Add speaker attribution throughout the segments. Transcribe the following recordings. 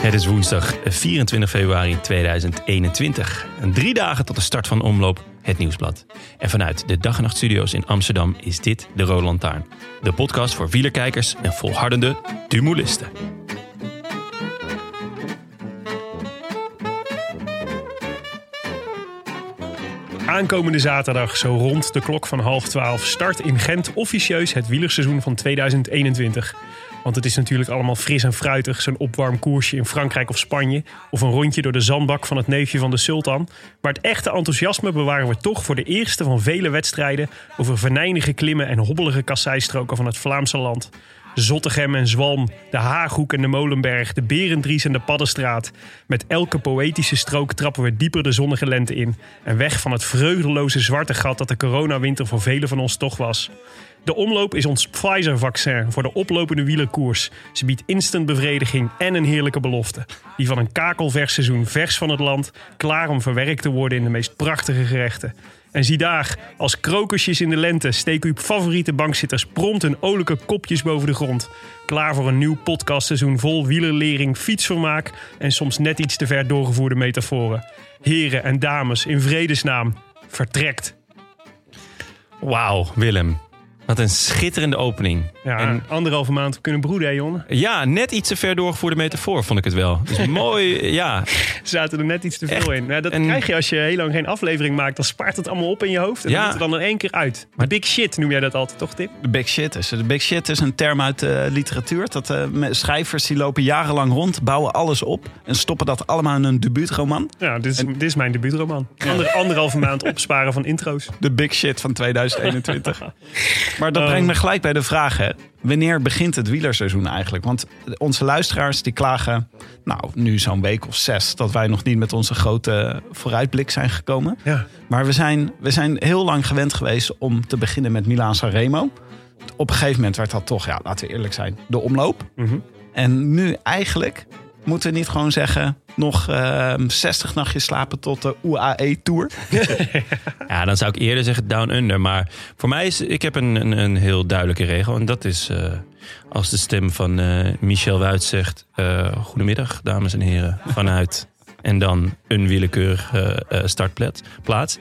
Speaker 1: Het is woensdag 24 februari 2021. En drie dagen tot de start van omloop Het Nieuwsblad. En vanuit de Dag en Nacht Studio's in Amsterdam is dit de Rode Lantaarn. De podcast voor wielerkijkers en volhardende dumulisten.
Speaker 2: Aankomende zaterdag, zo rond de klok van half twaalf, start in Gent officieus het wielerseizoen van 2021. Want het is natuurlijk allemaal fris en fruitig, zo'n opwarmkoersje in Frankrijk of Spanje. Of een rondje door de zandbak van het neefje van de sultan. Maar het echte enthousiasme bewaren we toch voor de eerste van vele wedstrijden over venijnige klimmen en hobbelige kasseistroken van het Vlaamse land. Zottegem en Zwalm, de Haaghoek en de Molenberg, de Berendries en de Paddenstraat. Met elke poëtische strook trappen we dieper de zonnige lente in. En weg van het vreugdeloze zwarte gat dat de coronawinter voor velen van ons toch was. De omloop is ons Pfizer-vaccin voor de oplopende wielerkoers. Ze biedt instant bevrediging en een heerlijke belofte. Die van een kakelvers seizoen vers van het land, klaar om verwerkt te worden in de meest prachtige gerechten. En zie daar, als krokusjes in de lente steken uw favoriete bankzitters prompt hun olijke kopjes boven de grond. Klaar voor een nieuw podcastseizoen vol wielerlering, fietsvermaak en soms net iets te ver doorgevoerde metaforen. Heren en dames, in vredesnaam, vertrekt.
Speaker 1: Wauw, Willem. Wat een schitterende opening.
Speaker 2: Ja,
Speaker 1: En
Speaker 2: anderhalve maand kunnen broeden, hè, Jon?
Speaker 1: ja, net iets te ver doorgevoerde metafoor vond ik het wel. Dus mooi, ja.
Speaker 2: zaten er net iets te veel in. Ja, dat
Speaker 1: En-
Speaker 2: krijg je als je heel lang geen aflevering maakt. Dan spaart het allemaal op in je hoofd. En
Speaker 1: Ja.
Speaker 2: dan moet het dan in één keer uit. Maar big shit noem jij dat altijd, toch, Tim?
Speaker 3: De big shit is. De big shit is een term uit de literatuur. Dat eh, me- schrijvers die lopen jarenlang rond, bouwen alles op en stoppen dat allemaal in een debuutroman.
Speaker 2: Ja, dit is, dit is mijn debuutroman. Ander, anderhalve maand opsparen van intro's.
Speaker 3: De big shit van 2021. maar dat brengt me gelijk bij de vraag: hè. wanneer begint het wielerseizoen eigenlijk? Want onze luisteraars die klagen, nou nu zo'n week of zes, dat wij nog niet met onze grote vooruitblik zijn gekomen.
Speaker 2: Ja.
Speaker 3: Maar we zijn, we zijn heel lang gewend geweest om te beginnen met Milaan Sanremo. Op een gegeven moment werd dat toch, ja, laten we eerlijk zijn, de omloop.
Speaker 2: Mhm.
Speaker 3: En nu eigenlijk moeten we niet gewoon zeggen... nog ehm 60 nachtjes slapen tot de E UAE-tour.
Speaker 1: Ja, dan zou ik eerder zeggen down under. Maar voor mij is, ik heb een, een, een heel duidelijke regel. En dat is eh, als de stem van eh, Michel Wuit zegt... eh, Goedemiddag, dames en heren, vanuit. En dan een willekeurige eh, eh, startplaats. plaats.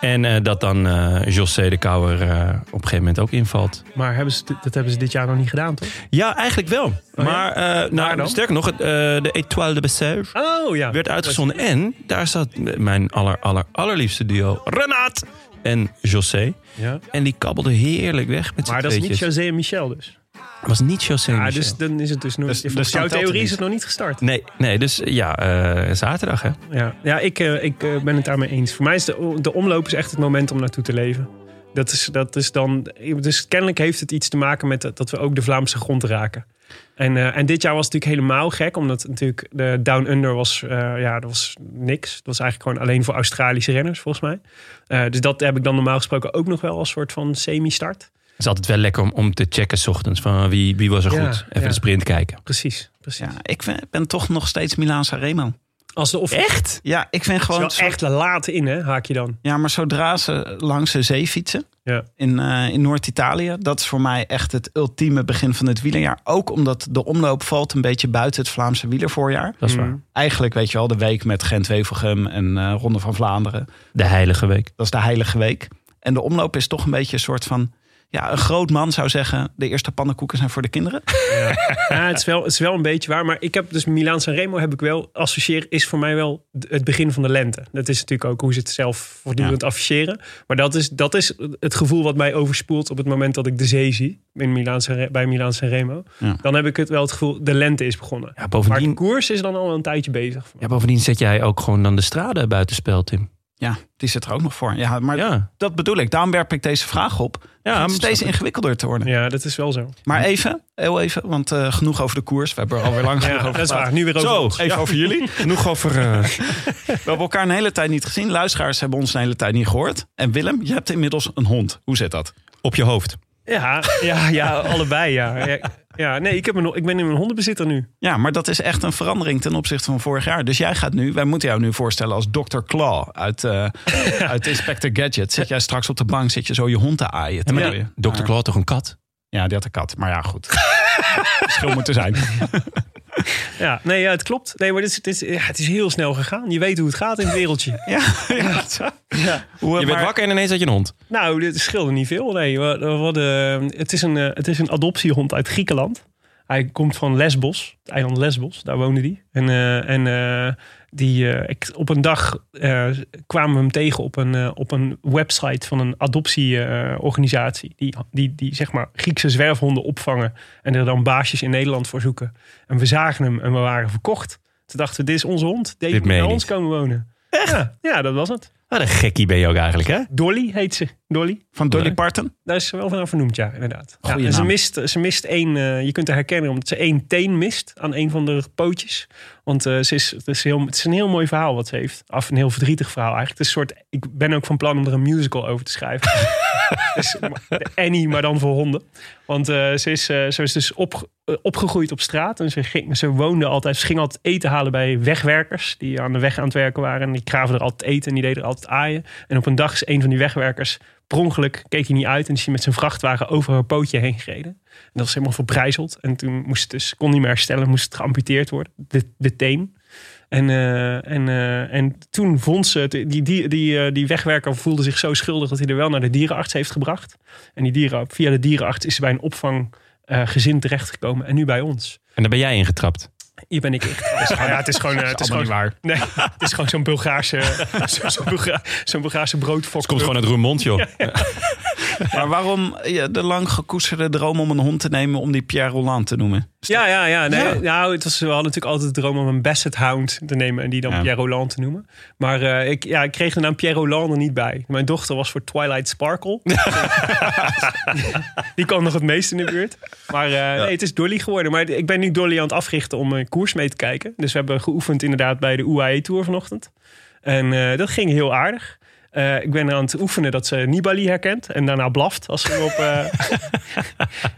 Speaker 1: En eh, dat dan eh José de Kouwer eh, op een gegeven moment ook invalt.
Speaker 2: Maar hebben ze, dit- dat hebben ze dit jaar nog niet gedaan, toch?
Speaker 1: Ja, eigenlijk wel.
Speaker 2: Oh ja?
Speaker 1: Maar eh,
Speaker 2: Waar
Speaker 1: nou,
Speaker 2: dan?
Speaker 1: sterker nog, het, eh, de Etoile de Bessège
Speaker 2: Oh, ja.
Speaker 1: werd uitgezonden. En daar zat mijn aller, aller, allerliefste duo Renaat en José.
Speaker 2: Ja.
Speaker 1: En die kabbelde heerlijk weg met zijn
Speaker 2: Maar dat is niet
Speaker 1: tweetjes.
Speaker 2: José en Michel dus.
Speaker 1: Dat was niet José
Speaker 2: Ja,
Speaker 1: Michel.
Speaker 2: dus dan is het dus nog...
Speaker 3: Dus-
Speaker 2: volgens
Speaker 3: dus dan
Speaker 2: jouw
Speaker 3: telt het
Speaker 2: theorie is
Speaker 3: niet.
Speaker 2: het nog niet gestart.
Speaker 1: Nee, nee, dus ja, eh, zaterdag hè.
Speaker 2: Ja, ja ik, eh, ik eh, ben het daarmee eens. Voor mij is de, de omloop is echt het moment om naartoe te leven. Dat is, dat is dan, dus kennelijk heeft het iets te maken met dat dat we ook de Vlaamse grond raken. En, eh, en dit jaar was het natuurlijk helemaal gek, omdat natuurlijk de Down Under was, eh, ja, dat was niks. Dat was eigenlijk gewoon alleen voor Australische renners, volgens mij. Eh, dus dat heb ik dan normaal gesproken ook nog wel als soort van semi-start.
Speaker 1: Het is altijd wel lekker om, om te checken 's ochtends van wie, wie was er
Speaker 2: Ja,
Speaker 1: goed. Even
Speaker 2: ja.
Speaker 1: de sprint kijken.
Speaker 2: Precies, precies.
Speaker 3: Ja, ik vind- ben toch nog steeds Milaan Sanremo.
Speaker 2: Als de officier
Speaker 1: Echt?
Speaker 3: Ja, ik vind
Speaker 2: is
Speaker 3: gewoon...
Speaker 2: wel
Speaker 3: zo-
Speaker 2: echt laat in, hè, haak je dan.
Speaker 3: Ja, maar zodra ze langs de zee fietsen
Speaker 2: Ja.
Speaker 3: in, eh, in Noord-Italië... dat is voor mij echt het ultieme begin van het wielerjaar. Ook omdat de omloop valt een beetje buiten het Vlaamse wielervoorjaar.
Speaker 1: Dat is
Speaker 2: Mm.
Speaker 1: waar.
Speaker 3: Eigenlijk, weet je wel, de week met Gent-Wevelgem en eh, Ronde van Vlaanderen.
Speaker 1: De heilige week.
Speaker 3: Dat is de heilige week. En de omloop is toch een beetje een soort van... Ja, een groot man zou zeggen, de eerste pannenkoeken zijn voor de kinderen.
Speaker 2: Ja, het, is wel, het is wel een beetje waar. Maar ik heb dus Milaan Sanremo heb ik wel associeer is voor mij wel d- het begin van de lente. Dat is natuurlijk ook hoe ze het zelf voortdurend afficheren. Maar dat is, dat is het gevoel wat mij overspoelt op het moment dat ik de zee zie in Milaan Sanre- bij Milaan Sanremo.
Speaker 3: Ja.
Speaker 2: Dan heb ik het wel het gevoel de lente is begonnen.
Speaker 1: Ja,
Speaker 2: Maar de
Speaker 1: bovendien,
Speaker 2: koers is dan al een tijdje bezig.
Speaker 1: ja, bovendien zet jij ook gewoon dan de straden buitenspel, Tim.
Speaker 3: Ja, die zit er ook nog voor. Ja, maar
Speaker 1: Ja,
Speaker 3: dat bedoel ik. Daarom werp ik deze vraag op.
Speaker 1: ja
Speaker 3: het is steeds
Speaker 1: snap ik.
Speaker 3: ingewikkelder te worden.
Speaker 2: Ja, dat is wel zo.
Speaker 3: Maar even, heel even, want eh, genoeg over de koers. We hebben er alweer lang genoeg
Speaker 2: Ja,
Speaker 3: over
Speaker 2: dat is
Speaker 3: gepraat.
Speaker 2: waar. Nu weer over.
Speaker 1: Zo,
Speaker 2: ons.
Speaker 3: Even over jullie.
Speaker 1: genoeg over... eh,
Speaker 3: We hebben elkaar een hele tijd niet gezien. Luisteraars hebben ons een hele tijd niet gehoord. En Willem, je hebt inmiddels een hond. Hoe zit dat?
Speaker 1: op je hoofd.
Speaker 2: Ja, ja, ja allebei. Ja. Ja, ja, nee, ik, heb een, ik ben in een hondenbezitter nu.
Speaker 3: Ja, maar dat is echt een verandering ten opzichte van vorig jaar. Dus jij gaat nu, wij moeten jou nu voorstellen als Dr. Claw uit, eh, uit Inspector Gadget. Zit jij straks op de bank, zit je zo je hond te aaien.
Speaker 1: Ja, maar
Speaker 3: terwijl
Speaker 1: die-
Speaker 3: je- Ah,
Speaker 1: Dr. Claw had toch een kat?
Speaker 3: Ja, die had een kat. Maar ja, goed. Verschil moet er zijn.
Speaker 2: Ja, nee, ja, het klopt. Nee, maar dit is, dit is, ja, het is heel snel gegaan. Je weet hoe het gaat in het wereldje.
Speaker 3: Ja,
Speaker 2: Ja.
Speaker 3: Hoe,
Speaker 1: Je bent
Speaker 3: maar-
Speaker 1: wakker en ineens had je een hond.
Speaker 2: Nou, dit scheelde niet veel. Nee, we, we hadden- het, is een, eh, het is een adoptiehond uit Griekenland. Hij komt van Lesbos, het eiland Lesbos. Daar woonde hij. En, eh, en eh, die, eh, ik, op een dag eh, kwamen we hem tegen op een, eh, op een website van een adoptieorganisatie. die, die, die zeg maar Griekse zwerfhonden opvangen. En er dan baasjes in Nederland voor zoeken. En we zagen hem en we waren verkocht. Toen dachten we, dit is onze hond. Deze
Speaker 1: Dit
Speaker 2: moet
Speaker 1: meen
Speaker 2: bij
Speaker 1: je
Speaker 2: ons komen wonen. Ja, ja, dat was het.
Speaker 1: Wat een gekkie ben je ook eigenlijk, hè?
Speaker 2: Dolly heet ze. Dolly.
Speaker 3: Van Dolly
Speaker 1: Leuk.
Speaker 3: Parton?
Speaker 2: Daar is ze wel van vernoemd, ja, inderdaad. Ja,
Speaker 3: Goeie
Speaker 2: en ze
Speaker 3: naam.
Speaker 2: mist, ze mist één, eh, je kunt haar herkennen omdat ze één teen mist aan een van de pootjes. Want eh, ze is, het, is heel, het is een heel mooi verhaal wat ze heeft. Af een heel verdrietig verhaal eigenlijk. Het is een soort, ik ben ook van plan om er een musical over te schrijven. dus, de Annie, maar dan voor honden. Want eh, ze, is, eh, ze is dus op, eh, opgegroeid op straat. En ze, ging, ze woonde altijd, ze ging altijd eten halen bij wegwerkers. Die aan de weg aan het werken waren. En die kraven er altijd eten en die deden er altijd aaien. En op een dag is een van die wegwerkers per ongeluk keek hij niet uit en is hij met zijn vrachtwagen over haar pootje heen gereden. En dat was helemaal verbrijzeld. En toen moest het dus, kon niet meer herstellen, moest het geamputeerd worden, de, de teen. En, eh, en, eh, en toen vond ze, het, die, die, die, eh, die wegwerker voelde zich zo schuldig dat hij er wel naar de dierenarts heeft gebracht. En die dieren, via de dierenarts is ze bij een opvang eh, gezin terechtgekomen en nu bij ons.
Speaker 1: En daar ben jij ingetrapt.
Speaker 2: Hier ben ik echt. Ja, het is gewoon, eh, het is gewoon,
Speaker 3: waar.
Speaker 2: nee, het is gewoon zo'n Bulgaarse, zo- zo'n Bulga- zo'n Bulgaarse broodfok.
Speaker 1: Het komt gewoon uit Roermond, joh.
Speaker 3: Maar waarom eh, de lang gekoesterde droom om een hond te nemen om die Pierre Roland te noemen?
Speaker 2: Ja, ja, ja. Nee,
Speaker 3: Ja.
Speaker 2: Nou, het was, we hadden natuurlijk altijd de droom om een Basset Hound te nemen en die dan
Speaker 3: Ja.
Speaker 2: Pierre Roland te noemen. Maar eh, ik, ja, ik kreeg de naam Pierre Roland er niet bij. Mijn dochter was voor Twilight Sparkle. die kwam nog het meest in de buurt. Maar eh, nee, het is Dolly geworden. Maar ik ben nu Dolly aan het africhten om een koers mee te kijken. Dus we hebben geoefend inderdaad bij de UAE Tour vanochtend. En eh, dat ging heel aardig. Eh, ik ben aan het oefenen dat ze Nibali herkent en daarna blaft als ze hem op. eh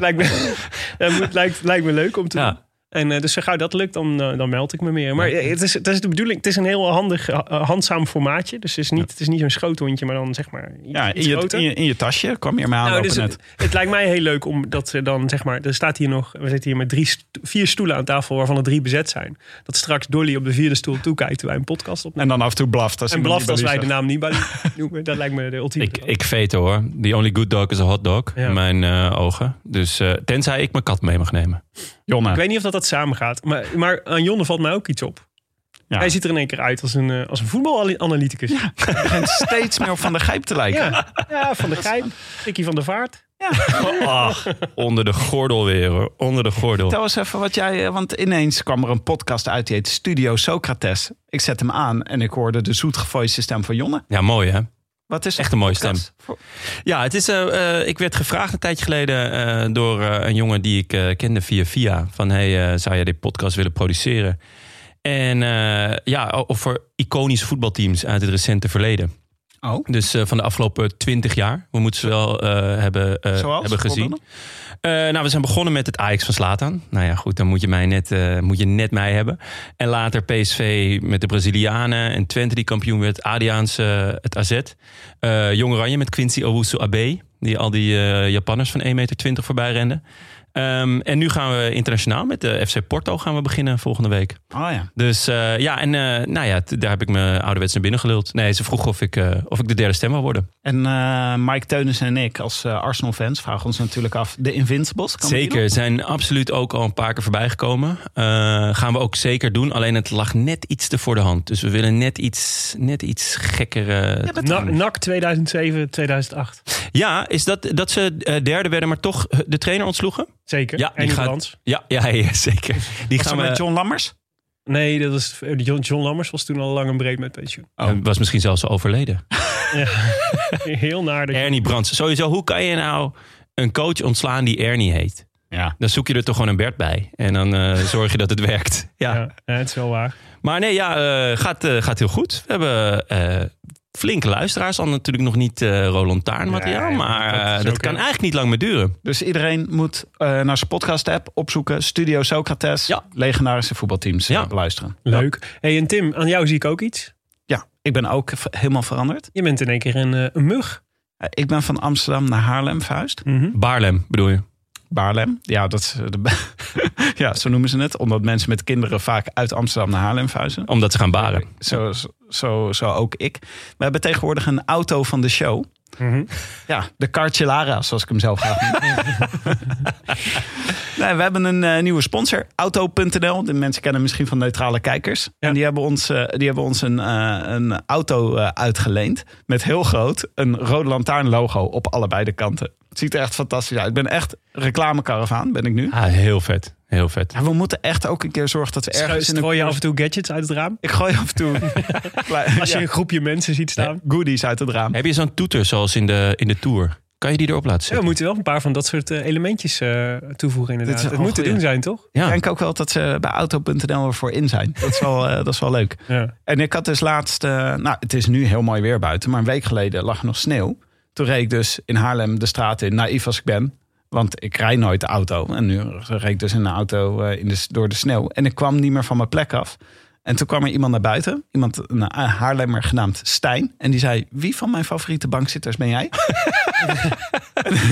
Speaker 2: lijkt, me, dat moet- lijkt, lijkt me leuk om te doen.
Speaker 1: Ja.
Speaker 2: En eh, dus zo gauw dat lukt, dan, eh, dan meld ik me meer. Maar eh, het, is, het is de bedoeling, het is een heel handig, eh, handzaam formaatje. Dus het is niet, het is niet zo'n schoothondje, maar dan zeg maar iets,
Speaker 3: Ja, in
Speaker 2: iets
Speaker 3: je,
Speaker 2: groter.
Speaker 3: in je, in je tasje kwam hier mee
Speaker 2: Nou,
Speaker 3: aanlopen
Speaker 2: dus
Speaker 3: net.
Speaker 2: het, het lijkt mij heel leuk om dat ze dan, zeg maar, er staat hier nog, we zitten hier met drie, st- vier stoelen aan tafel waarvan er drie bezet zijn. Dat straks Dolly op de vierde stoel toekijkt terwijl wij een podcast opnemen.
Speaker 3: En dan af en toe blaft. Als
Speaker 2: En
Speaker 3: iemand
Speaker 2: blaft als wij
Speaker 3: Nibali
Speaker 2: de naam Nibali noemen. Dat lijkt me de ultieme.
Speaker 1: Ik, ik veto hoor. The only good dog is a hot dog.
Speaker 2: Ja.
Speaker 1: In mijn eh, ogen. Dus eh, tenzij ik mijn kat mee mag nemen.
Speaker 3: zegt. Jonna.
Speaker 2: Ik weet niet of dat, dat samen gaat. Maar, maar aan Jonne valt mij ook iets op.
Speaker 3: Ja.
Speaker 2: Hij ziet er in één keer uit als een, eh, als een voetbalanalyticus. Ja.
Speaker 3: begint steeds meer op Van de Gijp te lijken.
Speaker 2: Ja. van de Grijp. Tikkie van de Vaart.
Speaker 1: Ach, onder de gordel weer hoor. Onder de gordel.
Speaker 3: Vertel eens even wat jij... eh, Want ineens kwam er een podcast uit die heet Studio Socrates. Ik zet hem aan en ik hoorde de zoetgevoiste stem van Jonne.
Speaker 1: Ja, mooi hè?
Speaker 3: Wat is dat
Speaker 1: Echt een mooie stem.
Speaker 3: podcast? Voor-
Speaker 1: Ja, het is, eh, eh, ik werd gevraagd een tijdje geleden eh, door eh, een jongen die ik eh, kende via via. Van, hey, eh, zou jij dit podcast willen produceren? En eh, ja, o- over iconische voetbalteams uit het recente verleden.
Speaker 3: Oh.
Speaker 1: Dus eh, van de afgelopen twintig jaar. We moeten ze wel eh, hebben, eh,
Speaker 3: Zoals?
Speaker 1: hebben gezien.
Speaker 3: Voorbeelden?
Speaker 1: Eh, nou, we zijn begonnen met het Ajax van Slatan. Nou ja, goed, dan moet je, mij net, eh, moet je net mij hebben. En later PSV met de Brazilianen. En Twente die kampioen werd. Adiaanse, eh, het AZ. Eh Jong Oranje met Quincy Owusu Abe. Die al die eh, Japanners van 1,20 meter voorbij renden. Eh, Ehm, en nu gaan we internationaal met de FC Porto gaan we beginnen volgende week.
Speaker 3: Oh ja.
Speaker 1: Dus eh, ja, en eh, nou ja, t- daar heb ik me ouderwets naar binnen geluld. Nee, ze vroeg of ik, eh, of ik de derde stem wil worden.
Speaker 3: En eh, Mike Teunis en ik als eh, Arsenal-fans vragen ons natuurlijk af... de Invincibles, kan die nog?
Speaker 1: Zeker, zijn absoluut ook al een paar keer voorbij gekomen. Eh, gaan we ook zeker doen, alleen het lag net iets te voor de hand. Dus we willen net iets, net iets gekker. eh,
Speaker 3: Ja, dat
Speaker 2: Na-
Speaker 3: kan.
Speaker 2: NAC 2007, 2008.
Speaker 1: Ja, is dat, dat ze eh, derde werden, maar toch eh, de trainer ontsloegen?
Speaker 2: Zeker.
Speaker 1: Ja,
Speaker 2: en
Speaker 1: die
Speaker 2: die
Speaker 1: gaat-
Speaker 2: Brands.
Speaker 1: Ja, ja, ja zeker. Die
Speaker 3: Was
Speaker 1: gaan
Speaker 3: dat
Speaker 1: we,
Speaker 3: met John Lammers?
Speaker 2: Nee, dat was, eh, John, John Lammers was toen al lang en breed met pensioen.
Speaker 1: Eh, Was misschien zelfs al overleden.
Speaker 2: Ja. Heel naar de...
Speaker 1: Ernie Brands. Sowieso, hoe kan je nou een coach ontslaan die Ernie heet?
Speaker 3: Ja.
Speaker 1: Dan zoek je er toch gewoon een Bert bij. En dan eh, zorg je dat het werkt. Ja.
Speaker 2: Ja, ja, het is wel waar.
Speaker 1: Maar nee, ja, eh, gaat, eh, gaat heel goed. We hebben eh, flinke luisteraars. Al natuurlijk nog niet eh Roland Taarn materiaal.
Speaker 2: Nee,
Speaker 1: maar
Speaker 2: dat
Speaker 1: eh,
Speaker 2: is
Speaker 1: dat,
Speaker 2: ook,
Speaker 1: kan
Speaker 2: hè.
Speaker 1: eigenlijk niet lang meer duren.
Speaker 3: Dus iedereen moet eh, naar zijn podcast-app opzoeken. Studio Socrates.
Speaker 1: Ja.
Speaker 3: Legendarische voetbalteams
Speaker 1: Ja.
Speaker 3: ja. beluisteren.
Speaker 2: Leuk. hey, en Tim, aan jou zie ik ook iets.
Speaker 3: Ja, ik ben ook v- helemaal veranderd.
Speaker 2: Je bent in één keer een, eh, een mug.
Speaker 3: Eh, ik ben van Amsterdam naar Haarlem verhuisd.
Speaker 1: Baarlem bedoel je?
Speaker 3: Baarlem. Ja, dat is, eh, de- ja, zo noemen ze het. Omdat mensen met kinderen vaak uit Amsterdam naar Haarlem verhuizen.
Speaker 1: Omdat ze gaan baren.
Speaker 3: Zo, zo, zo ook ik. We hebben tegenwoordig een auto van de show.
Speaker 2: Mhm.
Speaker 3: Ja, de Carcellara, zoals ik hem zelf graag noem. nee, we hebben een eh, nieuwe sponsor, Auto.nl. De mensen kennen misschien van neutrale kijkers. En die hebben ons, eh, die hebben ons een, eh, een auto eh, uitgeleend. Met heel groot een rode lantaarn logo op allebei de kanten. Het ziet er echt fantastisch uit. Ik ben echt reclamekaravaan, ben ik nu.
Speaker 1: Ah, heel vet. Heel vet.
Speaker 3: Ja, we moeten echt ook een keer zorgen dat we ergens in een...
Speaker 2: Gooi je af en toe gadgets uit het raam?
Speaker 3: Ik gooi af en toe klein-
Speaker 2: Als je
Speaker 3: ja,
Speaker 2: een groepje mensen ziet staan.
Speaker 3: goodies uit het raam.
Speaker 1: Heb je zo'n toeter zoals in de, in de Tour? Kan je die erop laten
Speaker 2: Ja, we
Speaker 1: zetten?
Speaker 2: moeten wel een paar van dat soort eh, elementjes eh, toevoegen inderdaad.
Speaker 3: Dit is
Speaker 2: Het
Speaker 3: een
Speaker 2: moet te
Speaker 3: goeie.
Speaker 2: doen zijn, toch?
Speaker 1: Ja.
Speaker 3: Ik denk ook wel dat ze bij auto.nl ervoor in zijn. Dat is wel, eh, dat is wel leuk.
Speaker 2: Ja.
Speaker 3: En ik had dus laatst, eh, nou het is nu heel mooi weer buiten, maar een week geleden lag er nog sneeuw. Toen reed ik dus in Haarlem de straat in, naïef als ik ben. Want ik rijd nooit de auto. En nu reed ik dus in een auto eh, in de, door de sneeuw. En ik kwam niet meer van mijn plek af. En toen kwam er iemand naar buiten. Iemand, een Haarlemmer genaamd Stijn. En die zei, wie van mijn favoriete bankzitters ben jij?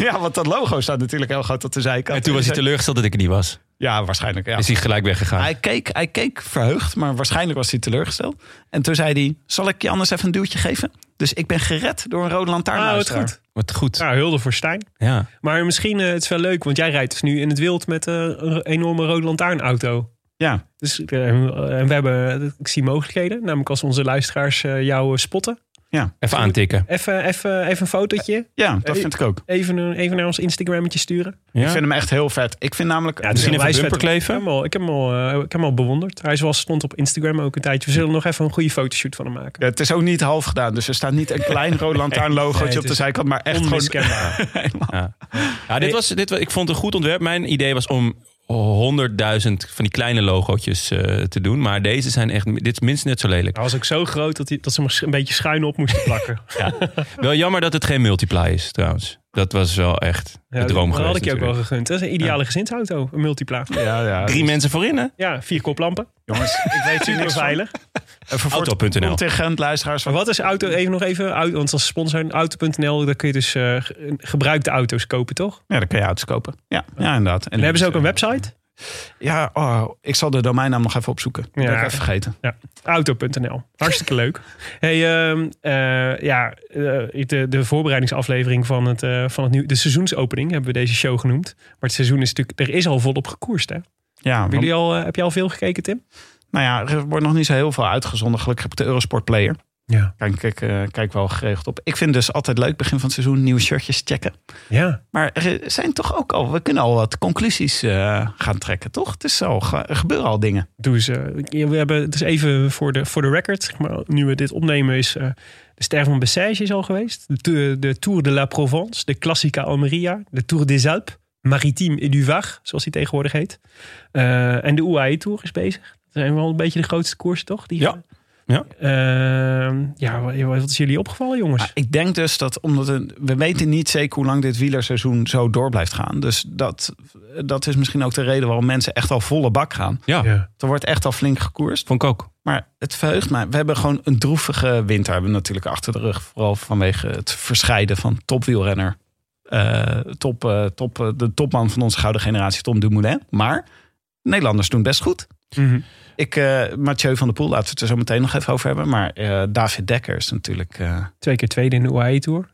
Speaker 3: ja, want dat logo staat natuurlijk heel groot op de zijkant.
Speaker 1: En toen was hij
Speaker 3: hij
Speaker 1: teleurgesteld dat ik er niet was.
Speaker 3: Ja, waarschijnlijk. Ja.
Speaker 1: Is hij gelijk weggegaan.
Speaker 3: Hij keek, hij keek verheugd, maar waarschijnlijk was hij teleurgesteld. En toen zei hij, zal ik je anders even een duwtje geven? Dus ik ben gered door een rode lantaarn.
Speaker 2: Ah, wat goed.
Speaker 1: Wat goed.
Speaker 2: Nou, hulde voor Stijn.
Speaker 1: Ja.
Speaker 2: Maar misschien, eh, het is wel leuk, want jij rijdt dus nu in het wild met eh, een enorme rode lantaarnauto.
Speaker 3: Ja,
Speaker 2: Dus eh, en we hebben, eh, ik zie mogelijkheden. Namelijk als onze luisteraars eh, jou spotten.
Speaker 1: Even aantikken.
Speaker 2: Even, even, even een fotootje.
Speaker 3: ja dat vind ik ook.
Speaker 2: Even, een- even naar ons Instagrammetje sturen.
Speaker 3: Ik
Speaker 1: Ja.
Speaker 3: vind hem echt heel vet. Ik vind namelijk...
Speaker 2: Ja, het is
Speaker 1: Misschien
Speaker 2: een
Speaker 1: even een
Speaker 2: wijsvet-
Speaker 1: bumper
Speaker 2: Ik heb
Speaker 1: kleven.
Speaker 2: hem al, ik heb hem al, eh, ik heb hem al bewonderd. Hij is wel stond op Instagram ook een tijdje. We zullen nog even een goede fotoshoot van hem maken.
Speaker 3: Ja, het is ook niet half gedaan. Dus er staat niet een klein rode lantaarn logootje
Speaker 2: Nee, het
Speaker 3: op de
Speaker 2: is
Speaker 3: zijkant, maar echt gewoon...
Speaker 2: Onmiskenbaar.
Speaker 1: Ja, dit was, dit, wa- ik vond het een goed ontwerp. Mijn idee was om 100.000 van die kleine logootjes eh, te doen. Maar deze zijn echt, dit is minstens net zo lelijk.
Speaker 2: Hij was ook zo groot dat, hij, dat ze hem een beetje schuin op moesten plakken.
Speaker 1: Wel jammer dat het geen multiply is trouwens. Dat was wel echt de droom
Speaker 2: dat
Speaker 1: geweest.
Speaker 2: had ik je ook wel
Speaker 1: natuurlijk.
Speaker 2: gegund. Dat is een ideale gezinsauto, een multipla.
Speaker 3: Ja, ja.
Speaker 1: Drie mensen voorin hè?
Speaker 2: Ja, vier koplampen,
Speaker 3: Jongens, ik weet hier
Speaker 2: super
Speaker 3: niks van.
Speaker 2: veilig.
Speaker 3: Even voor
Speaker 1: Auto.nl.
Speaker 3: het contingent luisteraars.
Speaker 2: Maar
Speaker 3: Van,
Speaker 2: wat is auto, even nog even, auto, want als sponsor auto.nl, daar kun je dus eh, ge- gebruikte auto's kopen, toch? En
Speaker 3: ja, dan kun je auto's kopen. Ja, ja inderdaad. En,
Speaker 2: hebben ze ook een website?
Speaker 3: Ja, oh, ik zal de domeinnaam nog even opzoeken. Dat
Speaker 2: Ja.
Speaker 3: heb ik even vergeten.
Speaker 2: Auto.nl. Hartstikke leuk. Hey, ehm, eh, ja, eh, de, de voorbereidingsaflevering van, het, eh, van het nieuw, de seizoensopening hebben we deze show genoemd. Maar het seizoen is natuurlijk, er is al volop gekoerst. Hè? Hebben
Speaker 3: Ja, want-
Speaker 2: Jullie al, eh, heb je al veel gekeken, Tim?
Speaker 3: Nou ja, er wordt nog niet zo heel veel uitgezonden. Gelukkig heb ik de Eurosport Player.
Speaker 2: Ja.
Speaker 3: Kijk, kijk, eh, kijk wel geregeld op. Ik vind dus altijd leuk begin van het seizoen nieuwe shirtjes checken.
Speaker 2: Ja.
Speaker 3: Maar er zijn toch ook al, we kunnen al wat conclusies eh, gaan trekken, toch? Het is al, ge- er gebeuren al dingen.
Speaker 2: Doe ze. Ja, We hebben, het is even voor de, voor de record, zeg maar, nu we dit opnemen, is eh, de Ster van Bessèges is al geweest. De, Tour- de Tour de la Provence, de Classica Almeria, de Tour des Alpes, Maritime et du Var, zoals die tegenwoordig heet. Eh, en de UAE Tour is bezig. Dat zijn wel een beetje de grootste koersen, toch? Die
Speaker 1: Ja. Ja.
Speaker 2: Eh, ja, wa- ja, wat is jullie opgevallen, jongens?
Speaker 3: Maar ik denk dus dat, omdat we, we weten niet zeker hoe lang dit wielerseizoen zo door blijft gaan. Dus dat, dat is misschien ook de reden waarom mensen echt al volle bak gaan.
Speaker 1: Ja,
Speaker 3: Er wordt echt al flink gekoerst.
Speaker 1: vond ik ook.
Speaker 3: Maar het verheugt mij. We hebben gewoon een droevige winter hebben we natuurlijk achter de rug. Vooral vanwege het verscheiden van topwielrenner eh, top, eh, top, eh, de topman van onze gouden generatie, Tom Dumoulin. Maar Nederlanders doen best goed.
Speaker 2: Mhm.
Speaker 3: Ik, eh, Mathieu van der Poel, laten we het er zo meteen nog even over hebben. Maar eh, David Dekker is natuurlijk eh,
Speaker 2: Twee keer tweede in de UAE Tour.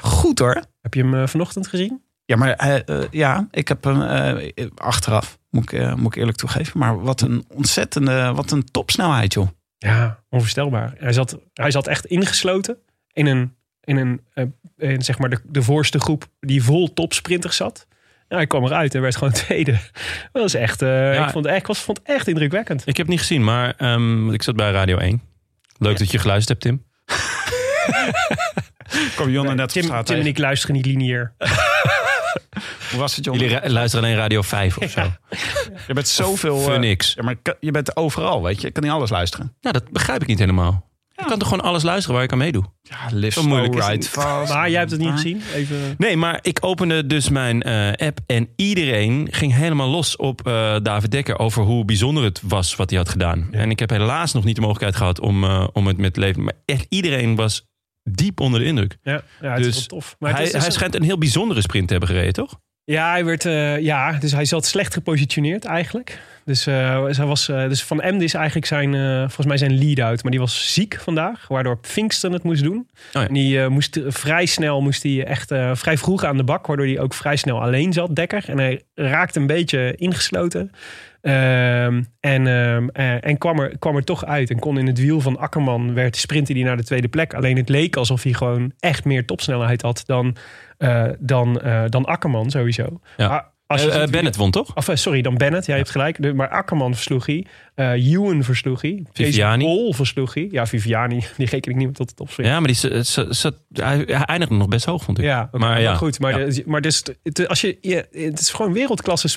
Speaker 3: goed hoor.
Speaker 2: Heb je hem eh, vanochtend gezien?
Speaker 3: Ja, maar eh, eh, ja, ik heb hem eh, achteraf, moet ik, eh, moet ik eerlijk toegeven. Maar wat een ontzettende, wat een topsnelheid joh.
Speaker 2: Ja, onvoorstelbaar. Hij zat, hij zat echt ingesloten in een, in een eh, in, zeg maar de, de voorste groep die vol topsprinters zat. Ja, hij kwam eruit en werd gewoon tweede. Dat was echt, eh,
Speaker 1: Ja.
Speaker 2: ik vond het echt, ik was, vond het echt indrukwekkend.
Speaker 1: Ik heb het niet gezien, maar ehm, want ik zat bij Radio 1. Leuk dat je geluisterd hebt, Tim.
Speaker 3: Kom Jonne net op
Speaker 2: Tim,
Speaker 3: straat
Speaker 2: Tim en
Speaker 3: tegen.
Speaker 2: ik luisteren niet lineair.
Speaker 3: Hoe was het Jonne?
Speaker 1: Jullie ra- luisteren alleen Radio 5 of zo.
Speaker 3: je bent zoveel... eh,
Speaker 1: Phoenix.
Speaker 3: ja, maar ik kan- je bent overal, weet je. Ik kan niet alles luisteren.
Speaker 1: Nou, dat begrijp ik niet helemaal. Je kan toch gewoon alles luisteren waar ik aan meedoe?
Speaker 3: Ja, live
Speaker 1: Zo moeilijk is het niet.
Speaker 3: fast.
Speaker 2: Maar jij hebt
Speaker 1: Hm.
Speaker 2: het niet gezien? Even...
Speaker 1: Nee, maar ik opende dus mijn eh, app en iedereen ging helemaal los op eh, David Dekker over hoe bijzonder het was wat hij had gedaan. En ik heb helaas nog niet de mogelijkheid gehad om, eh, om het met leven. Maar echt iedereen was diep onder de indruk.
Speaker 2: Ja, ja het
Speaker 1: Dus
Speaker 2: is wel tof. Maar het
Speaker 1: hij
Speaker 2: is- het is
Speaker 1: hij schijnt een heel bijzondere sprint te hebben gereden, toch?
Speaker 2: Ja, hij werd, eh, ja, dus hij zat slecht gepositioneerd eigenlijk. Dus, eh, dus hij was, eh, dus Van Emden is eigenlijk zijn, eh, volgens mij zijn lead-out. Maar die was ziek vandaag, waardoor Pinksten het moest doen.
Speaker 1: Oh ja.
Speaker 2: En die eh, moest eh, vrij snel, moest hij echt eh, vrij vroeg aan de bak. Waardoor hij ook vrij snel alleen zat, Dekker. En hij raakte een beetje ingesloten. Ehm, en ehm, eh, en kwam, er, kwam er toch uit. En kon in het wiel van Akkerman, werd sprintte hij naar de tweede plek. Alleen het leek alsof hij gewoon echt meer topsnelheid had dan, eh, dan, eh, dan Akkerman sowieso.
Speaker 1: Ja.
Speaker 2: Maar als je
Speaker 1: Eh, eh,
Speaker 2: ziet wie-
Speaker 1: Bennett won, toch?
Speaker 2: Of, eh, sorry, dan Bennett. Jij hebt gelijk. De- Maar Akkerman versloeg hij. Eh Ewan versloeg hij.
Speaker 1: Viviani.
Speaker 2: Jason Bol versloeg hij. Ja, Viviani. Die reken ik niet meer tot de topsprint.
Speaker 1: Ja, maar die, z- z- zat- hij, hij eindigde nog best hoog, vond ik.
Speaker 2: Ja, oké,
Speaker 1: Maar
Speaker 2: maar
Speaker 1: ja.
Speaker 2: goed. Maar, de- maar dus, het- als je, je, het is gewoon wereldklasse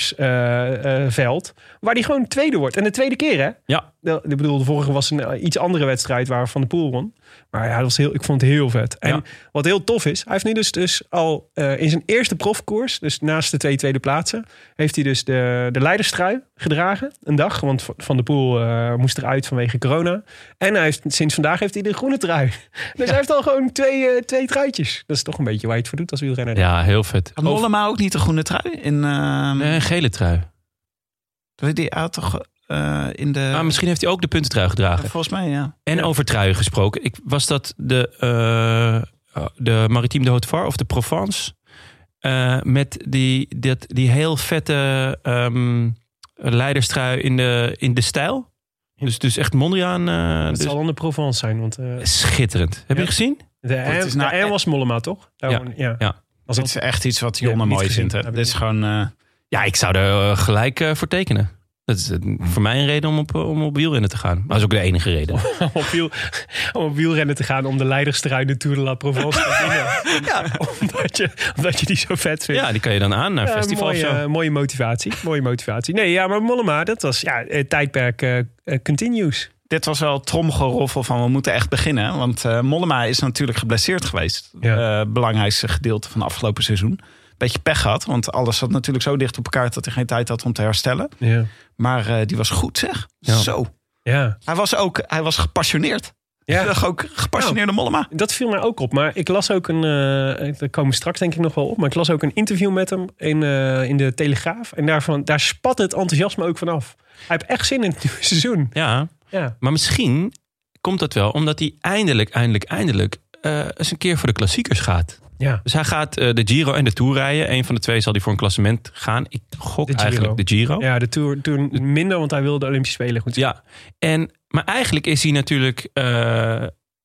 Speaker 2: sprintersveld. veld waar die gewoon tweede wordt. En de tweede keer, hè?
Speaker 1: Ja.
Speaker 2: De- Ik bedoel, de vorige was een eh, iets andere wedstrijd waar Van de Poel won. Maar ja, dat was heel, ik vond het heel vet. En
Speaker 1: Ja.
Speaker 2: wat heel tof is, hij heeft nu dus, dus al eh, in zijn eerste profkoers, dus naast de twee tweede plaatsen, heeft hij dus de, de leiderstrui gedragen. Een dag, want Van- Van de Poel eh, moest eruit vanwege corona. En hij heeft, sinds vandaag heeft hij de groene trui. Dus hij heeft al gewoon twee, eh, twee truitjes. Dat is toch een beetje waar je het voor doet als wielrenner.
Speaker 1: Ja, heel vet.
Speaker 3: Had Mollema ook niet de groene trui? In, eh,
Speaker 1: Nee, een gele trui.
Speaker 3: weet je, Die had toch eh, in de...
Speaker 1: Maar misschien heeft hij ook de puntentrui
Speaker 3: Ja,
Speaker 1: gedragen.
Speaker 3: volgens mij, ja.
Speaker 1: En over truien gesproken. Ik, was dat de, eh, de Maritime de Haute Var of de Provence? Eh, met die, dat, die heel vette ehm leiderstrui in de, in de stijl. Dus, dus echt Mondriaan. eh,
Speaker 2: Het
Speaker 1: dus-
Speaker 2: zal dan de Provence zijn, want eh,
Speaker 1: Schitterend. Heb
Speaker 2: Ja.
Speaker 1: je gezien?
Speaker 2: de,
Speaker 3: het is
Speaker 2: M,
Speaker 3: nou
Speaker 2: de M
Speaker 3: echt-
Speaker 2: was Mollema, toch? Daarom- ja.
Speaker 1: Ja.
Speaker 2: Was
Speaker 3: Dit
Speaker 2: dat-
Speaker 3: is echt iets wat
Speaker 2: Nee,
Speaker 3: Jonne
Speaker 2: heb ik
Speaker 3: mooi
Speaker 2: niet gezien.
Speaker 3: vindt. Hè?
Speaker 2: Heb ik
Speaker 3: Dit is
Speaker 2: niet
Speaker 3: gewoon... eh,
Speaker 1: Ja, ik zou er eh, gelijk eh, voor tekenen. Dat is eh,
Speaker 2: Hmm.
Speaker 1: voor mij een reden om op, eh, om op wielrennen te gaan. Maar dat is ook de enige reden.
Speaker 2: om op, wiel, om op wielrennen te gaan om de leiderstrui de Tour de la Provence te winnen. omdat, je, omdat je die zo vet vindt.
Speaker 1: Ja, die kan je dan aan naar
Speaker 2: Ja,
Speaker 1: festival of
Speaker 2: Eh, mooie,
Speaker 1: zo.
Speaker 2: mooie motivatie. Mooie motivatie. Nee, ja, maar Mollema, dat was ja, eh, tijdperk eh, eh, continues.
Speaker 3: dit was wel tromgeroffel van we moeten echt beginnen. Want eh, Mollema is natuurlijk geblesseerd geweest.
Speaker 2: Ja.
Speaker 3: Eh, belangrijkste gedeelte van afgelopen seizoen. Beetje pech gehad, want alles zat natuurlijk zo dicht op elkaar... dat hij geen tijd had om te herstellen.
Speaker 2: Ja.
Speaker 3: Maar eh, die was goed, zeg.
Speaker 1: Ja.
Speaker 3: Zo.
Speaker 2: ja.
Speaker 3: Hij was ook hij was gepassioneerd.
Speaker 2: Ja.
Speaker 3: Ja. Oh. Ook gepassioneerde Mollema.
Speaker 2: Dat viel mij ook op. Maar ik las ook een. eh daar komen we straks denk ik nog wel op. Maar ik las ook een interview met hem in, eh, in de Telegraaf. En daarvan, daar spat het enthousiasme ook vanaf. Hij heeft echt zin in het nieuwe seizoen.
Speaker 1: Ja,
Speaker 2: Ja.
Speaker 1: maar misschien komt dat wel omdat hij eindelijk, eindelijk, eindelijk eh, eens een keer voor de klassiekers gaat.
Speaker 2: ja.
Speaker 1: Dus hij gaat eh, de Giro en de Tour rijden. Eén van de twee zal hij voor een klassement gaan. Ik gok
Speaker 2: De Giro.
Speaker 1: eigenlijk de Giro.
Speaker 2: Ja, de Tour, tour minder, want hij wilde de Olympische Spelen goed.
Speaker 1: Ja. En, maar eigenlijk is hij natuurlijk... eh,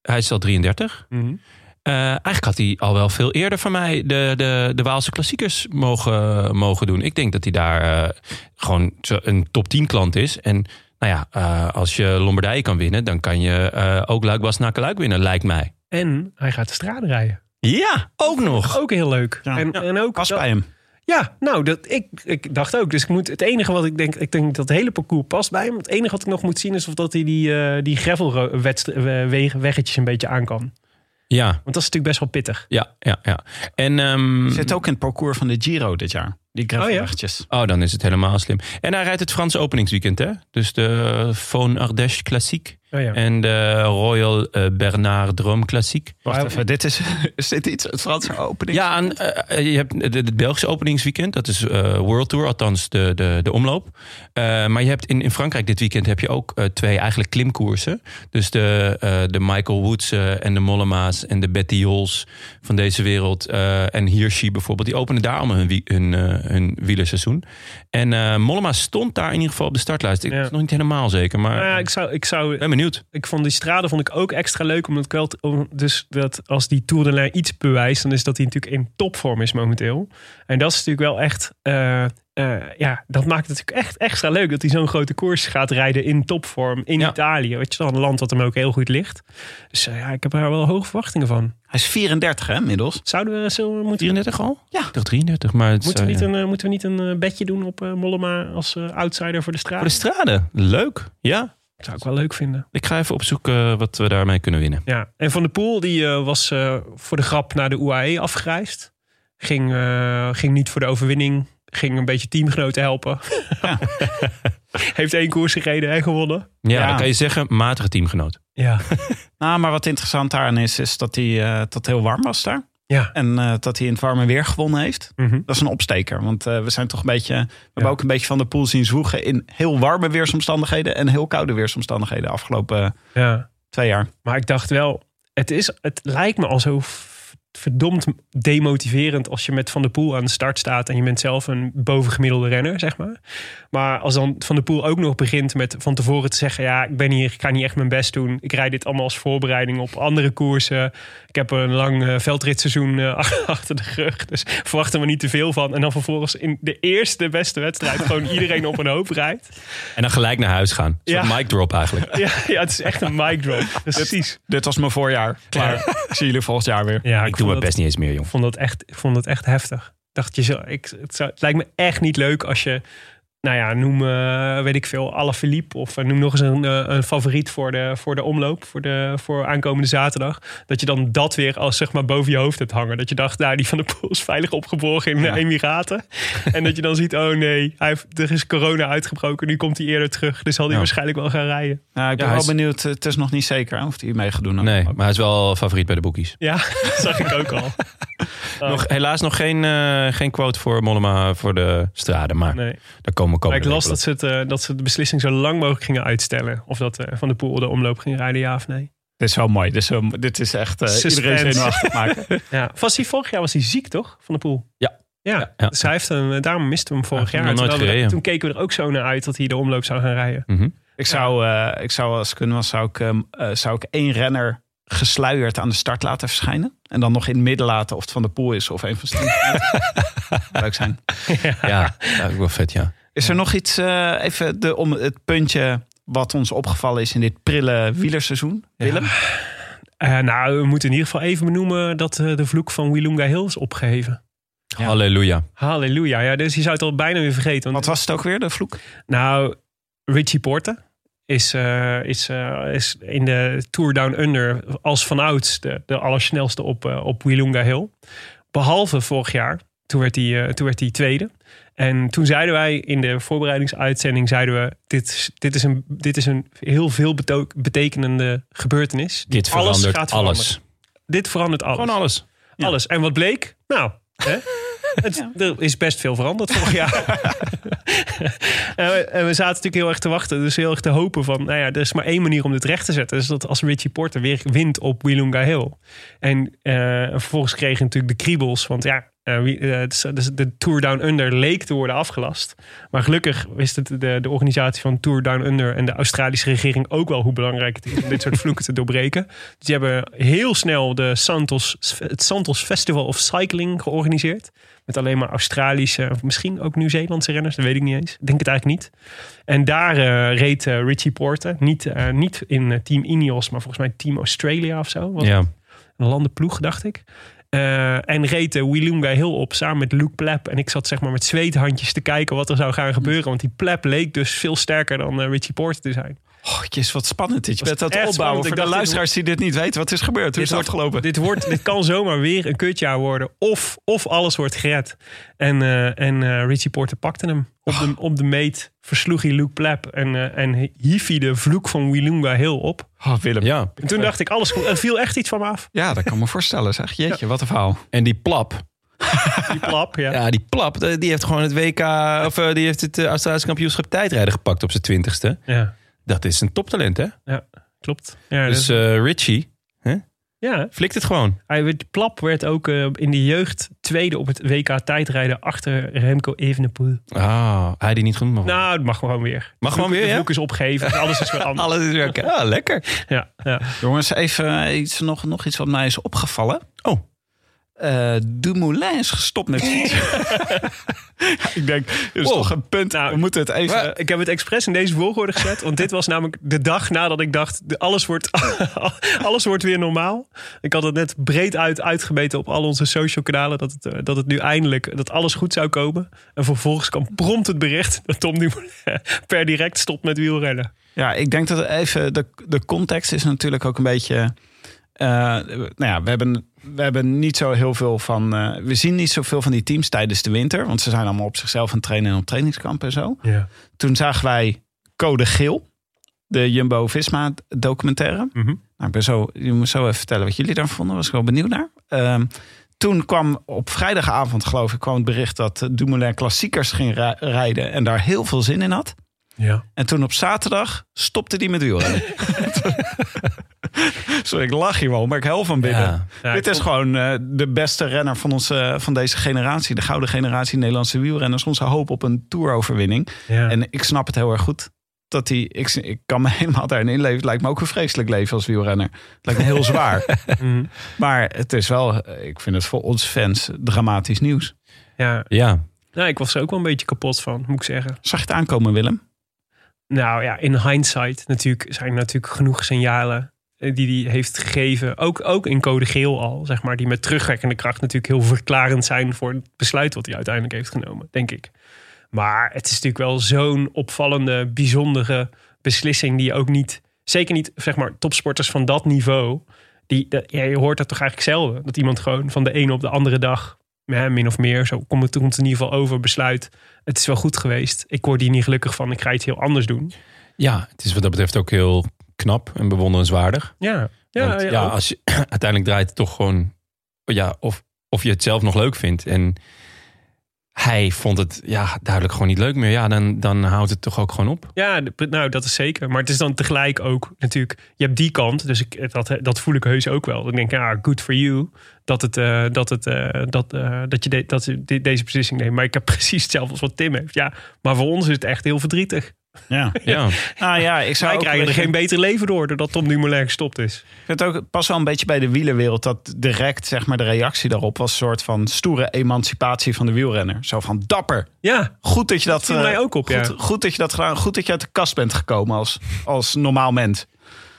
Speaker 1: hij is al 33.
Speaker 2: Mhm.
Speaker 1: Eh, eigenlijk had hij al wel veel eerder van mij de, de, de Waalse klassiekers mogen, mogen doen. Ik denk dat hij daar eh, gewoon zo een top 10 klant is. En nou ja, eh, als je Lombardije kan winnen, dan kan je eh, ook Luik na Luik winnen, lijkt mij.
Speaker 2: En hij gaat de straat rijden.
Speaker 1: Ja, ook nog.
Speaker 2: Ook heel leuk.
Speaker 3: Ja.
Speaker 2: En, en ook
Speaker 3: Pas
Speaker 2: dat-
Speaker 3: bij hem.
Speaker 2: Ja, nou, dat, ik, ik dacht ook. Dus ik moet, het enige wat ik denk, ik denk dat het hele parcours past bij hem. Het enige wat ik nog moet zien is of dat hij die, eh die gravelweggetjes een beetje aan kan.
Speaker 1: Ja,
Speaker 2: Want dat is natuurlijk best wel pittig.
Speaker 1: ja, ja. ja. En, ehm,
Speaker 3: Zit ook in het parcours van de Giro dit jaar. Die gravelwegjes.
Speaker 1: oh, dan is het helemaal slim. En hij rijdt het Franse openingsweekend, hè? Dus de Von Ardèche Klassiek.
Speaker 2: Oh ja.
Speaker 1: En de Royal eh, Bernard Drum Klassiek.
Speaker 3: Wacht even, dit is, is dit iets, het Franse opening?
Speaker 1: Ja, en, eh, eh, je hebt de- het Belgische openingsweekend. Dat is eh, World Tour, althans de, de, de omloop. Eh, maar je hebt in, in Frankrijk dit weekend heb je ook eh, twee eigenlijk klimkoersen. Dus de, eh, de Michael Woods eh, en de Mollema's en de Betty Jols van deze wereld. eh, en Hirschi bijvoorbeeld. Die openen daar allemaal hun, wie- hun, eh, hun wielerseizoen. En eh, Mollema stond daar in ieder geval op de startlijst. Ik
Speaker 2: Ja.
Speaker 1: is nog niet helemaal zeker, maar
Speaker 2: Nou ja,
Speaker 1: ik
Speaker 2: ik zou, ik
Speaker 1: ben
Speaker 2: zou
Speaker 1: benieuwd.
Speaker 2: ik vond die straden vond ik ook extra leuk. Omdat ik wel, t- om- dus dat als die Tour de Lijn iets bewijst, dan is dat hij natuurlijk in topvorm is momenteel. En dat is natuurlijk wel echt, eh, eh, ja, dat maakt het natuurlijk echt extra leuk dat hij zo'n grote koers gaat rijden in topvorm in
Speaker 1: Ja.
Speaker 2: Italië. Weet je wel, een land wat hem ook heel goed ligt. Dus eh, ja, ik heb daar wel hoge verwachtingen van.
Speaker 3: Hij is 34 hè, inmiddels.
Speaker 2: Zouden we, zullen we- moeten,
Speaker 1: 34 al?
Speaker 3: Ja.
Speaker 1: Ik dacht 33, maar het
Speaker 2: moeten,
Speaker 1: zou-
Speaker 2: we niet
Speaker 1: ja.
Speaker 2: een, eh, moeten we niet een eh, bedje doen op eh, Mollema als eh, outsider voor de straat?
Speaker 1: Voor de straden. Leuk. Ja.
Speaker 2: Dat zou ik wel leuk vinden.
Speaker 1: Ik ga even opzoeken eh, wat we daarmee kunnen winnen.
Speaker 2: Ja, en Van der Poel die eh, was eh, voor de grap naar de UAE afgereisd. Ging, eh, ging niet voor de overwinning. Ging een beetje teamgenoten helpen. Heeft één koers gereden en gewonnen.
Speaker 1: Ja,
Speaker 3: Ja.
Speaker 1: dan kan je zeggen, matige teamgenoot.
Speaker 2: Ja,
Speaker 3: Nou, maar wat interessant daaraan is, is dat hij eh, dat het heel warm was daar.
Speaker 2: ja.
Speaker 3: En eh, dat hij in het warme weer gewonnen heeft.
Speaker 2: Mhm.
Speaker 3: Dat is een opsteker, want eh, we zijn toch een beetje... We
Speaker 2: Ja.
Speaker 3: hebben ook een beetje van de pool zien zwoegen in heel warme weersomstandigheden... en heel koude weersomstandigheden de afgelopen
Speaker 2: ja.
Speaker 3: twee jaar.
Speaker 2: Maar ik dacht wel, het, is, het lijkt me al zo v- verdomd demotiverend als je met Van der Poel aan de start staat en je bent zelf een bovengemiddelde renner, zeg maar. Maar als dan Van der Poel ook nog begint met van tevoren te zeggen, ja, ik ben hier, ik ga niet echt mijn best doen. Ik rijd dit allemaal als voorbereiding op andere koersen. Ik heb een lang eh, veldritseizoen eh, achter de rug, dus verwachten we niet te veel van. En dan vervolgens in de eerste beste wedstrijd gewoon iedereen op een hoop rijdt.
Speaker 1: En dan gelijk naar huis gaan. Een soort
Speaker 2: Ja.
Speaker 1: mic drop eigenlijk.
Speaker 2: Ja, ja, het is echt een mic drop. Precies.
Speaker 3: Dit was mijn voorjaar. Klaar. Ik zie jullie volgend jaar weer.
Speaker 2: Ja,
Speaker 1: ik doe
Speaker 2: het
Speaker 1: mijn best niet eens meer, jong.
Speaker 2: Ik vond dat echt, ik vond dat echt heftig. Ik Dacht je zo, ik, het, zou, het lijkt me echt niet leuk als je, nou ja, noem, eh, weet ik veel, Alaphilippe of eh, noem nog eens een, eh, een favoriet voor de, voor de omloop, voor, de, voor aankomende zaterdag. Dat je dan dat weer als zeg maar boven je hoofd hebt hangen. Dat je dacht, nou, die van de Poel is veilig opgeborgen in de
Speaker 3: Ja.
Speaker 2: Emiraten. en dat je dan ziet, oh nee, hij heeft, er is corona uitgebroken, nu komt hij eerder terug. Dus zal hij
Speaker 1: Ja.
Speaker 2: waarschijnlijk wel gaan rijden.
Speaker 3: Nou, ik ben
Speaker 1: Ja, hij
Speaker 3: wel
Speaker 1: is-
Speaker 3: benieuwd. Het is nog niet zeker hè, of hij mee gaat doen.
Speaker 2: Nou,
Speaker 3: aan de
Speaker 1: Nee,
Speaker 3: afloop.
Speaker 1: maar hij is wel favoriet bij de boekies.
Speaker 2: Ja, dat zag ik ook al.
Speaker 1: Nog, helaas nog geen, eh, geen quote voor Mollema voor de straden. Maar
Speaker 2: Nee.
Speaker 1: daar komen we
Speaker 2: Maar
Speaker 1: komende
Speaker 2: ik las
Speaker 1: week
Speaker 2: dat ze, het, eh, dat ze de beslissing zo lang mogelijk gingen uitstellen. Of dat eh, Van de Poel de omloop ging rijden, ja of nee.
Speaker 3: Dit is wel mooi. Dit is, wel- dit is echt eh, iedereen
Speaker 2: Suspense.
Speaker 3: zenuwachtig maken.
Speaker 2: Ja. Was hij vorig jaar was hij ziek, toch? Van de Poel?
Speaker 1: Ja.
Speaker 2: Ja,
Speaker 1: ja.
Speaker 2: Dus hij heeft hem, eh, daarom misten we hem vorig
Speaker 1: Ja,
Speaker 2: jaar.
Speaker 1: nog nooit
Speaker 2: Terwijl we-
Speaker 1: gereden.
Speaker 2: toen keken we er ook zo naar uit dat hij de omloop zou gaan rijden.
Speaker 1: wel. Mhm.
Speaker 3: Ik zou, eh, ik zou als het kunnen was, zou ik, ehm, eh, zou ik één renner gesluierd aan de start laten verschijnen. En dan nog in het midden laten of het van de pool is of een van de Leuk zijn.
Speaker 1: Ja, ja, ook wel vet, ja.
Speaker 3: Is er nog iets, eh, even de, om het puntje wat ons opgevallen is in dit prille wielerseizoen? Willem?
Speaker 2: Eh, nou, we moeten in ieder geval even benoemen dat eh, de vloek van Wilunga Hill is opgeheven.
Speaker 3: Ja.
Speaker 1: Halleluja.
Speaker 2: Halleluja. Ja, dus je zou het al bijna weer vergeten.
Speaker 3: Wat
Speaker 2: Want,
Speaker 3: was het ook weer, de vloek?
Speaker 2: nou, Richie Porte is, eh, is, eh, is in de Tour Down Under als vanouds de, de allersnelste op, eh, op Wilunga Hill. Behalve vorig jaar. Toen werd, hij, eh, toen werd hij tweede. En toen zeiden wij in de voorbereidingsuitzending: zeiden we, dit, is- dit, is, een, dit is een heel veel beto- betekenende gebeurtenis.
Speaker 1: Dit verandert alles.
Speaker 2: veranderen. Dit verandert alles.
Speaker 1: Gewoon alles.
Speaker 3: Ja.
Speaker 2: Alles. En wat bleek? Nou, hè? Het, er is best veel veranderd vorig jaar. en, we, en Eh, we zaten natuurlijk heel erg te wachten. Dus heel erg te hopen van, nou ja, er is maar één manier om dit recht te zetten. Dus dat als Richie Porter weer wint op Wilunga Hill. En eh, vervolgens kregen natuurlijk de kriebels. Want ja, eh, wie- eh, het is- dus de Tour Down Under leek te worden afgelast. Maar gelukkig wist het de, de organisatie van Tour Down Under en de Australische regering ook wel hoe belangrijk het is om dit soort vloeken te doorbreken. Dus die hebben heel snel de Santos, het Santos Festival of Cycling georganiseerd. Met alleen maar Australische, of misschien ook Nieuw-Zeelandse renners, dat weet ik niet eens. Ik denk het eigenlijk niet. En daar eh, reed eh, Richie Porte, niet, eh, niet in eh, Team Ineos, maar volgens mij Team Australia of zo. Wat
Speaker 1: Ja.
Speaker 2: een landenploeg, dacht ik. Eh, en reed eh, Wilunga heel op samen met Luke Plep. En ik zat zeg maar met zweethandjes te kijken wat er zou gaan gebeuren. Want die Plep leek dus veel sterker dan eh, Richie Porte te zijn.
Speaker 3: Oh, jezus, wat spannend dit. Je
Speaker 2: Was
Speaker 3: bent aan het
Speaker 2: echt
Speaker 3: opbouwen
Speaker 2: spannend. Ik
Speaker 3: voor de
Speaker 2: dacht, dit
Speaker 3: luisteraars die dit niet weten. Wat is gebeurd? Hoe is
Speaker 2: Dit wordt-
Speaker 3: het afgelopen?
Speaker 2: Dus Dit, wordt, dit kan zomaar weer een kutjaar worden. Of, of alles wordt gered. En, eh, en eh, Richie Porter pakte hem. Op de, op de meet versloeg hij Luke Plap en, eh, en hief hij de vloek van Wilunga Hill op.
Speaker 3: Oh, Willem. Ja.
Speaker 1: Ja,
Speaker 2: En toen dacht ik, alles goed. Er viel echt iets van me af.
Speaker 3: dat kan me voorstellen. Zeg, jeetje, wat een verhaal.
Speaker 1: en die plap.
Speaker 2: Die plap, ja.
Speaker 1: Ja, die plap, eh, die heeft gewoon het WK, of eh, die heeft het eh, Australische kampioenschap tijdrijden gepakt op zijn twintigste.
Speaker 2: Ja,
Speaker 1: Dat is een toptalent, hè?
Speaker 2: ja klopt. Ja,
Speaker 1: Dus eh, Richie
Speaker 2: ja,
Speaker 1: flikt het gewoon.
Speaker 2: hij werd, Plap werd ook eh, in de jeugd tweede op het WK tijdrijden achter Remco Evenepoel.
Speaker 1: Ah, hij die niet genoemd mag worden.
Speaker 2: Nou, het mag gewoon weer.
Speaker 1: Mag gewoon weer,
Speaker 2: De
Speaker 1: ja?
Speaker 2: vloek is opgegeven, alles is weer anders.
Speaker 1: Alles is weer oké. Ah, lekker.
Speaker 2: Ja, ja.
Speaker 3: Jongens, even eh, iets, nog, nog iets wat mij is opgevallen.
Speaker 1: Oh.
Speaker 3: Eh, Dumoulin is gestopt met fietsen. ik denk, dit is
Speaker 1: Wow.
Speaker 3: toch een punt.
Speaker 2: Nou,
Speaker 3: we moeten het even...
Speaker 2: Eh, ik heb het expres in deze volgorde gezet. Want dit was namelijk de dag nadat ik dacht: de- alles wordt, alles wordt weer normaal. Ik had het net breed uit uitgemeten op al onze social kanalen. Dat het, eh, dat het nu eindelijk dat alles goed zou komen. En vervolgens kwam prompt het bericht dat Tom nu per direct stopt met wielrennen.
Speaker 3: Ja, ik denk dat even de, de context is natuurlijk ook een beetje. eh, nou ja, we hebben, we hebben niet zo heel veel van. eh, we zien niet zoveel van die teams tijdens de winter. Want ze zijn allemaal op zichzelf aan het trainen en op trainingskampen en zo.
Speaker 2: Ja.
Speaker 3: Toen zagen wij Code Geel, de Jumbo Visma documentaire.
Speaker 2: Mhm.
Speaker 3: Nou, ik ben zo, je moet zo even vertellen wat jullie daarvan vonden. Was ik wel benieuwd naar. Ehm, toen kwam op vrijdagavond, geloof ik, kwam het bericht dat Dumoulin klassiekers ging ri- rijden. En daar heel veel zin in had.
Speaker 2: ja.
Speaker 3: En toen op zaterdag stopte hij met wielrennen. Sorry, ik lach hier wel, maar ik hel van binnen.
Speaker 1: Ja.
Speaker 2: Ja,
Speaker 3: Dit
Speaker 2: ik
Speaker 3: is gewoon eh, de beste renner van, onze, van deze generatie. De gouden generatie Nederlandse wielrenners. Onze hoop op een toeroverwinning.
Speaker 2: Ja.
Speaker 3: En ik snap het heel erg goed. Dat hij, ik, ik kan me helemaal daarin inleven. Het lijkt me ook een vreselijk leven als wielrenner. Het lijkt me heel zwaar.
Speaker 2: Mhm.
Speaker 3: Maar het is wel, eh, ik vind het voor ons fans dramatisch nieuws.
Speaker 2: ja.
Speaker 1: Ja,
Speaker 2: Nou, ik was er ook wel een beetje kapot van, moet ik zeggen.
Speaker 3: Zag je het aankomen, Willem?
Speaker 2: Nou ja, in hindsight natuurlijk zijn er natuurlijk genoeg signalen eh, die hij heeft gegeven. Ook, ook in code geel al, zeg maar. Die met terugwerkende kracht natuurlijk heel verklarend zijn voor het besluit wat hij uiteindelijk heeft genomen, denk ik. Maar het is natuurlijk wel zo'n opvallende, bijzondere beslissing die je ook niet... Zeker niet, zeg maar, topsporters van dat niveau. Die, dat- ja, je hoort dat toch eigenlijk zelden. Dat iemand gewoon van de ene op de andere dag, hè, min of meer, zo komt het, komt het in ieder geval over, besluit... Het is wel goed geweest. Ik word hier niet gelukkig van. Ik ga iets heel anders doen.
Speaker 1: ja, het is wat dat betreft ook heel knap en bewonderenswaardig.
Speaker 2: Ja, ja,
Speaker 1: Want,
Speaker 2: ja,
Speaker 1: ja,
Speaker 2: ook.
Speaker 1: als je, uiteindelijk draait het toch gewoon, ja, of, of je het zelf nog leuk vindt. En hij vond het ja, duidelijk gewoon niet leuk meer. Ja, dan, dan houdt het toch ook gewoon op.
Speaker 2: ja de- nou dat is zeker. Maar het is dan tegelijk ook natuurlijk, je hebt die kant, dus ik, dat, dat voel ik heus ook wel. Ik denk, ja, good for you dat, het, eh, dat, het, eh, dat, eh, dat je de- dat je de- deze beslissing neemt. Maar ik heb precies hetzelfde als wat Tim heeft. Ja, maar voor ons is het echt heel verdrietig.
Speaker 3: Ja.
Speaker 1: Ja,
Speaker 3: Nou ja, ik zou
Speaker 2: Wij
Speaker 3: ook
Speaker 2: krijgen
Speaker 3: een
Speaker 2: er
Speaker 3: beetje-
Speaker 2: geen beter leven door, doordat Tom Dumoulin gestopt is.
Speaker 3: Ik vind het ook pas wel een beetje bij de wielerwereld dat direct zeg maar, de reactie daarop was een soort van stoere emancipatie van de wielrenner. Zo van dapper.
Speaker 2: Ja,
Speaker 3: Goed dat je dat,
Speaker 2: viel mij
Speaker 3: eh,
Speaker 2: ook op,
Speaker 3: goed,
Speaker 2: ja.
Speaker 3: goed dat je dat gedaan. Goed dat je uit de kast bent gekomen als, als normaal mens.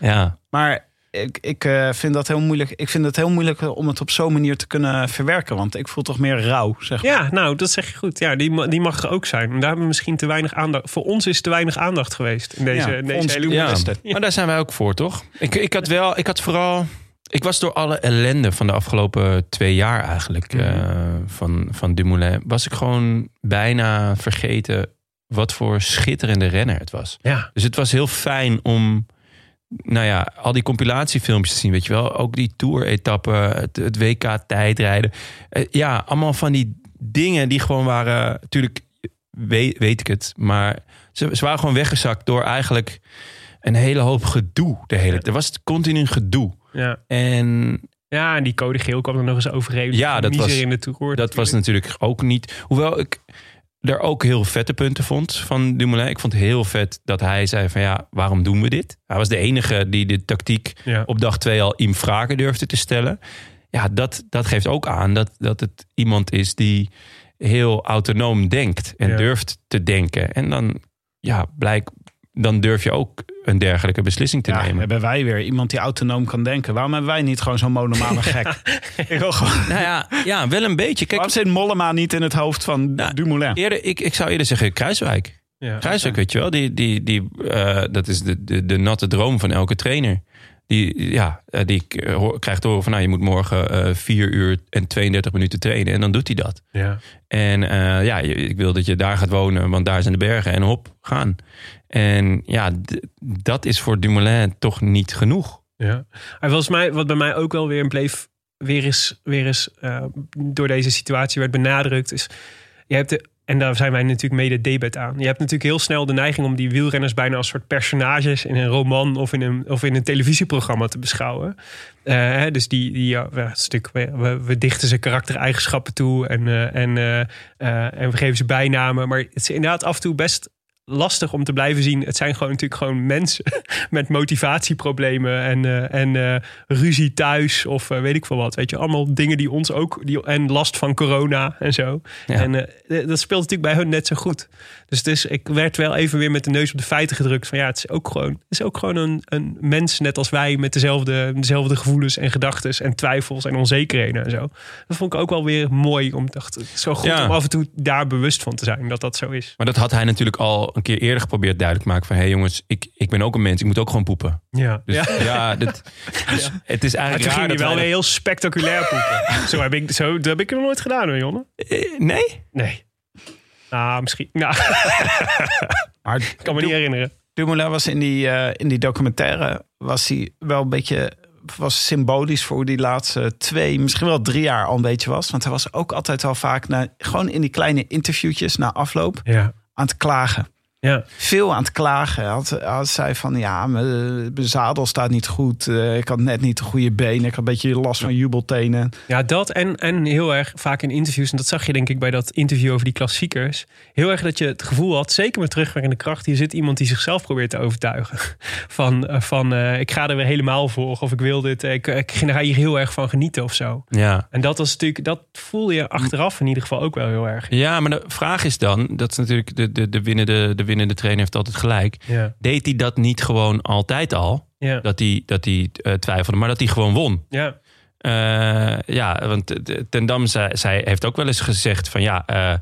Speaker 1: ja.
Speaker 3: Maar ik, ik eh, vind dat heel moeilijk. Ik vind het heel moeilijk eh, om het op zo'n manier te kunnen verwerken. Want ik voel toch meer rauw. Zeg maar.
Speaker 2: ja nou, dat zeg je goed. Ja, die, ma- die mag er ook zijn. En Daar hebben we misschien te weinig aandacht. Voor ons is te weinig aandacht geweest in deze,
Speaker 3: Ja,
Speaker 2: in
Speaker 3: voor
Speaker 2: deze
Speaker 3: ons
Speaker 2: hele
Speaker 1: Ja,
Speaker 3: Moeilijkste.
Speaker 1: maar daar zijn wij ook voor, toch? Ik, ik had wel, ik had vooral. Ik was door alle ellende van de afgelopen twee jaar eigenlijk
Speaker 2: Mhm.
Speaker 1: eh, van, van Dumoulin. Was ik gewoon bijna vergeten wat voor schitterende renner het was.
Speaker 2: Ja,
Speaker 1: Dus het was heel fijn om, nou ja, al die compilatiefilmpjes te zien, weet je wel. Ook die tour-etappen, het, het WK-tijdrijden. Eh, ja, allemaal van die dingen die gewoon waren, natuurlijk weet, weet ik het, maar ze, ze waren gewoon weggezakt door eigenlijk een hele hoop gedoe. De hele, er was continu gedoe.
Speaker 2: ja.
Speaker 1: En
Speaker 2: Ja, en die code geel kwam er nog eens overheen.
Speaker 1: Ja, dat
Speaker 2: Miser
Speaker 1: was-
Speaker 2: in de toekomst.
Speaker 1: Dat was natuurlijk ook niet. Hoewel ik er ook heel vette punten vond van Dumoulin. Ik vond het heel vet dat hij zei van ja, waarom doen we dit? Hij was de enige die de tactiek
Speaker 2: Ja.
Speaker 1: op dag twee al in vragen durfde te stellen. Ja, dat, dat geeft ook aan dat, dat het iemand is die heel autonoom denkt en
Speaker 2: Ja.
Speaker 1: durft te denken. En dan, ja, blijk, dan durf je ook een dergelijke beslissing te
Speaker 3: Ja,
Speaker 1: nemen.
Speaker 3: hebben wij weer iemand die autonoom kan denken. Waarom hebben wij niet gewoon zo'n monomane gek? Ik wil gewoon,
Speaker 1: Nou ja, ja, wel een beetje. Kijk,
Speaker 3: waarom zit Mollema niet in het hoofd van
Speaker 1: Nou,
Speaker 3: Dumoulin?
Speaker 1: eerder, ik, ik zou eerder zeggen Kruiswijk.
Speaker 2: Ja.
Speaker 1: Kruiswijk, weet je wel, die, die, die, eh, dat is de, de, de natte droom van elke trainer. die, ja, eh, die k- eh, hoor- krijgt te horen van nou, je moet morgen eh 4 uur en 32 minuten trainen. En dan doet hij dat.
Speaker 2: Ja.
Speaker 1: En eh, ja, je- ik wil dat je daar gaat wonen, want daar zijn de bergen. En hop, gaan. En ja, d- dat is voor Dumoulin toch niet genoeg.
Speaker 2: Ja. En volgens mij, wat bij mij ook wel weer bleef, weer eens, weer eens eh, door deze situatie werd benadrukt, is je hebt de, en daar zijn wij natuurlijk mede debet aan. Je hebt natuurlijk heel snel de neiging om die wielrenners bijna als soort personages in een roman of in een, of in een televisieprogramma te beschouwen. Eh, hè, dus die, die ja, we, een stuk, we, we- we dichten ze karaktereigenschappen toe en, eh, en, eh, eh, en we geven ze bijnamen. Maar het is inderdaad af en toe best lastig om te blijven zien. Het zijn gewoon natuurlijk gewoon mensen met motivatieproblemen en, eh, en eh, ruzie thuis of eh, weet ik veel wat. Weet je, allemaal dingen die ons ook die, en last van corona en zo.
Speaker 1: Ja.
Speaker 2: En eh, d- dat speelt natuurlijk bij hun net zo goed. Dus het is, ik werd wel even weer met de neus op de feiten gedrukt. Van ja, het is ook gewoon, het is ook gewoon een, een mens net als wij met dezelfde, dezelfde gevoelens en gedachten en twijfels en onzekerheden en zo. Dat vond ik ook wel weer mooi. Om, dacht, het is zo goed
Speaker 1: Ja.
Speaker 2: om af en toe daar bewust van te zijn dat dat zo is.
Speaker 1: Maar dat had hij natuurlijk al een keer eerder geprobeerd duidelijk te maken. Van hé hey jongens, ik, ik ben ook een mens. Ik moet ook gewoon poepen.
Speaker 2: Ja.
Speaker 1: Dus ja, dit, dus het is eigenlijk
Speaker 2: Maar toen
Speaker 1: raar
Speaker 2: ging hij
Speaker 1: dat
Speaker 2: wel weer
Speaker 1: wij
Speaker 2: heel spectaculair poepen. zo, heb ik, zo dat heb ik hem nooit gedaan hoor, Jonne.
Speaker 1: dat- Eh, Nee?
Speaker 2: Nee. Nou, misschien. Nou,
Speaker 3: Maar
Speaker 2: ik kan me niet herinneren.
Speaker 3: Dumoulin was in die, eh, in die documentaire was hij wel een beetje was symbolisch voor hoe die laatste twee, misschien wel drie jaar al een beetje was. Want hij was ook altijd wel vaak na, gewoon in die kleine interviewtjes na afloop
Speaker 2: Ja.
Speaker 3: aan het klagen.
Speaker 2: Ja.
Speaker 3: Veel aan het klagen. Hij Had, hij had zei van ja, mijn mijn zadel staat niet goed. Eh, Ik had net niet de goede benen. Ik had een beetje last van jubeltenen.
Speaker 2: ja, dat en, en heel erg vaak in interviews. En dat zag je denk ik bij dat interview over die klassiekers. Heel erg dat je het gevoel had, zeker met terugwerkende kracht. Hier zit iemand die zichzelf probeert te overtuigen. Van, eh, van eh, ik ga er weer helemaal voor. Of ik wil dit. eh, Ik, ik ga hier heel erg van genieten of zo.
Speaker 1: Ja.
Speaker 2: En dat was natuurlijk, dat voel je achteraf in ieder geval ook wel heel erg.
Speaker 1: Ja, maar de vraag is dan, dat is natuurlijk de, de, de, winnende, de winnende trainer heeft altijd gelijk.
Speaker 2: Ja.
Speaker 1: Deed hij dat niet gewoon altijd al?
Speaker 2: Ja.
Speaker 1: Dat hij, dat hij eh, twijfelde, maar dat hij gewoon won.
Speaker 2: ja.
Speaker 1: Eh, ja, want eh, de- Ten Dam zei, zij heeft ook wel eens gezegd van ja, eh,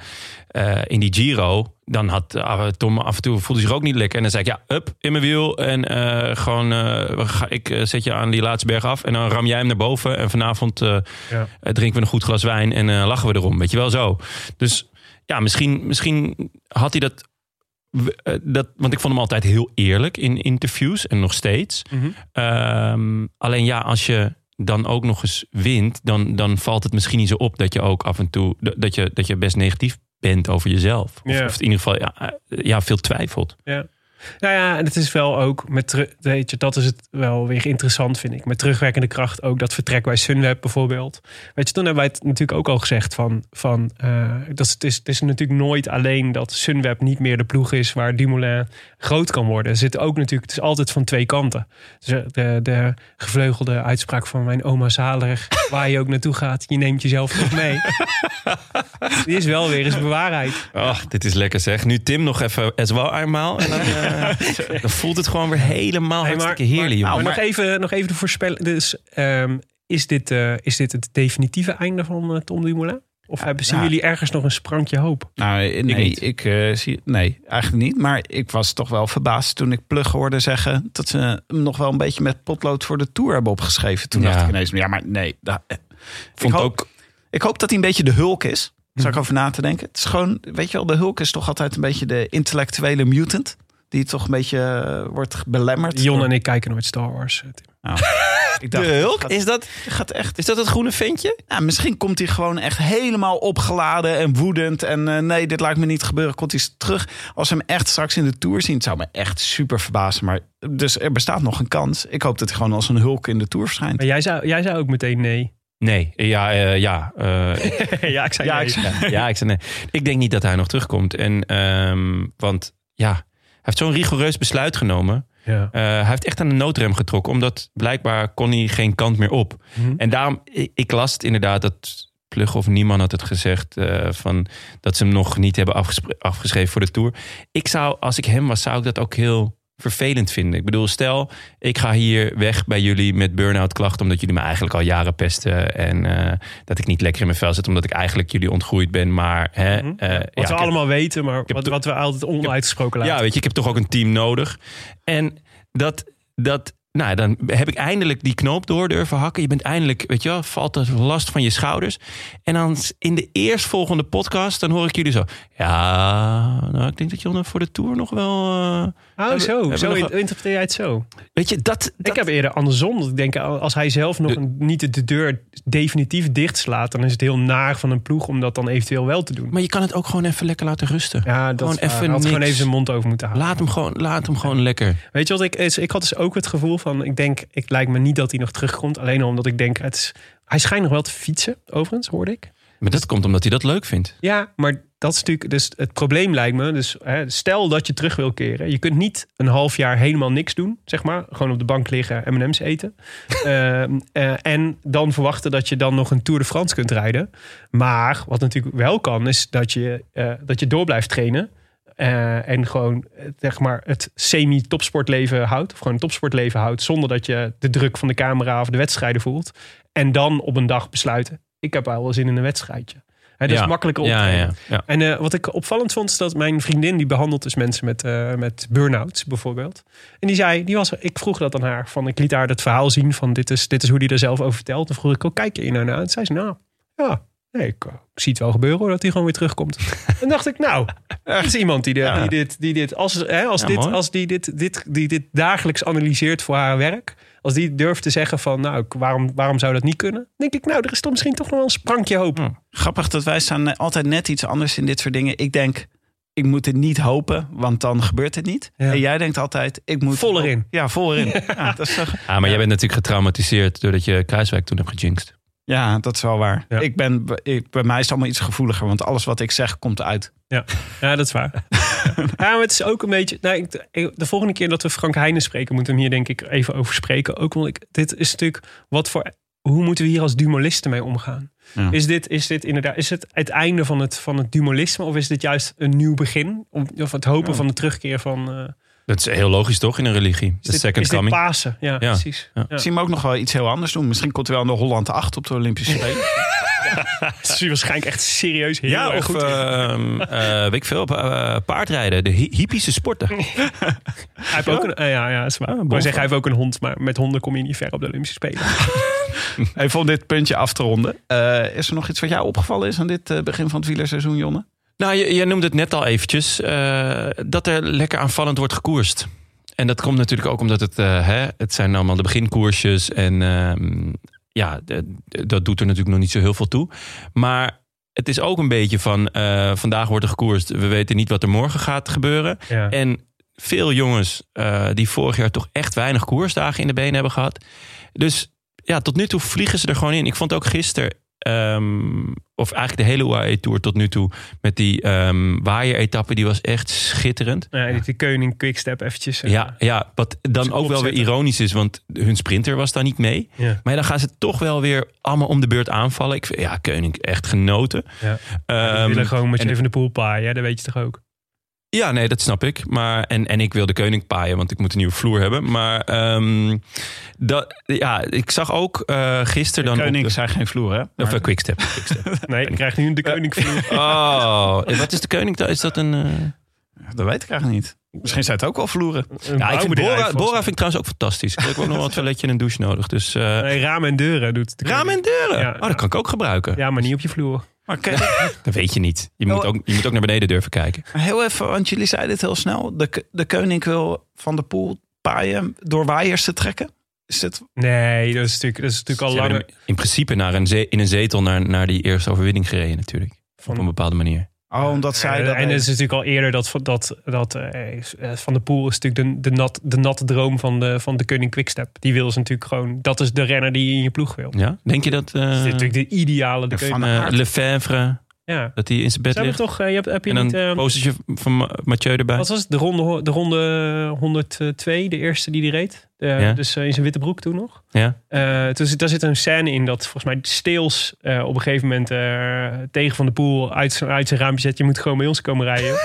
Speaker 1: eh, in die Giro, dan had eh, Tom af en toe voelde zich ook niet lekker. En dan zei ik ja, up in mijn wiel en eh, gewoon eh, we ga, ik eh, zet je aan die laatste berg af en dan ram jij hem naar boven. En vanavond eh,
Speaker 2: Ja.
Speaker 1: eh, drinken we een goed glas wijn en eh, lachen we erom, weet je wel zo. Dus ja, misschien, misschien had hij dat, eh, dat, want ik vond hem altijd heel eerlijk in interviews en nog steeds.
Speaker 2: Mhm.
Speaker 1: Ehm, alleen ja, als je dan ook nog eens wint, dan, dan valt het misschien niet zo op dat je ook af en toe d- dat je, dat je best negatief bent over jezelf. Of,
Speaker 2: Ja.
Speaker 1: of in ieder geval ja, eh, ja, veel twijfelt.
Speaker 2: Nou ja, en het is wel ook met teru- weet je, dat is het wel weer interessant, vind ik. Met terugwerkende kracht ook dat vertrek bij Sunweb bijvoorbeeld. Weet je, toen hebben wij het natuurlijk ook al gezegd van, van eh, dat is- het, is, het is natuurlijk nooit alleen dat Sunweb niet meer de ploeg is waar Dumoulin groot kan worden. Er zit ook natuurlijk, het is altijd van twee kanten. Dus eh, de, de gevleugelde uitspraak van mijn oma Zalig, waar je ook naartoe gaat, je neemt jezelf toch mee. Die is wel weer eens bewaarheid.
Speaker 1: Ach, dit is lekker zeg. Nu Tim nog even as well eenmaal. En dan, eh, voelt het gewoon weer helemaal
Speaker 2: Hey, maar-
Speaker 1: hartstikke
Speaker 2: hartstikke
Speaker 1: heerlijk.
Speaker 3: Nou,
Speaker 2: maar,
Speaker 3: maar-
Speaker 2: nog even, nog even de voorspelling. Dus, ehm, is, dit, eh, is dit het definitieve einde van eh, Tom Dumoulin? Of hebben, zien
Speaker 3: ja.
Speaker 2: jullie ergens nog een sprankje hoop?
Speaker 3: Nou, eh, nee,
Speaker 2: niet.
Speaker 3: ik, eh, zie, nee, eigenlijk niet. Maar ik was toch wel verbaasd toen ik Plug hoorde zeggen... dat ze hem nog wel een beetje met potlood voor de Tour hebben opgeschreven. Toen
Speaker 1: Ja.
Speaker 3: dacht ik ineens, ja, maar nee. da- eh.
Speaker 1: Vond
Speaker 3: ik, hoop,
Speaker 1: ook-
Speaker 3: ik hoop dat hij een beetje de hulk is. Zal ik over na te denken. Het is gewoon, weet je wel, de hulk is toch altijd een beetje de intellectuele mutant... die toch een beetje eh, wordt belemmerd.
Speaker 2: Jon en ik kijken nooit Star Wars. eh, Tim.
Speaker 3: Oh. ik
Speaker 1: De
Speaker 3: dacht,
Speaker 1: Hulk,
Speaker 3: gaat-
Speaker 1: is dat,
Speaker 3: gaat echt
Speaker 1: is dat het groene ventje?
Speaker 3: nou, misschien komt hij gewoon echt helemaal opgeladen en woedend. En eh, nee, dit laat me niet gebeuren. Komt hij terug. Als we hem echt straks in de Tour zien, het zou me echt super verbazen. Maar dus er bestaat nog een kans. Ik hoop dat hij gewoon als een hulk in de Tour verschijnt.
Speaker 2: Maar jij zei, jij zei ook meteen nee.
Speaker 1: Nee, ja, eh, ja. eh,
Speaker 2: ja, ik zei
Speaker 3: Ja,
Speaker 2: nee.
Speaker 3: ik zei-
Speaker 1: ja, ik zei nee. Ik denk niet dat hij nog terugkomt. En, ehm, want ja, hij heeft zo'n rigoureus besluit genomen.
Speaker 2: Ja.
Speaker 1: Eh, hij heeft echt aan de noodrem getrokken, omdat blijkbaar kon hij geen kant meer op.
Speaker 2: Mhm.
Speaker 1: En daarom, ik, ik las het inderdaad dat Plug of Nieman had het gezegd, eh, van, dat ze hem nog niet hebben afgespre- afgeschreven voor de Tour. Ik zou, als ik hem was, zou ik dat ook heel vervelend vinden. Ik bedoel, stel, ik ga hier weg bij jullie met burn-out klachten... omdat jullie me eigenlijk al jaren pesten... en eh, dat ik niet lekker in mijn vel zit... omdat ik eigenlijk jullie ontgroeid ben, maar... Hè,
Speaker 2: Mhm.
Speaker 1: eh, ja, ik
Speaker 2: Wat
Speaker 1: heb-
Speaker 2: we allemaal weten, maar
Speaker 1: heb
Speaker 2: wat,
Speaker 1: to-
Speaker 2: wat we altijd onuitgesproken laten.
Speaker 1: ja, weet je, ik heb toch ook een team nodig. En dat, dat Nou, dan heb ik eindelijk die knoop door durven hakken. Je bent eindelijk, weet je wel, valt de last van je schouders. En dan in de eerstvolgende podcast, dan hoor ik jullie zo. Ja, nou, ik denk dat Jonne voor de Tour nog wel... eh,
Speaker 2: Oh,
Speaker 1: hebben-
Speaker 2: zo.
Speaker 1: hebben
Speaker 2: Zo
Speaker 1: nog
Speaker 2: in-
Speaker 1: wel-
Speaker 2: interpreteer jij het zo.
Speaker 1: weet je, dat...
Speaker 2: Ik heb eerder andersom. Dat ik denk, eh, als hij zelf nog
Speaker 1: De-
Speaker 2: een- niet de- de deur definitief dicht slaat... dan is het heel naar van een ploeg om dat dan eventueel wel te doen.
Speaker 1: Maar je kan het ook gewoon even lekker laten rusten.
Speaker 2: Ja, dat
Speaker 1: Gewoon
Speaker 2: is waar.
Speaker 1: even
Speaker 2: Hij had gewoon
Speaker 1: niks.
Speaker 2: even zijn mond over moeten halen.
Speaker 1: Laat hem gewoon, laat hem gewoon lekker.
Speaker 2: Weet je wat ik is? Ik had dus ook het gevoel van, ik denk, ik lijkt me niet dat hij nog terugkomt. Alleen al omdat ik denk, het is, hij schijnt nog wel te fietsen, overigens, hoorde ik.
Speaker 1: Maar dat komt omdat hij dat leuk vindt.
Speaker 2: Ja, maar dat is natuurlijk, dus het probleem lijkt me. Dus hè, stel dat je terug wil keren. Je kunt niet een half jaar helemaal niks doen, zeg maar. Gewoon op de bank liggen, M&M's eten. Ehm, eh, en dan verwachten dat je dan nog een Tour de France kunt rijden. Maar wat natuurlijk wel kan, is dat je, eh, dat je door blijft trainen. Eh, en gewoon eh, zeg maar, het semi-topsportleven houdt. Of gewoon een topsportleven houdt. Zonder dat je de druk van de camera of de wedstrijden voelt. En dan op een dag besluiten. Ik heb wel zin in een wedstrijdje. Hè, dat
Speaker 1: Ja.
Speaker 2: is makkelijker
Speaker 1: Ja,
Speaker 2: optreden.
Speaker 1: ja, ja.
Speaker 2: En eh, wat ik opvallend vond, is dat mijn vriendin die behandelt dus mensen met, eh, met burn-out bijvoorbeeld. En die zei, die was, ik vroeg dat aan haar. Van, ik liet haar dat verhaal zien van dit is, dit is hoe die er zelf over vertelt. Dan vroeg ik ook, kijk je hier nou naar? En zei ze, nou, ja, nee, ik, eh, ik zie het wel gebeuren hoor, dat hij gewoon weer terugkomt. en dacht ik, nou, er is iemand die, de,
Speaker 1: Ja.
Speaker 2: die dit, die dit, als, hè, als,
Speaker 1: Ja,
Speaker 2: dit,
Speaker 1: mooi.
Speaker 2: als die, dit, dit, die dit dagelijks analyseert voor haar werk. Als die durft te zeggen van, nou, ik- waarom, waarom zou dat niet kunnen? Denk ik, nou, er is toch misschien toch nog wel een sprankje hoop.
Speaker 3: Grappig dat wij staan eh, altijd net iets anders in dit soort dingen. Ik denk, ik moet het niet hopen, want dan gebeurt het niet.
Speaker 2: Ja.
Speaker 3: En jij denkt altijd, ik moet...
Speaker 2: Vol erin.
Speaker 3: Ja, vol erin. ja, dat is toch...
Speaker 1: Ah, maar jij bent natuurlijk getraumatiseerd doordat je Kruiswijk toen hebt gejinxed.
Speaker 3: Ja, dat is wel waar.
Speaker 2: Ja.
Speaker 3: Ik ben, ik, bij mij is het allemaal iets gevoeliger, want alles wat ik zeg komt uit.
Speaker 2: Ja, dat is waar. ja, maar het is ook een beetje. Nou, ik, ik- de volgende keer dat we Frank Heijnen spreken, moeten we hem hier denk ik even over spreken. Ook want ik, dit is natuurlijk wat voor. Hoe moeten we hier als dumolisten mee omgaan?
Speaker 3: Ja.
Speaker 2: Is, dit, is dit inderdaad is het, het einde van het, van het dumolisme? Of is dit juist een nieuw begin? Of, of het hopen
Speaker 3: Ja.
Speaker 2: van de terugkeer van. eh,
Speaker 1: Dat is heel logisch toch in een religie?
Speaker 2: is
Speaker 1: De
Speaker 2: dit,
Speaker 1: second
Speaker 2: is dit
Speaker 1: coming.
Speaker 2: Pasen? Ja, precies.
Speaker 1: ja.
Speaker 2: Ja.
Speaker 3: Ik zie hem ook nog wel iets heel anders doen. Misschien komt hij wel naar Holland 8 op de Olympische Spelen.
Speaker 2: Het is waarschijnlijk echt serieus heel
Speaker 1: Ja,
Speaker 2: erg
Speaker 1: of
Speaker 2: goed.
Speaker 1: ehm, eh, weet ik veel, pa- eh, paardrijden, de hi- hippische sporten.
Speaker 2: hij heeft ook een, eh, ja, ja, is waar. ik wou
Speaker 1: bonfire.
Speaker 2: zeggen, hij heeft ook een hond, maar met honden kom je niet ver op de Olympische Spelen.
Speaker 3: Even om dit puntje af te ronden. Eh, is er nog iets wat jou opgevallen is aan dit eh, begin van het wielerseizoen, Jonne?
Speaker 1: Nou, je, je noemde het net al eventjes, eh, dat er lekker aanvallend wordt gekoerst. En dat komt natuurlijk ook omdat het, eh, hè, het zijn allemaal de beginkoersjes. En ehm, ja, d- d- dat doet er natuurlijk nog niet zo heel veel toe. Maar het is ook een beetje van, eh, vandaag wordt er gekoerst. We weten niet wat er morgen gaat gebeuren.
Speaker 2: Ja.
Speaker 1: En veel jongens eh, die vorig jaar toch echt weinig koersdagen in de benen hebben gehad. Dus ja, tot nu toe vliegen ze er gewoon in. Ik vond ook gisteren, ehm, of eigenlijk de hele UAE-tour tot nu toe... met die ehm waaier-etappe, die was echt schitterend.
Speaker 2: Nou Ja, die Keuning Quickstep eventjes. eh,
Speaker 1: Ja, ja, wat dan
Speaker 2: kop
Speaker 1: ook wel weer
Speaker 2: zetten.
Speaker 1: ironisch is, want hun sprinter was daar niet mee.
Speaker 2: ja.
Speaker 1: Maar ja, dan gaan ze toch wel weer allemaal om de beurt aanvallen. Ik, vind- ja, Keuning, echt genoten.
Speaker 2: Ja.
Speaker 1: Ehm,
Speaker 2: willen gewoon met je
Speaker 1: en-
Speaker 2: even de pool paaien, hè? dat weet je toch ook?
Speaker 1: Ja, nee, dat snap ik. Maar, en, en ik wil de koning paaien, want ik moet een nieuwe vloer hebben. Maar ehm, dat, ja, ik zag ook eh gisteren dan... op
Speaker 3: Koning
Speaker 1: de-
Speaker 3: zijn geen vloer, hè?
Speaker 1: of eh, quickstep. quickstep.
Speaker 2: Nee, ik krijg nu een de koning vloer.
Speaker 1: oh, en wat is de koning? dan? Is dat een... eh,
Speaker 3: Dat weet ik eigenlijk niet. Misschien zijn het ook wel vloeren.
Speaker 1: Ja, ik vind
Speaker 2: bouwbedrijf,
Speaker 1: Oh, Bora,
Speaker 2: volgens
Speaker 1: Bora
Speaker 2: mij.
Speaker 1: vind ik trouwens ook fantastisch. Ik heb ook nog wel een toiletje en een douche nodig. Dus eh
Speaker 2: Nee, ramen en deuren doet de
Speaker 1: ramen en deuren.
Speaker 2: Ja,
Speaker 1: oh, dat
Speaker 2: ja.
Speaker 1: kan ik ook gebruiken.
Speaker 2: Ja, maar niet op je vloer.
Speaker 3: Maar oké,
Speaker 1: Dat weet je niet. Je moet,
Speaker 3: Oh.
Speaker 1: ook, je moet ook naar beneden durven kijken.
Speaker 3: maar heel even, want jullie zeiden het heel snel. De, k- de koning wil van de poel paaien door waaiers te trekken. Is dit,
Speaker 2: Nee, dat is natuurlijk, dat is natuurlijk al
Speaker 1: Ze hebben
Speaker 2: langer.
Speaker 1: hem in principe naar een ze- in een zetel naar, naar die eerste overwinning gereden natuurlijk.
Speaker 2: Van-
Speaker 1: Op een bepaalde manier.
Speaker 3: oh, omdat zij
Speaker 2: en
Speaker 3: dat...
Speaker 2: en het is natuurlijk al eerder dat, dat, dat eh, Van der Poel is natuurlijk de, de, nat, de natte droom van de, van de koning Quickstep. Die wil ze natuurlijk gewoon, dat is de renner die je in je ploeg wil.
Speaker 1: Ja? Denk je dat... eh,
Speaker 2: Dat is natuurlijk de ideale de
Speaker 3: Ja,
Speaker 2: Koening.
Speaker 3: van-
Speaker 1: eh, Lefevre,
Speaker 2: Ja.
Speaker 1: dat hij in zijn bed
Speaker 2: Ze hebben
Speaker 1: ligt.
Speaker 2: toch, eh, je hebt, heb je
Speaker 1: en
Speaker 2: niet...
Speaker 1: een
Speaker 2: eh,
Speaker 1: postertje van Ma- Mathieu erbij.
Speaker 2: Wat was het? De ronde, ho- de ronde 102, de eerste die die reed. Eh,
Speaker 1: Ja.
Speaker 2: Dus eh, in zijn witte broek toen nog.
Speaker 1: Ja.
Speaker 2: Eh, toen zit- daar zit een scène in dat volgens mij Steels eh, op een gegeven moment eh, tegen Van de Poel uit, zijn- uit zijn raampje zet. Je moet gewoon bij ons komen rijden.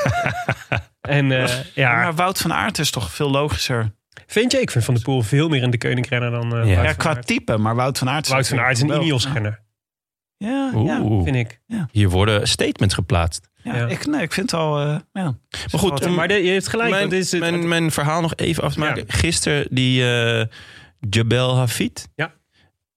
Speaker 2: en eh,
Speaker 3: Ja,
Speaker 2: ja,
Speaker 3: Maar Wout van Aert is toch veel logischer.
Speaker 2: vind je? Ik vind Van de Poel veel meer in de Koninkrenner dan
Speaker 1: Ja.
Speaker 2: eh
Speaker 3: Ja,
Speaker 2: Wout van
Speaker 3: qua
Speaker 2: Aert.
Speaker 3: type, maar Wout van Aert...
Speaker 2: Wout van Aert is een
Speaker 3: Wel.
Speaker 2: Ineos-renner.
Speaker 3: Ja, ja,
Speaker 1: Oeh,
Speaker 2: vind ik.
Speaker 1: hier worden statements geplaatst.
Speaker 3: ja,
Speaker 2: Ja.
Speaker 3: Ik, nee, ik vind het al... eh, ja.
Speaker 1: Maar goed,
Speaker 3: Wat-
Speaker 1: om-
Speaker 2: Maar de- je hebt gelijk.
Speaker 1: mijn,
Speaker 2: want dit is het-
Speaker 1: mijn, mijn verhaal nog even af te maken. Gisteren die eh, Jabel Hafid.
Speaker 2: Ja.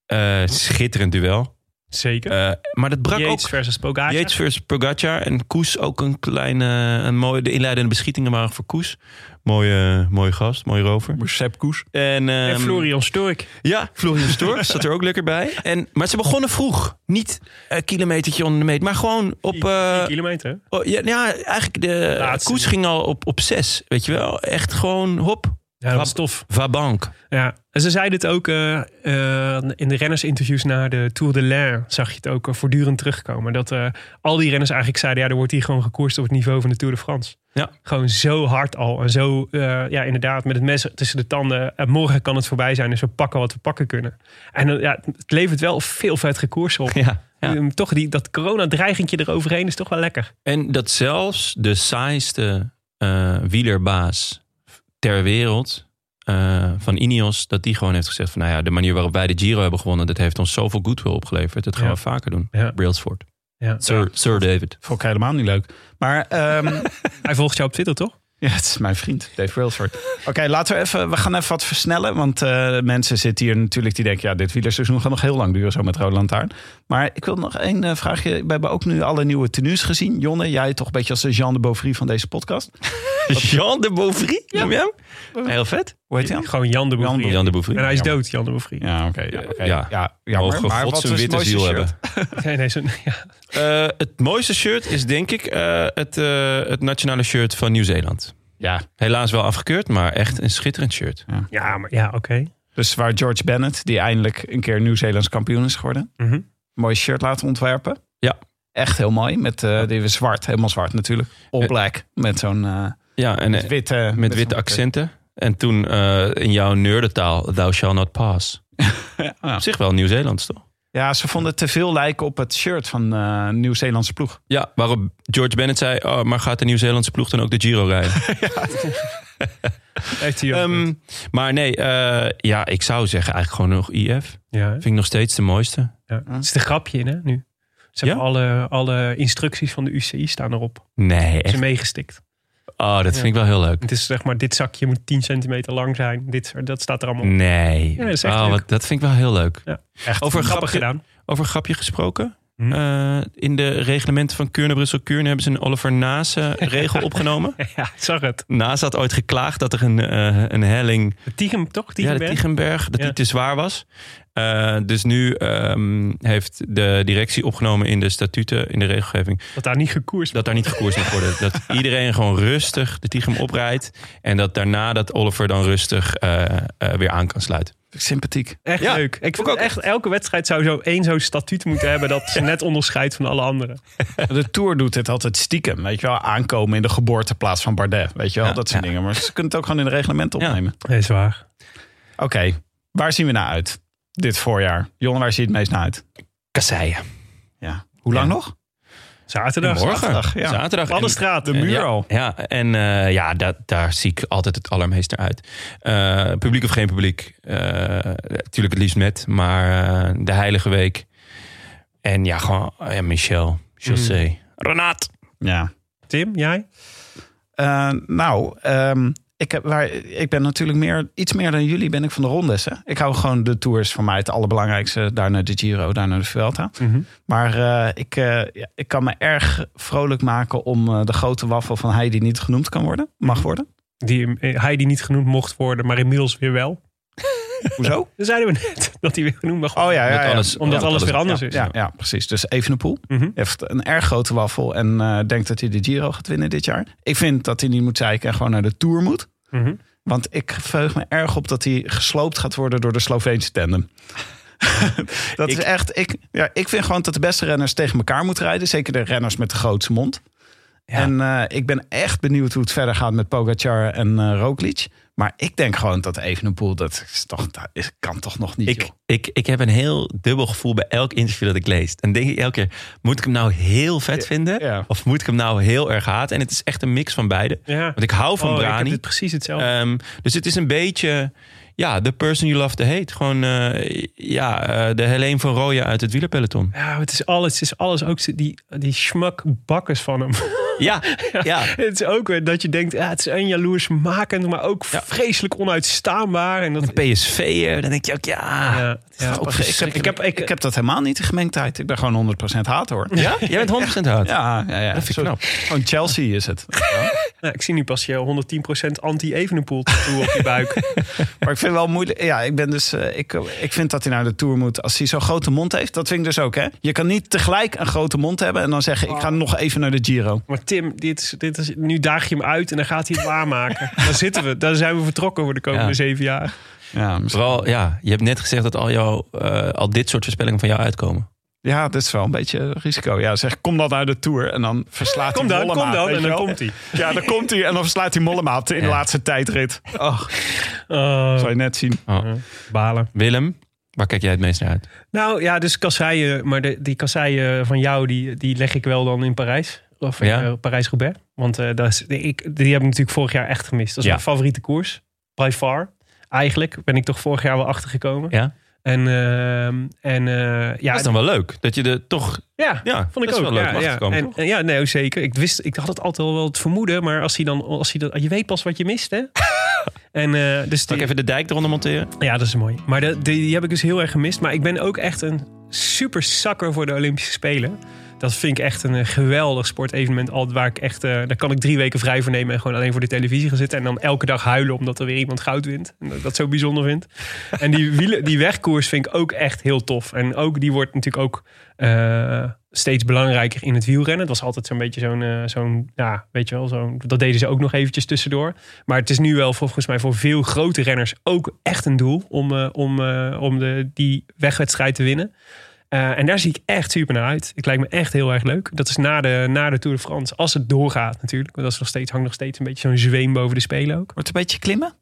Speaker 1: Eh, schitterend duel.
Speaker 2: Zeker.
Speaker 1: Eh, maar dat brak
Speaker 2: Yates
Speaker 1: ook
Speaker 2: versus Pogacar.
Speaker 1: Yates versus Pogacar. En Koes ook een kleine... Een mooie, de inleidende beschietingen waren voor Koes. Mooie, mooie gast, mooie rover.
Speaker 3: Sepkoes.
Speaker 1: En, ehm,
Speaker 2: en Florian Stork.
Speaker 1: Ja, Florian Stork zat er ook lekker bij. En, maar ze begonnen vroeg. Niet een kilometertje onder de meet. Maar gewoon op... eh,
Speaker 2: Vier kilometer. hè?
Speaker 1: oh, ja, ja, eigenlijk de
Speaker 2: Laatste.
Speaker 1: Koes ging al op, op zes. Weet je wel? Echt gewoon hop.
Speaker 2: Ja, dat was tof.
Speaker 1: Vabank.
Speaker 2: Ja. En ze zeiden het ook eh, eh, in de rennersinterviews na de Tour de l'Ain. Zag je het ook eh, voortdurend terugkomen. Dat eh, al die renners eigenlijk zeiden, ja, er wordt hier gewoon gekoerst op het niveau van de Tour de France.
Speaker 1: Ja.
Speaker 2: Gewoon zo hard al. En zo, eh, ja, inderdaad, met het mes tussen de tanden. En morgen kan het voorbij zijn, dus we pakken wat we pakken kunnen. En eh, ja, het levert wel veel vettige koers op.
Speaker 1: Ja. ja.
Speaker 2: Um, Toch die, dat coronadreigentje eroverheen is toch wel lekker.
Speaker 1: En dat zelfs de saaiste eh, wielerbaas ter wereld eh, van Ineos... dat die gewoon heeft gezegd van... nou ja, de manier waarop wij de Giro hebben gewonnen... dat heeft ons zoveel goodwill opgeleverd. Dat gaan
Speaker 2: Ja.
Speaker 1: we vaker doen.
Speaker 2: Ja.
Speaker 1: Brailsford.
Speaker 2: Ja.
Speaker 1: Sir, Sir David.
Speaker 3: Vond ik helemaal niet leuk. Maar ehm,
Speaker 2: Hij volgt jou op Twitter, toch?
Speaker 3: Ja, het is mijn vriend, Dave Brailsford. Oké, laten we even, we gaan even wat versnellen. Want eh, mensen zitten hier natuurlijk die denken, ja, dit wielerseizoen gaat nog heel lang duren zo met Roland Lantaarn. Maar ik wil nog één eh, vraagje. We hebben ook nu alle nieuwe tenues gezien. Jonne, jij toch een beetje als de Jean de Beauvry van deze podcast.
Speaker 1: Jean de Beauvry? Noem je hem? Heel vet.
Speaker 3: Hoe heet hij?
Speaker 2: Gewoon Jan de Boevrie.
Speaker 1: Jan de Beauvry.
Speaker 2: En hij is dood, Jan de Boevrie.
Speaker 3: Ja, oké. ja, oké.
Speaker 1: Ja.
Speaker 3: ja, jammer.
Speaker 1: Mogen
Speaker 3: maar
Speaker 1: God
Speaker 3: wat
Speaker 1: zijn
Speaker 3: was het
Speaker 1: witte
Speaker 3: mooiste
Speaker 1: ziel
Speaker 3: shirt?
Speaker 1: hebben.
Speaker 2: Nee, nee, zo'n- ja.
Speaker 1: Eh, het mooiste shirt is denk ik eh, het, eh, het nationale shirt van Nieuw-Zeeland.
Speaker 3: Ja,
Speaker 1: Helaas wel afgekeurd, maar echt een schitterend shirt.
Speaker 2: ja, maar ja, oké.
Speaker 3: dus waar George Bennett, die eindelijk een keer Nieuw-Zeelands kampioen is geworden.
Speaker 2: Mhm.
Speaker 3: Mooi shirt laten ontwerpen.
Speaker 1: Ja.
Speaker 3: Echt heel mooi. Met, eh die was zwart, helemaal zwart natuurlijk. All
Speaker 1: Eh,
Speaker 3: black. Met zo'n... eh,
Speaker 1: Ja, en eh,
Speaker 3: Met witte,
Speaker 1: met witte accenten. En toen eh, in jouw nerdentaal, thou shall not pass. Op zich wel Nieuw-Zeelands, toch?
Speaker 3: Ja, ze vonden het te veel lijken op het shirt van eh Nieuw-Zeelandse ploeg.
Speaker 1: Ja, waarop George Bennett zei, oh, maar gaat de Nieuw-Zeelandse ploeg dan ook de Giro rijden?
Speaker 2: Heeft hij ook
Speaker 1: Ehm,
Speaker 2: goed.
Speaker 1: maar nee, eh, ja, ik zou zeggen eigenlijk gewoon nog IF.
Speaker 2: ja,
Speaker 1: Vind ik nog steeds de mooiste.
Speaker 2: ja. Het is de grapje in, hè, nu. Ze
Speaker 1: Ja?
Speaker 2: hebben alle, alle instructies van de UCI staan erop.
Speaker 1: Nee,
Speaker 2: Ze
Speaker 1: echt.
Speaker 2: zijn meegestikt.
Speaker 1: Oh, dat vind ik wel heel leuk.
Speaker 2: Het is zeg maar, dit zakje moet 10 centimeter lang zijn. Dit, dat staat er allemaal op.
Speaker 1: Nee.
Speaker 2: Ja, dat is echt
Speaker 1: Oh,
Speaker 2: leuk.
Speaker 1: wat- dat vind ik wel heel leuk.
Speaker 2: Ja.
Speaker 3: Echt
Speaker 1: Over een
Speaker 2: Grappig
Speaker 1: grapje,
Speaker 2: gedaan.
Speaker 1: over een grapje gesproken.
Speaker 2: Hm.
Speaker 1: Eh, in de reglementen van Keurne, Brussel, Keurne hebben ze een Oliver Nase regel opgenomen.
Speaker 2: Ja, ik zag het.
Speaker 1: Nase had ooit geklaagd dat er een, eh, een helling,
Speaker 2: Tigem, toch?
Speaker 1: ja, de
Speaker 2: Tiegenberg?
Speaker 1: Tiegenberg, dat
Speaker 2: Ja.
Speaker 1: die te zwaar was. Eh, dus nu ehm, heeft de directie opgenomen in de statuten, in de regelgeving,
Speaker 2: Dat daar niet gekoerst
Speaker 1: dat daar niet gekoerst mag worden. Dat iedereen gewoon rustig de Tigem oprijdt en dat daarna dat Oliver dan rustig eh, eh, weer aan kan sluiten.
Speaker 3: sympathiek.
Speaker 2: Echt
Speaker 1: Ja,
Speaker 2: leuk. Ik vind
Speaker 1: ook
Speaker 2: ook echt, elke wedstrijd zou zo één zo'n statuut moeten hebben dat ze net onderscheidt van alle anderen.
Speaker 3: De Tour doet het altijd stiekem. Weet je wel, aankomen in de geboorteplaats van Bardet. Weet je wel,
Speaker 1: Ja,
Speaker 3: dat soort
Speaker 1: ja.
Speaker 3: dingen. Maar ze kunnen het ook gewoon in de reglementen
Speaker 1: Ja.
Speaker 3: opnemen.
Speaker 2: Nee, is waar.
Speaker 3: Oké, waar zien we naar uit dit voorjaar? Jon, waar zie je het meest naar uit?
Speaker 1: Kasseien.
Speaker 3: Ja. Hoe lang
Speaker 1: Ja.
Speaker 3: nog?
Speaker 2: Zaterdag.
Speaker 3: Zaterdag, ja.
Speaker 1: Zaterdag. En-
Speaker 2: Paddenstraat, de
Speaker 1: En
Speaker 2: muur
Speaker 1: Eh, ja,
Speaker 2: al.
Speaker 1: Ja, en eh, ja, dat, daar zie ik altijd het allermeest naar uit. Eh, publiek of geen publiek? Natuurlijk het liefst met, maar eh, de Heilige Week. En ja, gewoon eh, ja, Michel, José,
Speaker 2: Mm.
Speaker 1: Renat.
Speaker 3: Ja.
Speaker 2: Tim, jij?
Speaker 3: Eh, nou, ehm, ik, heb, waar, ik ben natuurlijk meer, iets meer dan jullie ben ik van de rondes. Hè? Ik hou gewoon de tours voor mij het allerbelangrijkste. Daar naar de Giro, daar naar de Vuelta.
Speaker 2: Mhm.
Speaker 3: Maar eh, ik, eh, ja, ik kan me erg vrolijk maken om eh, de grote waffel van hij die niet genoemd kan worden, mag worden.
Speaker 2: Die, eh, hij die niet genoemd mocht worden, maar inmiddels weer wel.
Speaker 3: Hoezo?
Speaker 2: Dan zeiden we net dat hij weer genoemd mag worden.
Speaker 3: Oh ja, ja,
Speaker 1: Omdat
Speaker 3: ja.
Speaker 1: alles-
Speaker 2: Omdat
Speaker 1: ja,
Speaker 2: alles weer anders is.
Speaker 3: Ja, ja, precies. Dus Evenepoel
Speaker 2: Mhm.
Speaker 3: heeft een erg grote waffel en eh, denkt dat hij de Giro gaat winnen dit jaar. Ik vind dat hij niet moet zeiken en gewoon naar de Tour moet.
Speaker 2: Mhm.
Speaker 3: Want ik verheug me erg op dat hij gesloopt gaat worden door de Sloveense tandem. dat is echt, ik, ja, ik vind gewoon dat de beste renners tegen elkaar moeten rijden. Zeker de renners met de grootste mond. En eh, ik ben echt benieuwd hoe het verder gaat met Pogacar en eh Roglic. Maar ik denk gewoon dat Evenepoel, dat, is toch, dat is- kan toch nog niet,
Speaker 1: Ik,
Speaker 3: joh.
Speaker 1: ik, ik heb een heel dubbel gevoel bij elk interview dat ik lees. Dan denk ik elke keer, moet ik hem nou heel vet vinden?
Speaker 3: ja.
Speaker 1: Of moet ik hem nou heel erg haten? En het is echt een mix van beide.
Speaker 2: Ja.
Speaker 1: Want ik hou van
Speaker 2: Oh, ik heb
Speaker 1: Brani.
Speaker 2: het precies hetzelfde.
Speaker 1: Ehm, dus het is een beetje. Ja, The Person You Love to Hate. Gewoon eh, ja, eh, de Helene van Rooyen uit het wielerpeloton.
Speaker 2: Eh, Ja, het is alles, het is alles ook zo- die, die schmakbakkers van hem.
Speaker 1: Ja, ja.
Speaker 2: het is ook weer dat je denkt, ja, het is en jaloersmakend, maar ook
Speaker 1: Ja.
Speaker 2: vreselijk onuitstaanbaar. En dat,
Speaker 1: PSV'er, eh, dan denk je ook, ja.
Speaker 2: ja, ja.
Speaker 3: Oh, ik, heb, ik, heb, ik heb dat helemaal niet de gemengdheid. Ik ben gewoon 100% haat hoor.
Speaker 1: Ja? Jij bent 100% hard.
Speaker 3: Ja, ja, ja.
Speaker 1: Dat vind ik
Speaker 3: Zo-
Speaker 1: knap.
Speaker 3: Gewoon Chelsea is het.
Speaker 2: Nou, ik zie nu pas je 110% anti-Evenepoel tattoo op je buik.
Speaker 3: Maar ik vind wel moeilijk. Ja, ik ben dus. eh, ik, ik vind dat hij naar de tour moet. Als hij zo'n grote mond heeft, dat vind ik dus ook. Hè? Je kan niet tegelijk een grote mond hebben en dan zeggen: ik ga nog even naar de Giro.
Speaker 2: Maar Tim, dit is, dit is, nu daag je hem uit en dan gaat hij het waarmaken. Daar zitten we, daar zijn we vertrokken voor de komende
Speaker 1: Ja.
Speaker 2: zeven jaar.
Speaker 3: Ja, misschien-
Speaker 1: Vooral, ja, je hebt net gezegd dat al, jouw, eh, al dit soort voorspellingen van jou uitkomen.
Speaker 3: ja, dat is wel een beetje risico. Ja, zeg: kom dan naar de tour en dan verslaat
Speaker 2: Kom
Speaker 3: hij
Speaker 2: dan,
Speaker 3: Mollema.
Speaker 2: kom dan.
Speaker 3: weet
Speaker 2: En
Speaker 3: je
Speaker 2: dan
Speaker 3: wel.
Speaker 2: komt hij.
Speaker 3: Ja, dan komt hij en dan verslaat hij Mollema in de
Speaker 1: Ja.
Speaker 3: laatste tijdrit. Oh,
Speaker 2: Oh,
Speaker 3: zou je net zien.
Speaker 2: Eh, balen.
Speaker 1: Willem, waar kijk jij het meest naar uit?
Speaker 2: Nou ja, dus kasseien. Maar de, die kasseien van jou, die, die leg ik wel dan in Parijs. Of
Speaker 1: Ja.
Speaker 2: eh, Parijs-Roubaix. Want eh, dat is, ik, die heb ik natuurlijk vorig jaar echt gemist. Dat is
Speaker 1: Ja.
Speaker 2: mijn favoriete koers. By far. Eigenlijk ben ik toch vorig jaar wel achtergekomen.
Speaker 1: Ja.
Speaker 2: En, ehm, en eh, ja,
Speaker 1: Dat is dan wel leuk, dat je er toch...
Speaker 2: ja,
Speaker 1: Ja,
Speaker 2: vond ik
Speaker 1: dat
Speaker 2: ook.
Speaker 1: is wel leuk
Speaker 2: ja,
Speaker 1: om achter
Speaker 2: ja.
Speaker 1: te komen,
Speaker 2: En,
Speaker 1: toch?
Speaker 2: en ja, nee, zeker. Ik, wist, ik had het altijd al wel het vermoeden. Maar als hij dan, als hij dat, je weet pas wat je mist, hè? en eh, dus
Speaker 1: Zal
Speaker 2: die,
Speaker 1: ik even de dijk eronder monteren?
Speaker 2: ja, dat is mooi. Maar de, die, die heb ik dus heel erg gemist. Maar ik ben ook echt een super zakker voor de Olympische Spelen. Dat vind ik echt een eh, geweldig sportevenement. Altijd waar ik echt, eh, daar kan ik drie weken vrij voor nemen en gewoon alleen voor de televisie gaan zitten. En dan elke dag huilen omdat er weer iemand goud wint. En dat ik dat zo bijzonder vind. En die, wielen, die wegkoers vind ik ook echt heel tof. En ook die wordt natuurlijk ook eh, steeds belangrijker in het wielrennen. Het was altijd zo'n beetje zo'n, eh, zo'n, ja, weet je wel, zo'n, dat deden ze ook nog eventjes tussendoor. Maar het is nu wel volgens mij voor veel grote renners ook echt een doel om, eh, om, eh, om de, die wegwedstrijd te winnen. Eh, en daar zie ik echt super naar uit. Het lijkt me echt heel erg leuk. Dat is na de, na de Tour de France. Als het doorgaat natuurlijk. Want dat is nog steeds, hangt nog steeds een beetje zo'n zweem boven de spelen ook.
Speaker 3: Wordt een beetje klimmen?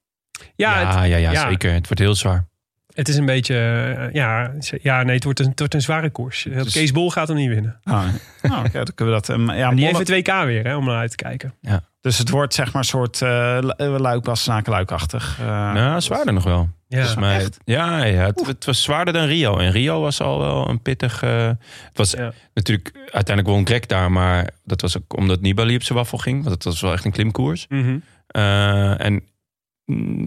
Speaker 2: Ja, het-
Speaker 1: ja, ja, ja,
Speaker 2: ja.
Speaker 1: zeker. Het wordt heel zwaar.
Speaker 2: het is een beetje, eh, ja, ze- ja, nee, het wordt een, het wordt een zware koers.
Speaker 3: Dus-
Speaker 2: Kees Bol gaat hem niet winnen.
Speaker 3: Oh, nou, ja, dan kunnen we dat. ehm, ja,
Speaker 2: Die
Speaker 3: Molle-
Speaker 2: heeft het WK weer, hè, om naar uit te kijken.
Speaker 3: Dus het wordt zeg maar een soort eh luikwas-snakenluikachtig.
Speaker 1: Nou, zwaarder nog wel.
Speaker 2: Ja.
Speaker 1: Volgens mij. Ja, ja het, het was zwaarder dan Rio. En Rio was al wel een pittig... eh, het was
Speaker 2: Ja.
Speaker 1: natuurlijk... Uiteindelijk won Greg daar, maar dat was ook omdat Nibali op zijn waffel ging. Want dat was wel echt een klimkoers.
Speaker 2: Mhm.
Speaker 1: Eh, en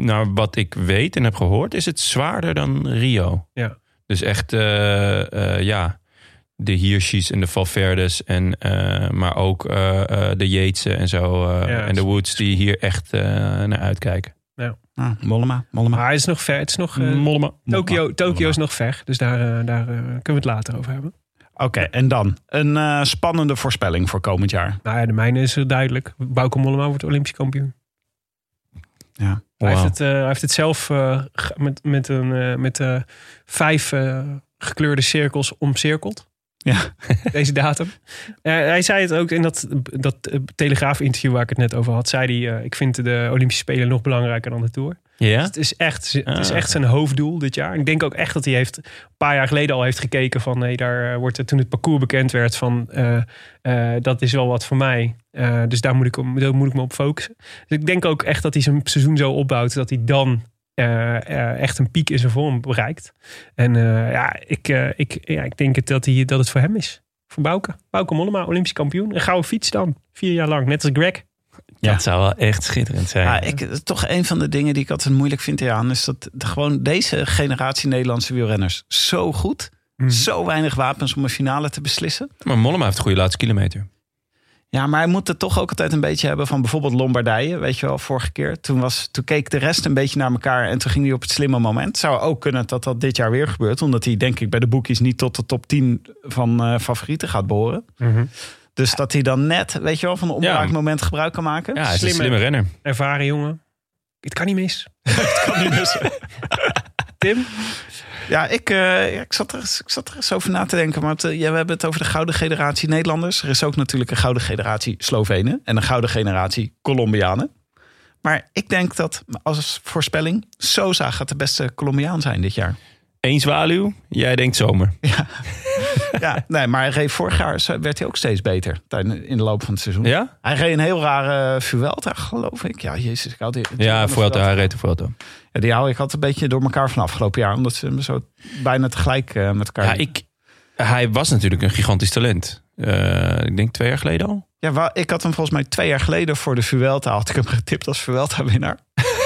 Speaker 1: naar wat ik weet en heb gehoord, is het zwaarder dan Rio.
Speaker 2: Ja.
Speaker 1: Dus echt, eh, eh, ja, de Hirschis en de Valverdes, en, eh, maar ook eh, eh, de Jeetsen en zo. eh,
Speaker 2: Ja,
Speaker 1: en de Woods, die hier echt eh, naar uitkijken.
Speaker 3: Ah, Mollema, Mollema.
Speaker 2: Maar het is nog ver. Het is nog, eh,
Speaker 1: Mollema.
Speaker 2: Tokio, Tokio is nog ver, dus daar, eh, daar eh, kunnen we het later over hebben.
Speaker 3: Oké, en dan een eh, spannende voorspelling voor komend jaar.
Speaker 2: Nou ja, de mijne is eh, duidelijk. Bauke Mollema wordt Olympisch kampioen.
Speaker 3: Ja.
Speaker 2: Hij, heeft
Speaker 1: Wauw.
Speaker 2: het, eh, hij heeft het zelf eh, ge- met, met, een, eh, met eh, vijf eh, gekleurde cirkels omcirkeld.
Speaker 3: Ja.
Speaker 2: Deze datum. Eh, hij zei het ook in dat, dat eh, Telegraaf-interview waar ik het net over had. Zei hij, eh, ik vind de Olympische Spelen nog belangrijker dan de Tour.
Speaker 1: Ja?
Speaker 2: Het is, echt, het is
Speaker 1: Ah.
Speaker 2: echt zijn hoofddoel dit jaar. Ik denk ook echt dat hij heeft een paar jaar geleden al heeft gekeken van nee, daar eh, wordt het toen het parcours bekend werd van eh, eh, dat is wel wat voor mij. Eh, dus daar moet, ik, om- daar moet ik me op focussen. Dus ik denk ook echt dat hij zijn seizoen zo opbouwt dat hij dan eh, eh, echt een piek in zijn vorm bereikt. En eh, ja, ik, eh, ik, ja, ik denk het dat, hij, dat het voor hem is. Voor Bouke. Bouke Mollema, Olympisch kampioen. Een gouden fiets dan. Vier jaar lang. Net als Greg.
Speaker 3: Ja.
Speaker 1: Dat zou wel echt schitterend zijn.
Speaker 3: Ja, ik, eh, toch een van de dingen die ik altijd moeilijk vind hieraan... is dat de- gewoon deze generatie Nederlandse wielrenners zo goed... zo weinig wapens om een finale te beslissen.
Speaker 1: Maar Mollema heeft een goede laatste kilometer.
Speaker 3: Ja, maar hij moet het toch ook altijd een beetje hebben van bijvoorbeeld Lombardije. Weet je wel, vorige keer. Toen, was, toen keek de rest een beetje naar elkaar en toen ging hij op het slimme moment. Zou ook kunnen dat dat dit jaar weer gebeurt. Omdat hij denk ik bij de boekies niet tot de top 10 van eh, favorieten gaat behoren.
Speaker 2: Mhm.
Speaker 3: Dus dat hij dan net, weet je wel, van een
Speaker 1: Ja.
Speaker 3: onbelangrijk moment gebruik kan maken.
Speaker 1: Ja, hij is een
Speaker 2: Slimme-
Speaker 1: slimme renner.
Speaker 2: Ervaren jongen. Het kan niet mis. Tim?
Speaker 3: Ja, ik, eh, ja, ik, zat er, eens- ik zat er eens over na te denken. Maar het, eh, ja, we hebben het over de gouden generatie Nederlanders. Er is ook natuurlijk een gouden generatie Slovenen. En een gouden generatie Colombianen. Maar ik denk dat als voorspelling Sosa gaat de beste Colombiaan zijn dit jaar.
Speaker 1: Eén zwaluw, jij denkt zomer.
Speaker 3: ja, nee, maar hij reed vorig jaar werd hij ook steeds beter tijdens- in de loop van het seizoen.
Speaker 1: Ja?
Speaker 3: Hij reed een heel rare eh, Vuelta, geloof ik. Ja, jezus, ik had die,
Speaker 1: Ja, Vuelta, hij reed de Vuelta.
Speaker 3: Ja, die haal ik altijd een beetje door elkaar van afgelopen jaar, omdat ze me zo bijna tegelijk eh, met elkaar.
Speaker 1: Ja, ik, hij was natuurlijk een gigantisch talent. Eh, ik denk twee jaar geleden al.
Speaker 3: Ja, wa- ik had hem volgens mij twee jaar geleden voor de Vuelta had ik hem getipt als Vuelta-winnaar.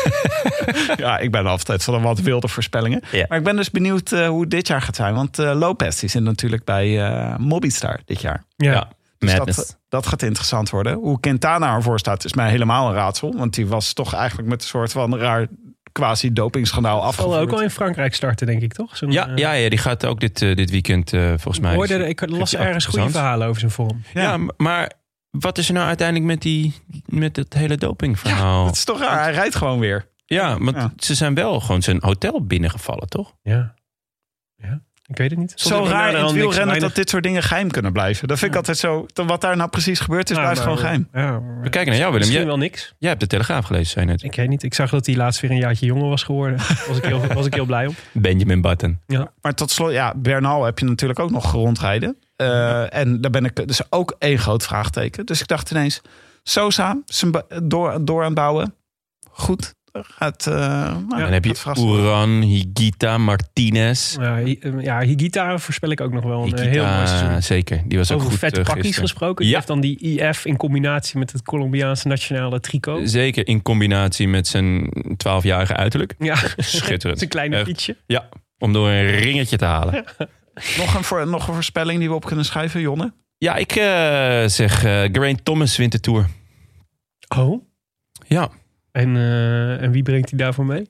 Speaker 3: ja, ik ben altijd van een wat wilde voorspellingen.
Speaker 1: Ja.
Speaker 3: Maar ik ben dus benieuwd eh, hoe dit jaar gaat zijn. Want eh, Lopez die zit natuurlijk bij eh Mobistar dit jaar.
Speaker 2: Ja.
Speaker 3: Dus
Speaker 1: Madness.
Speaker 3: dat, dat gaat interessant worden. Hoe Quintana ervoor staat is mij helemaal een raadsel. Want die was toch eigenlijk met een soort van raar quasi-dopingschandaal
Speaker 2: Zal
Speaker 3: afgevoerd.
Speaker 2: ook al in Frankrijk starten, denk ik, toch? Zo'n,
Speaker 1: ja,
Speaker 2: eh,
Speaker 1: ja, ja, die gaat ook dit, eh, dit weekend eh, volgens mij.
Speaker 2: hoorde er- ik las
Speaker 1: Geeft
Speaker 2: ergens goede
Speaker 1: interessant.
Speaker 2: verhalen over zijn vorm.
Speaker 1: Ja, m- maar wat is er nou uiteindelijk met, die, met dat hele dopingverhaal? Ja,
Speaker 3: Dat is toch raar. Hij rijdt gewoon weer.
Speaker 1: want
Speaker 3: Ja.
Speaker 1: ze zijn wel gewoon zijn hotel binnengevallen, toch?
Speaker 2: Ja. ja. Ik weet het niet.
Speaker 3: Zo raar in het wielrennen dat
Speaker 2: dit
Speaker 3: dit soort dingen geheim kunnen blijven. Dat vind ik altijd zo. dan Wat daar nou precies gebeurd is, blijft gewoon geheim.
Speaker 2: Ja,
Speaker 1: We kijken naar jou, Willem.
Speaker 2: misschien
Speaker 1: Jij,
Speaker 2: wel niks.
Speaker 1: jij hebt de Telegraaf gelezen, zei je net.
Speaker 2: Ik weet niet. Ik zag dat hij laatst weer een jaartje jonger was geworden. Was ik heel, was ik heel blij om.
Speaker 1: Benjamin Button.
Speaker 3: Maar tot slot, ja, Bernal heb je natuurlijk ook nog rondrijden. Eh, En daar ben ik dus ook één groot vraagteken. Dus ik dacht ineens, Sosa, zijn ba- door, door aan het bouwen. Goed, gaat. eh, nou,
Speaker 2: Ja,
Speaker 1: en dan heb
Speaker 3: gaat
Speaker 1: je
Speaker 3: verrassen.
Speaker 1: Oeran, Higita, Martinez.
Speaker 2: Ja, Hi- ja, Higita voorspel ik ook nog wel een eh,
Speaker 1: Higita,
Speaker 2: heel mooi seizoen.
Speaker 1: zeker. Die was ook
Speaker 2: Over
Speaker 1: goed
Speaker 2: vet
Speaker 1: eh,
Speaker 2: pakjes
Speaker 1: gisteren.
Speaker 2: gesproken.
Speaker 1: Ja.
Speaker 2: Die heeft dan die IF in combinatie met het Colombiaanse nationale tricot.
Speaker 1: Zeker in combinatie met zijn 12-jarige uiterlijk.
Speaker 2: Ja,
Speaker 1: Schitterend.
Speaker 2: zijn kleine
Speaker 1: Echt.
Speaker 2: fietsje.
Speaker 1: Ja, om door een ringetje te halen.
Speaker 3: Nog een, voor, nog een voorspelling die we op kunnen schrijven, Jonne.
Speaker 1: Ja, ik eh, zeg eh Geraint Thomas wint de Tour.
Speaker 2: Oh.
Speaker 1: Ja,
Speaker 2: En, eh, en wie brengt hij daarvoor mee?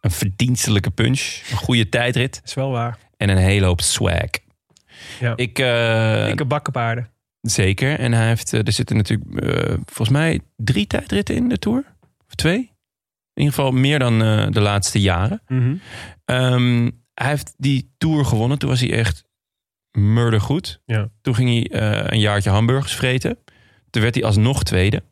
Speaker 2: Dat
Speaker 1: een verdienstelijke punch. Een goede tijdrit.
Speaker 2: is wel waar.
Speaker 1: En een hele hoop swag.
Speaker 2: Ja.
Speaker 1: Ik, eh,
Speaker 2: Dikke bakkenpaarden.
Speaker 1: Zeker. En hij heeft, eh, er zitten natuurlijk eh, volgens mij drie tijdritten in de Tour. Of twee. In ieder geval meer dan eh, de laatste jaren.
Speaker 2: Mhm.
Speaker 1: Ehm, hij heeft die Tour gewonnen. Toen was hij echt murdergoed.
Speaker 2: Ja.
Speaker 1: Toen ging hij eh, een jaartje hamburgers vreten. Toen werd hij alsnog tweede.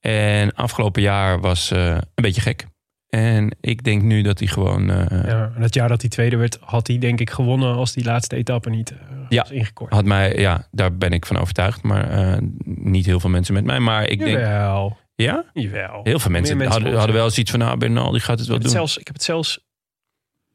Speaker 1: En afgelopen jaar was eh, een beetje gek. En ik denk nu dat hij gewoon... eh,
Speaker 2: Ja, en het jaar dat hij tweede werd, had hij denk ik gewonnen als die laatste etappe niet eh,
Speaker 1: Ja. Ah,
Speaker 2: was ingekort.
Speaker 1: Had mij, ja, daar ben ik van overtuigd. Maar eh, niet heel veel mensen met mij. Maar ik denk...
Speaker 2: Jawel,
Speaker 1: Ja?
Speaker 2: jawel.
Speaker 1: Heel veel mensen,
Speaker 2: Meer mensen
Speaker 1: hadden,
Speaker 2: volgen.
Speaker 1: hadden wel zoiets van, nou, Bernal, die gaat het wel
Speaker 2: Ik heb,
Speaker 1: doen.
Speaker 2: het zelfs, ik heb het zelfs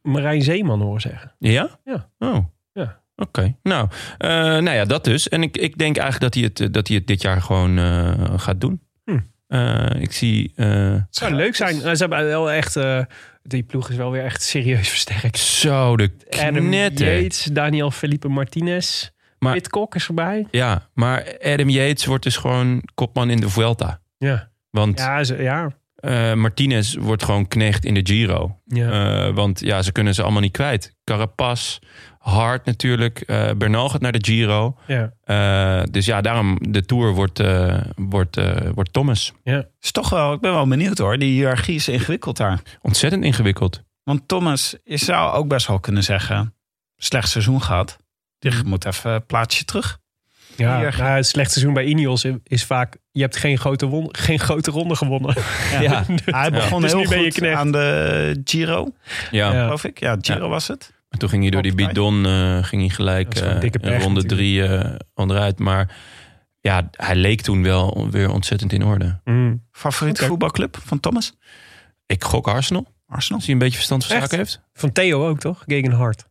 Speaker 2: Marijn Zeeman horen zeggen.
Speaker 1: Ja?
Speaker 2: Ja.
Speaker 1: Oh.
Speaker 2: Ja.
Speaker 1: Oké. Nou, eh, nou ja, dat dus. En ik, ik denk eigenlijk dat hij het, eh, dat hij het dit jaar gewoon eh, gaat doen.
Speaker 2: Hm.
Speaker 1: Eh, ik zie eh,
Speaker 2: Het zou leuk zijn. Eh, Ze hebben wel echt, eh, die ploeg is wel weer echt serieus versterkt.
Speaker 1: zo de
Speaker 2: Adam
Speaker 1: knetter.
Speaker 2: Yates, Daniel Felipe Martinez,
Speaker 1: Maar-
Speaker 2: maar, Pitcock is voorbij.
Speaker 1: Ja, maar Adam Yates wordt dus gewoon kopman in de Vuelta.
Speaker 2: Ja,
Speaker 1: Want
Speaker 2: ja, ze, ja.
Speaker 1: eh, Martinez wordt gewoon knecht in de Giro.
Speaker 2: ja.
Speaker 1: Eh, want ja, ze kunnen ze allemaal niet kwijt. Carapaz, Hart natuurlijk. eh, Bernal gaat naar de Giro.
Speaker 2: ja.
Speaker 1: Eh, dus ja, daarom de Tour wordt, eh, wordt, eh, wordt Thomas.
Speaker 3: Is toch wel, ik ben wel benieuwd hoor. Die hiërarchie is ingewikkeld daar.
Speaker 1: Ontzettend ingewikkeld.
Speaker 3: Want Thomas, je zou ook best wel kunnen zeggen: slecht seizoen gehad.
Speaker 1: Mhm.
Speaker 3: Je moet even een plaatsje terug.
Speaker 2: ja.
Speaker 3: Hier.
Speaker 2: Nou, het slecht seizoen bij Ineos is vaak, je hebt geen grote, won- geen grote ronde gewonnen.
Speaker 1: Ja.
Speaker 3: Hij begon
Speaker 2: Dus
Speaker 3: heel
Speaker 2: nu ben je
Speaker 3: goed
Speaker 2: knecht.
Speaker 3: aan de Giro,
Speaker 1: Ja.
Speaker 2: Ja.
Speaker 3: geloof ik. Ja, Giro was het.
Speaker 1: Maar Toen ging hij door die bidon, eh, ging hij
Speaker 2: Dat
Speaker 1: gelijk
Speaker 2: is gewoon
Speaker 1: eh,
Speaker 2: dikke
Speaker 1: in
Speaker 2: pech
Speaker 1: ronde
Speaker 2: natuurlijk.
Speaker 1: drie eh, onderuit. Maar ja, hij leek toen wel weer ontzettend in orde.
Speaker 2: Mm.
Speaker 3: Favoriete
Speaker 2: Oké.
Speaker 3: voetbalclub van Thomas?
Speaker 1: Ik gok Arsenal,
Speaker 3: Arsenal.
Speaker 1: als hij een beetje verstand van
Speaker 2: Echt?
Speaker 1: zaken heeft.
Speaker 2: Van Theo ook, toch? Gegenhard.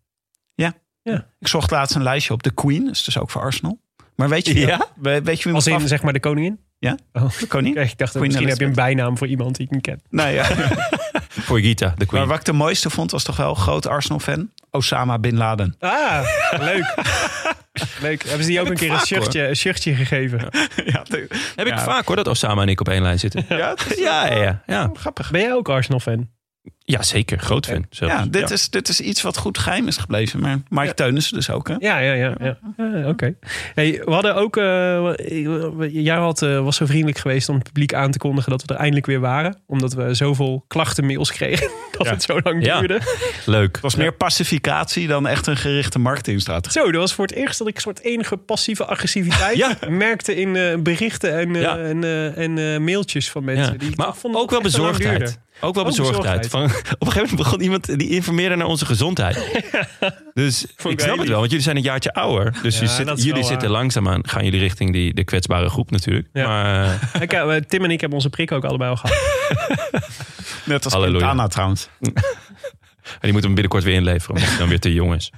Speaker 3: Ik zocht laatst een lijstje op. De Queen is dus ook voor Arsenal. Maar weet je, wie-
Speaker 1: Ja?
Speaker 3: we- weet je wie
Speaker 2: Als
Speaker 3: mijn
Speaker 2: in, zeg maar, de koningin?
Speaker 3: Ja.
Speaker 2: Oh,
Speaker 3: favoriete koning?
Speaker 2: oké, ik dacht,
Speaker 3: Queen
Speaker 2: misschien heb je een
Speaker 3: Elizabeth.
Speaker 2: bijnaam voor iemand die ik niet ken.
Speaker 3: Nee, ja.
Speaker 1: Voor Gita, de
Speaker 3: Maar
Speaker 1: queen.
Speaker 3: wat ik de mooiste vond, was toch wel groot Arsenal-fan. Osama Bin Laden.
Speaker 2: Ah, leuk. leuk. Hebben ze die ook een keer een
Speaker 3: vaak,
Speaker 2: shirtje, een shirtje gegeven?
Speaker 3: Ja, de-
Speaker 1: Heb ik
Speaker 3: Ja.
Speaker 1: vaak hoor, dat Osama en ik op één lijn zitten.
Speaker 3: ja, het is-
Speaker 1: Ja, ja, ja. Ja,
Speaker 3: grappig.
Speaker 2: Ben jij ook Arsenal-fan?
Speaker 1: ja zeker. Groot fan zelfs.
Speaker 3: Ja, dit, Is, dit is iets wat goed geheim is gebleven. Maar Mike Teunissen dus ook, hè?
Speaker 2: Ja, ja, ja. ja. Ja, Ah, Oké. Hey, we hadden ook... eh, jij had, eh, was zo vriendelijk geweest om het publiek aan te kondigen dat we er eindelijk weer waren. Omdat we zoveel klachtenmails kregen dat het zo lang
Speaker 1: Ja.
Speaker 2: duurde.
Speaker 1: Leuk.
Speaker 3: Het was meer pacificatie dan echt een gerichte marketingstrategie.
Speaker 2: Zo, dat was voor het eerst dat ik een soort enige passieve agressiviteit
Speaker 1: Ja.
Speaker 2: merkte in eh, berichten en, eh,
Speaker 1: Ja.
Speaker 2: en, eh, en eh, mailtjes van mensen.
Speaker 1: Ja.
Speaker 2: Die
Speaker 1: Maar
Speaker 2: toch vonden
Speaker 1: ook wel
Speaker 2: dat het echt te lang
Speaker 1: bezorgdheid.
Speaker 2: duurde.
Speaker 1: Ook wel bezorgdheid. Van, op een gegeven moment begon iemand die informeerde naar onze gezondheid. dus
Speaker 2: ik
Speaker 1: ik snap
Speaker 2: heel
Speaker 1: het wel, want jullie zijn een jaartje ouder. Dus
Speaker 2: Ja,
Speaker 1: je
Speaker 2: dat
Speaker 1: zit,
Speaker 2: is wel
Speaker 1: jullie
Speaker 2: waar.
Speaker 1: zitten langzaamaan, gaan jullie richting die, de kwetsbare groep natuurlijk.
Speaker 2: Ja.
Speaker 1: Maar eh,
Speaker 2: Ik, eh, Tim en ik hebben onze prik ook allebei al gehad.
Speaker 3: Net als
Speaker 1: Halleluja.
Speaker 3: Quintana trouwens.
Speaker 1: die moeten we binnenkort weer inleveren, omdat hij dan weer te jong is.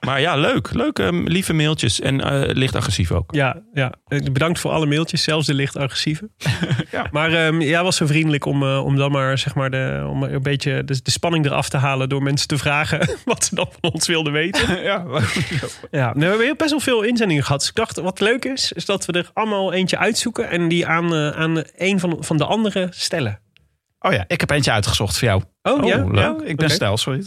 Speaker 1: Maar ja, leuk. Leuk, eh, lieve mailtjes. En eh, licht agressief ook.
Speaker 2: Ja, ja, Eh, bedankt voor alle mailtjes, zelfs de licht agressieve.
Speaker 3: Ja.
Speaker 2: Maar ehm, jij was zo vriendelijk om, eh, om dan maar, zeg maar, de, om een beetje de, de spanning eraf te halen door mensen te vragen wat ze dan van ons wilden weten.
Speaker 3: ja,
Speaker 2: Ja, nou, we hebben heel best wel veel inzendingen gehad. Dus ik dacht, wat leuk is, is dat we er allemaal eentje uitzoeken en die aan, eh, aan een van, van de anderen stellen.
Speaker 3: Oh ja, ik heb eentje uitgezocht voor jou.
Speaker 2: Oh, ja?
Speaker 1: leuk.
Speaker 3: Ja, ik ben
Speaker 2: Oké.
Speaker 3: stijl, sorry.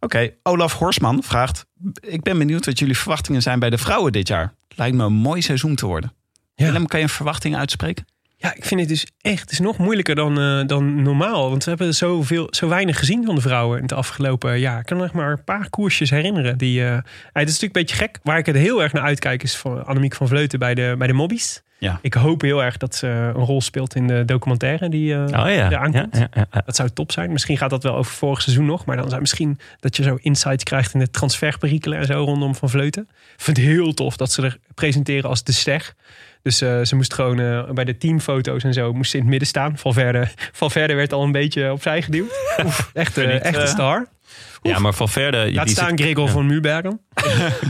Speaker 3: Oké, Olaf Horsman vraagt... Ik ben benieuwd wat jullie verwachtingen zijn bij de vrouwen dit jaar. Lijkt me een mooi seizoen te worden.
Speaker 2: Ja.
Speaker 3: Willem, kan je een verwachting uitspreken?
Speaker 2: Ja, ik vind het dus echt het is nog moeilijker dan, eh, dan normaal. Want we hebben zoveel, zo weinig gezien van de vrouwen in het afgelopen jaar. Ik kan nog maar een paar koersjes herinneren. Die, eh, ja, het is natuurlijk een beetje gek. Waar ik het heel erg naar uitkijk is van Annemiek van Vleuten bij de, bij de Mobbies.
Speaker 3: Ja.
Speaker 2: Ik hoop heel erg dat ze een rol speelt in de documentaire die eh
Speaker 1: Oh ja.
Speaker 2: er
Speaker 1: ja,
Speaker 2: aankomt.
Speaker 1: ja, ja, ja.
Speaker 2: Dat zou top zijn. Misschien gaat dat wel over vorig seizoen nog. Maar dan zou misschien dat je zo insights krijgt in de transferperikelen en zo rondom Van Vleuten. Ik vind het heel tof dat ze er presenteren als de ster. Dus eh, ze moest gewoon eh, bij de teamfoto's en zo moest ze in het midden staan. Valverde, Valverde werd al een beetje opzij geduwd. Oef, echt, eh, echt een star.
Speaker 1: Ja, maar van verder...
Speaker 2: Laat
Speaker 1: die
Speaker 2: staan
Speaker 1: zit-
Speaker 2: Gregor
Speaker 1: ja.
Speaker 2: van Muurbergen.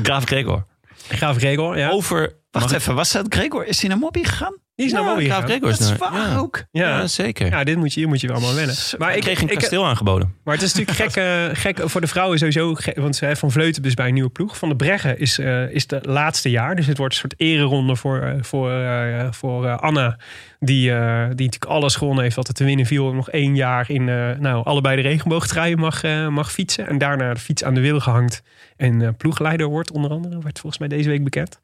Speaker 1: Graaf Gregor.
Speaker 2: Graaf Gregor, ja.
Speaker 1: Over...
Speaker 3: Wacht
Speaker 1: Mag ik-
Speaker 3: even, was dat Gregor? Is hij naar Mobby gegaan?
Speaker 2: Oh, Die is nou naar Mobby
Speaker 1: Graaf
Speaker 2: gegaan.
Speaker 1: Gregor is
Speaker 3: Dat is
Speaker 1: naar-
Speaker 3: waar
Speaker 1: ja.
Speaker 3: ook.
Speaker 2: Ja.
Speaker 1: Ja, zeker.
Speaker 2: Ja, dit moet je, hier moet je wel allemaal wennen. Maar
Speaker 1: ik kreeg een
Speaker 2: ik,
Speaker 1: kasteel aangeboden.
Speaker 2: Maar het is natuurlijk gek, eh, gek voor de vrouwen sowieso. gek, Want ze Van Vleuten dus bij een nieuwe ploeg. Van de Breggen is, eh, is de laatste jaar. Dus het wordt een soort ereronde voor, eh, voor, eh, voor eh, Anna. Die, eh, die natuurlijk alles gewonnen heeft wat er te winnen viel. En nog één jaar in eh, nou, allebei de regenboogtruien mag, eh, mag fietsen. En daarna de fiets aan de wil gehangt. En eh, ploegleider wordt onder andere. Werd volgens mij deze week bekend.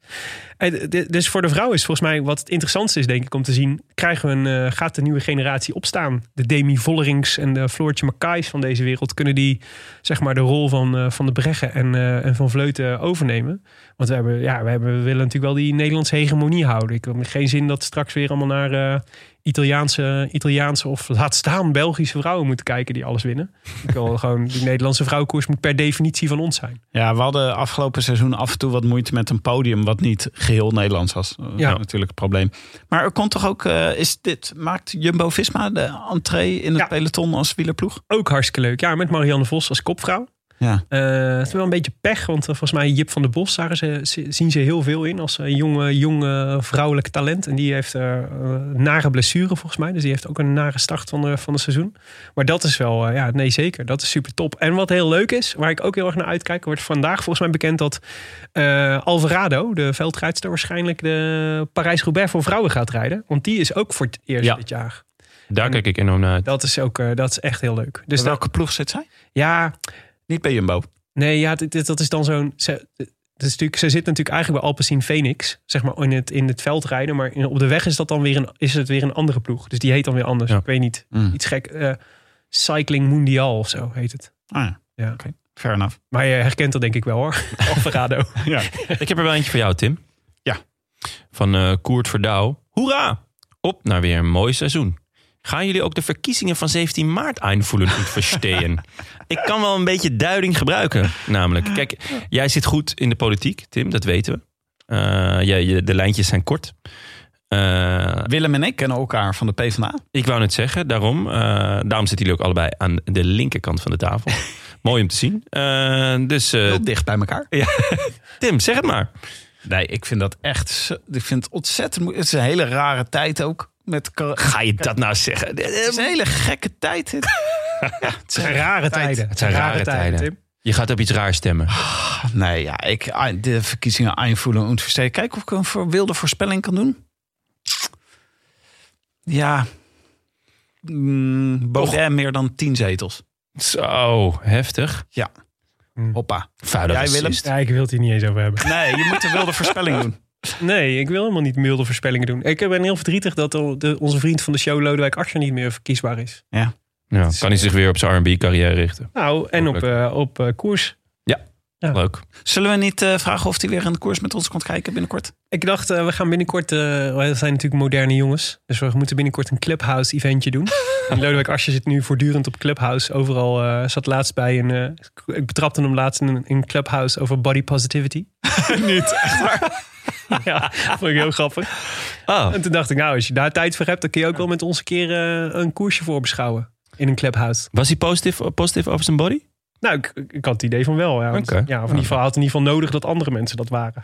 Speaker 2: En d- d- dus voor de vrouw is volgens mij wat het interessantste is, denk ik, om te zien: krijgen we een, eh, gaat de nieuwe generatie opstaan? De Demi Vollerings en de Floortje Mackays van deze wereld, kunnen die zeg maar de rol van, eh, van de Breggen en, eh, en van Vleuten overnemen? Want we, hebben, ja, we, hebben, we willen natuurlijk wel die Nederlandse hegemonie houden. Ik heb geen zin dat straks weer allemaal naar eh, Italiaanse, Italiaanse of laat staan Belgische vrouwen moeten kijken die alles winnen. Ik wil gewoon, die Nederlandse vrouwenkoers moet per definitie van ons zijn.
Speaker 3: Ja, we hadden afgelopen seizoen af en toe wat moeite met een podium... wat niet geheel Nederlands was. Eh, Dat is
Speaker 2: Ja.
Speaker 3: natuurlijk een probleem. Maar er komt toch ook... eh, is dit, maakt Jumbo-Visma de entree in het
Speaker 2: Ja.
Speaker 3: peloton als wielerploeg?
Speaker 2: Ook hartstikke leuk. Ja, met Marianne Vos als kopvrouw.
Speaker 3: Ja.
Speaker 2: Eh, het is wel een beetje pech, want eh, volgens mij Jip van der Bos zagen ze, ze- zien ze heel veel in als een jonge, jonge vrouwelijk talent. En die heeft eh, eh, nare blessure volgens mij, dus die heeft ook een nare start van, de, van het seizoen. Maar dat is wel, eh, ja, nee zeker, dat is super top. En wat heel leuk is, waar ik ook heel erg naar uitkijk, wordt vandaag volgens mij bekend dat eh, Alvarado, de veldrijdster, waarschijnlijk de Parijs-Roubaix voor vrouwen gaat rijden. Want die is ook voor het eerst
Speaker 1: Ja.
Speaker 2: dit jaar.
Speaker 1: Daar kijk ik enorm naar uit.
Speaker 2: Dat is ook, eh, dat is echt heel leuk. Dus
Speaker 3: Dus
Speaker 2: dat,
Speaker 3: welke ploeg zit zij?
Speaker 2: ja,
Speaker 3: Niet bij Jumbo.
Speaker 2: Nee, ja, dit, dit- dat is dan zo'n. Ze, dat is natuurlijk, ze zit natuurlijk eigenlijk bij Alpecin Phoenix, zeg maar, in het, in het veld rijden. Maar in- op de weg is, dat dan weer een, is het weer een andere ploeg. Dus die heet dan weer anders.
Speaker 1: Ja.
Speaker 2: Ik weet niet.
Speaker 3: Mm.
Speaker 2: Iets gek. eh, Cycling Mundial of zo heet het.
Speaker 3: Ah ja,
Speaker 2: Ja.
Speaker 3: oké. Fair enough.
Speaker 2: Maar je herkent dat denk ik wel hoor. Alvarado.
Speaker 3: Ja.
Speaker 1: Ik heb er wel eentje voor jou, Tim.
Speaker 3: Ja.
Speaker 1: Van eh Koert Verdouw. Hoera! Op naar weer een mooi seizoen. Gaan jullie ook de verkiezingen van 17 maart aanvoelen goed verstehen? ik kan wel een beetje duiding gebruiken, namelijk. Kijk, jij zit goed in de politiek, Tim, dat weten we. Eh, jij- je- de lijntjes zijn kort. Eh,
Speaker 3: Willem en ik kennen elkaar van de PvdA.
Speaker 1: ik wou net zeggen, daarom, eh, daarom zitten jullie ook allebei aan de linkerkant van de tafel. Mooi om te zien. Eh, dus eh,
Speaker 3: Heel dicht bij elkaar.
Speaker 1: Tim, zeg het maar.
Speaker 3: Nee, ik vind dat echt... zo- Ik vind het ontzettend... moe- Het is een hele rare tijd ook. Met cor- het
Speaker 1: Ga je dat nou zeggen?
Speaker 3: is een hele gekke tijd. dit. ja, het is-
Speaker 2: Het zijn rare tijden.
Speaker 1: Het zijn rare tijden.
Speaker 2: Tim.
Speaker 1: Je gaat op iets raars stemmen.
Speaker 3: nee, ja, ik, ah, de verkiezingen aanvoelen en versteken. Kijk of ik een voor- wilde voorspelling kan doen. Ja. Mm, Baudet meer dan tien zetels.
Speaker 1: Zo, heftig.
Speaker 3: Hoppa.
Speaker 1: Vuile
Speaker 3: Jij, Willem?
Speaker 1: racist.
Speaker 2: Ja, ik wil het hier niet eens over hebben.
Speaker 3: Nee, je moet een wilde voorspelling doen.
Speaker 2: Nee, ik wil helemaal niet milde voorspellingen doen. Ik ben heel verdrietig dat de- onze vriend van de show Lodewijk Asscher niet meer verkiesbaar is.
Speaker 1: Ja, kan hij zich weer op zijn R&B carrière richten.
Speaker 2: Oh, Nou, en op, eh, op eh, koers.
Speaker 1: Ja.
Speaker 2: Ja.
Speaker 1: Leuk.
Speaker 3: Zullen we niet eh, vragen of hij weer aan de koers met ons komt kijken binnenkort?
Speaker 2: Ik dacht, eh, we gaan binnenkort. eh wij zijn natuurlijk moderne jongens. Dus we moeten binnenkort een Clubhouse-eventje doen. En Lodewijk Asje zit nu voortdurend op Clubhouse. Overal eh, zat laatst bij een. eh, ik betrapte hem laatst in een in Clubhouse over body positivity.
Speaker 3: niet, echt waar.
Speaker 2: ja, vond ik heel grappig.
Speaker 1: Oh,
Speaker 2: En toen dacht ik, nou, als je daar tijd voor hebt, dan kun je ook wel met ons een keer eh, een koersje voor beschouwen. In een Clubhouse.
Speaker 1: was hij positief, positief over zijn body?
Speaker 2: Nou, ik, ik had het idee van wel. Ja, want,
Speaker 1: Oké.
Speaker 2: ja, of in ieder geval hij had in ieder geval nodig dat andere mensen dat waren.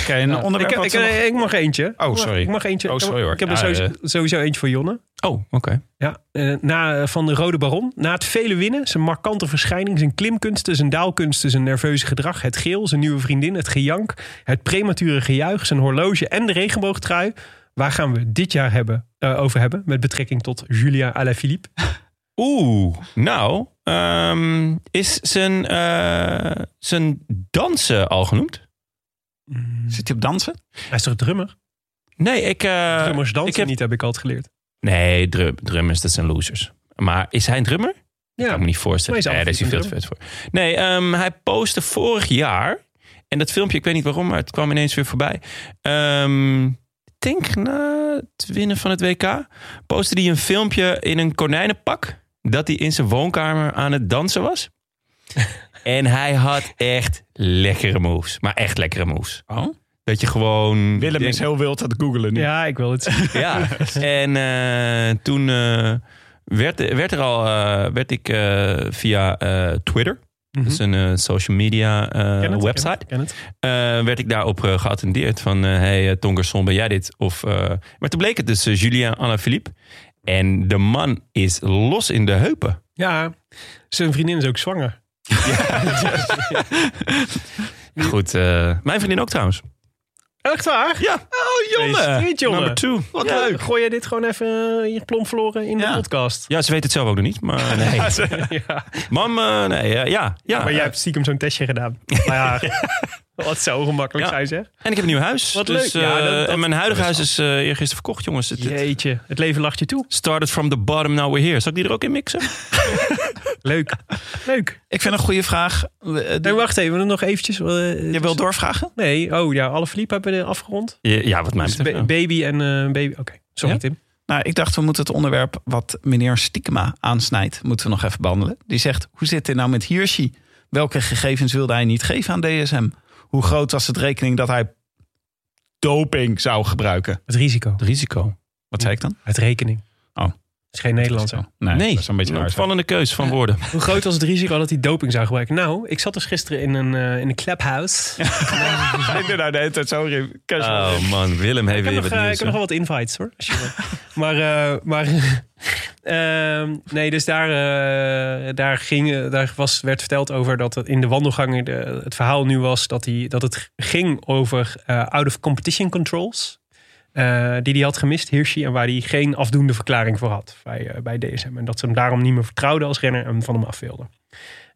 Speaker 3: Oké, een onderwerp
Speaker 2: ik,
Speaker 3: wat
Speaker 2: ik,
Speaker 3: we nog-
Speaker 2: ik mag eentje.
Speaker 3: Oh,
Speaker 2: Ik mag-
Speaker 3: sorry.
Speaker 2: Ik mag eentje.
Speaker 3: Oh, sorry hoor.
Speaker 2: Ik heb er
Speaker 3: Ja,
Speaker 2: sowieso,
Speaker 3: eh.
Speaker 2: sowieso eentje voor Jonne.
Speaker 1: Oh, oké.
Speaker 2: Ja, eh, na, eh, van de Rode Baron. Na het vele winnen, zijn markante verschijning, zijn klimkunsten, zijn daalkunsten, zijn nerveuze gedrag, het geel, zijn nieuwe vriendin, het gejank, het premature gejuich, zijn horloge en de regenboogtrui. Waar gaan we dit jaar hebben, eh, over hebben met betrekking tot Julia Alaphilippe?
Speaker 1: Oeh, nou, ehm, is zijn, eh, zijn dansen al genoemd?
Speaker 3: Zit hij op dansen?
Speaker 2: Hij is toch drummer?
Speaker 1: Nee, ik... eh,
Speaker 2: Drummers dansen
Speaker 1: ik heb-
Speaker 2: niet, heb ik altijd geleerd.
Speaker 1: Nee, drum, drummers, dat zijn losers. Maar is hij een drummer? Ik
Speaker 2: Ja,
Speaker 1: kan me niet voorstellen.
Speaker 2: Maar
Speaker 1: Nee,
Speaker 2: hij
Speaker 1: daar is
Speaker 2: is
Speaker 1: hij veel te
Speaker 2: absoluut
Speaker 1: vet voor. Nee, ehm, hij postte vorig jaar. En dat filmpje, ik weet niet waarom, maar het kwam ineens weer voorbij. Ehm, ik denk na het winnen van het WK. Postte hij een filmpje in een konijnenpak. Dat hij in zijn woonkamer aan het dansen was. en hij had echt lekkere moves. Maar echt lekkere moves.
Speaker 3: Oh.
Speaker 1: Dat je gewoon...
Speaker 3: Willem
Speaker 1: denkt-
Speaker 3: is heel wild aan het googelen nu.
Speaker 2: ja ik wil het zien. Mhm.
Speaker 1: ja, en eh, toen eh, werd, werd, er al, eh, werd ik eh, via eh, Twitter, dat is een eh, social media eh,
Speaker 2: Mhm. Ken het,
Speaker 1: website,
Speaker 2: ken het, ken het.
Speaker 1: eh, werd ik daarop eh, geattendeerd van, eh hey eh, Tongerson, ben jij dit? Of, eh, maar toen bleek het dus eh, Julien Alaphilippe. En de man is los in de heupen.
Speaker 2: Ja, zijn vriendin is ook zwanger.
Speaker 1: Goed, eh, mijn vriendin ook trouwens.
Speaker 2: Echt waar?
Speaker 1: Ja. Oh,
Speaker 2: Jonne.
Speaker 1: Number two. Wat
Speaker 2: Ja,
Speaker 1: leuk.
Speaker 2: Gooi jij dit gewoon even eh, hier plomp verloren in
Speaker 3: Ja.
Speaker 2: de podcast?
Speaker 1: Ja, ze weet het zelf ook nog niet, maar nee.
Speaker 2: ja.
Speaker 1: Mam, eh, nee, eh, ja. ja.
Speaker 2: Maar jij hebt stiekem zo'n testje gedaan. Maar ja, wat zo gemakkelijk
Speaker 1: Ja.
Speaker 2: zijn zeg.
Speaker 1: En ik heb een nieuw huis.
Speaker 2: Wat
Speaker 1: dus,
Speaker 2: leuk.
Speaker 1: eh,
Speaker 2: Ja, dat- dat-
Speaker 1: en mijn huidige huis is eh eergisteren verkocht, jongens. Het, het
Speaker 2: Jeetje, het leven lacht je toe.
Speaker 1: started from the bottom, now we're here. Zal ik die er ook in mixen?
Speaker 2: Leuk. Leuk.
Speaker 3: Ik vind een goede vraag. Je
Speaker 2: Nee, wacht even, nog eventjes. eh,
Speaker 3: Je wil doorvragen?
Speaker 2: Nee, oh ja, alle verliep hebben we afgerond.
Speaker 1: Ja, ja, wat mij
Speaker 2: Dus
Speaker 1: betreft.
Speaker 2: ba- baby en eh, baby. Oké, sorry
Speaker 3: Ja?
Speaker 2: Tim.
Speaker 3: Nou, ik dacht we moeten het onderwerp wat meneer Stiekema aansnijdt, moeten we nog even behandelen. Die zegt, hoe zit dit nou met Hirschi? Welke gegevens wilde hij niet geven aan DSM? Hoe groot was het rekening dat hij doping zou gebruiken?
Speaker 2: Het risico.
Speaker 1: Het risico.
Speaker 3: Wat zei ik dan?
Speaker 2: Het rekening.
Speaker 3: Oh.
Speaker 2: Het is geen Nederlands. hè?
Speaker 3: Nee,
Speaker 1: Nee,
Speaker 3: dat is een beetje
Speaker 1: een
Speaker 3: raar.
Speaker 1: opvallende keus van woorden.
Speaker 2: Hoe groot was het risico dat hij doping zou gebruiken? Nou, ik zat dus gisteren in een, eh, in een clubhouse.
Speaker 3: Ik ben nou de hele tijd zo in- casual.
Speaker 1: Oh man, Willem heeft
Speaker 2: Ik
Speaker 1: weer
Speaker 2: heb, nog,
Speaker 1: wat
Speaker 2: eh,
Speaker 1: nieuws.
Speaker 2: ik heb nog wel wat invites hoor. Als je wil. maar eh, maar ehm, nee, dus daar, eh, daar, ging, eh, daar was, werd verteld over dat het in de wandelgangen de- het verhaal nu was dat, hij, dat het ging over eh, out of competition controls. eh, die hij had gemist, Hirschi, en waar hij geen afdoende verklaring voor had bij, eh, bij DSM. En dat ze hem daarom niet meer vertrouwden als renner en van hem af wilden.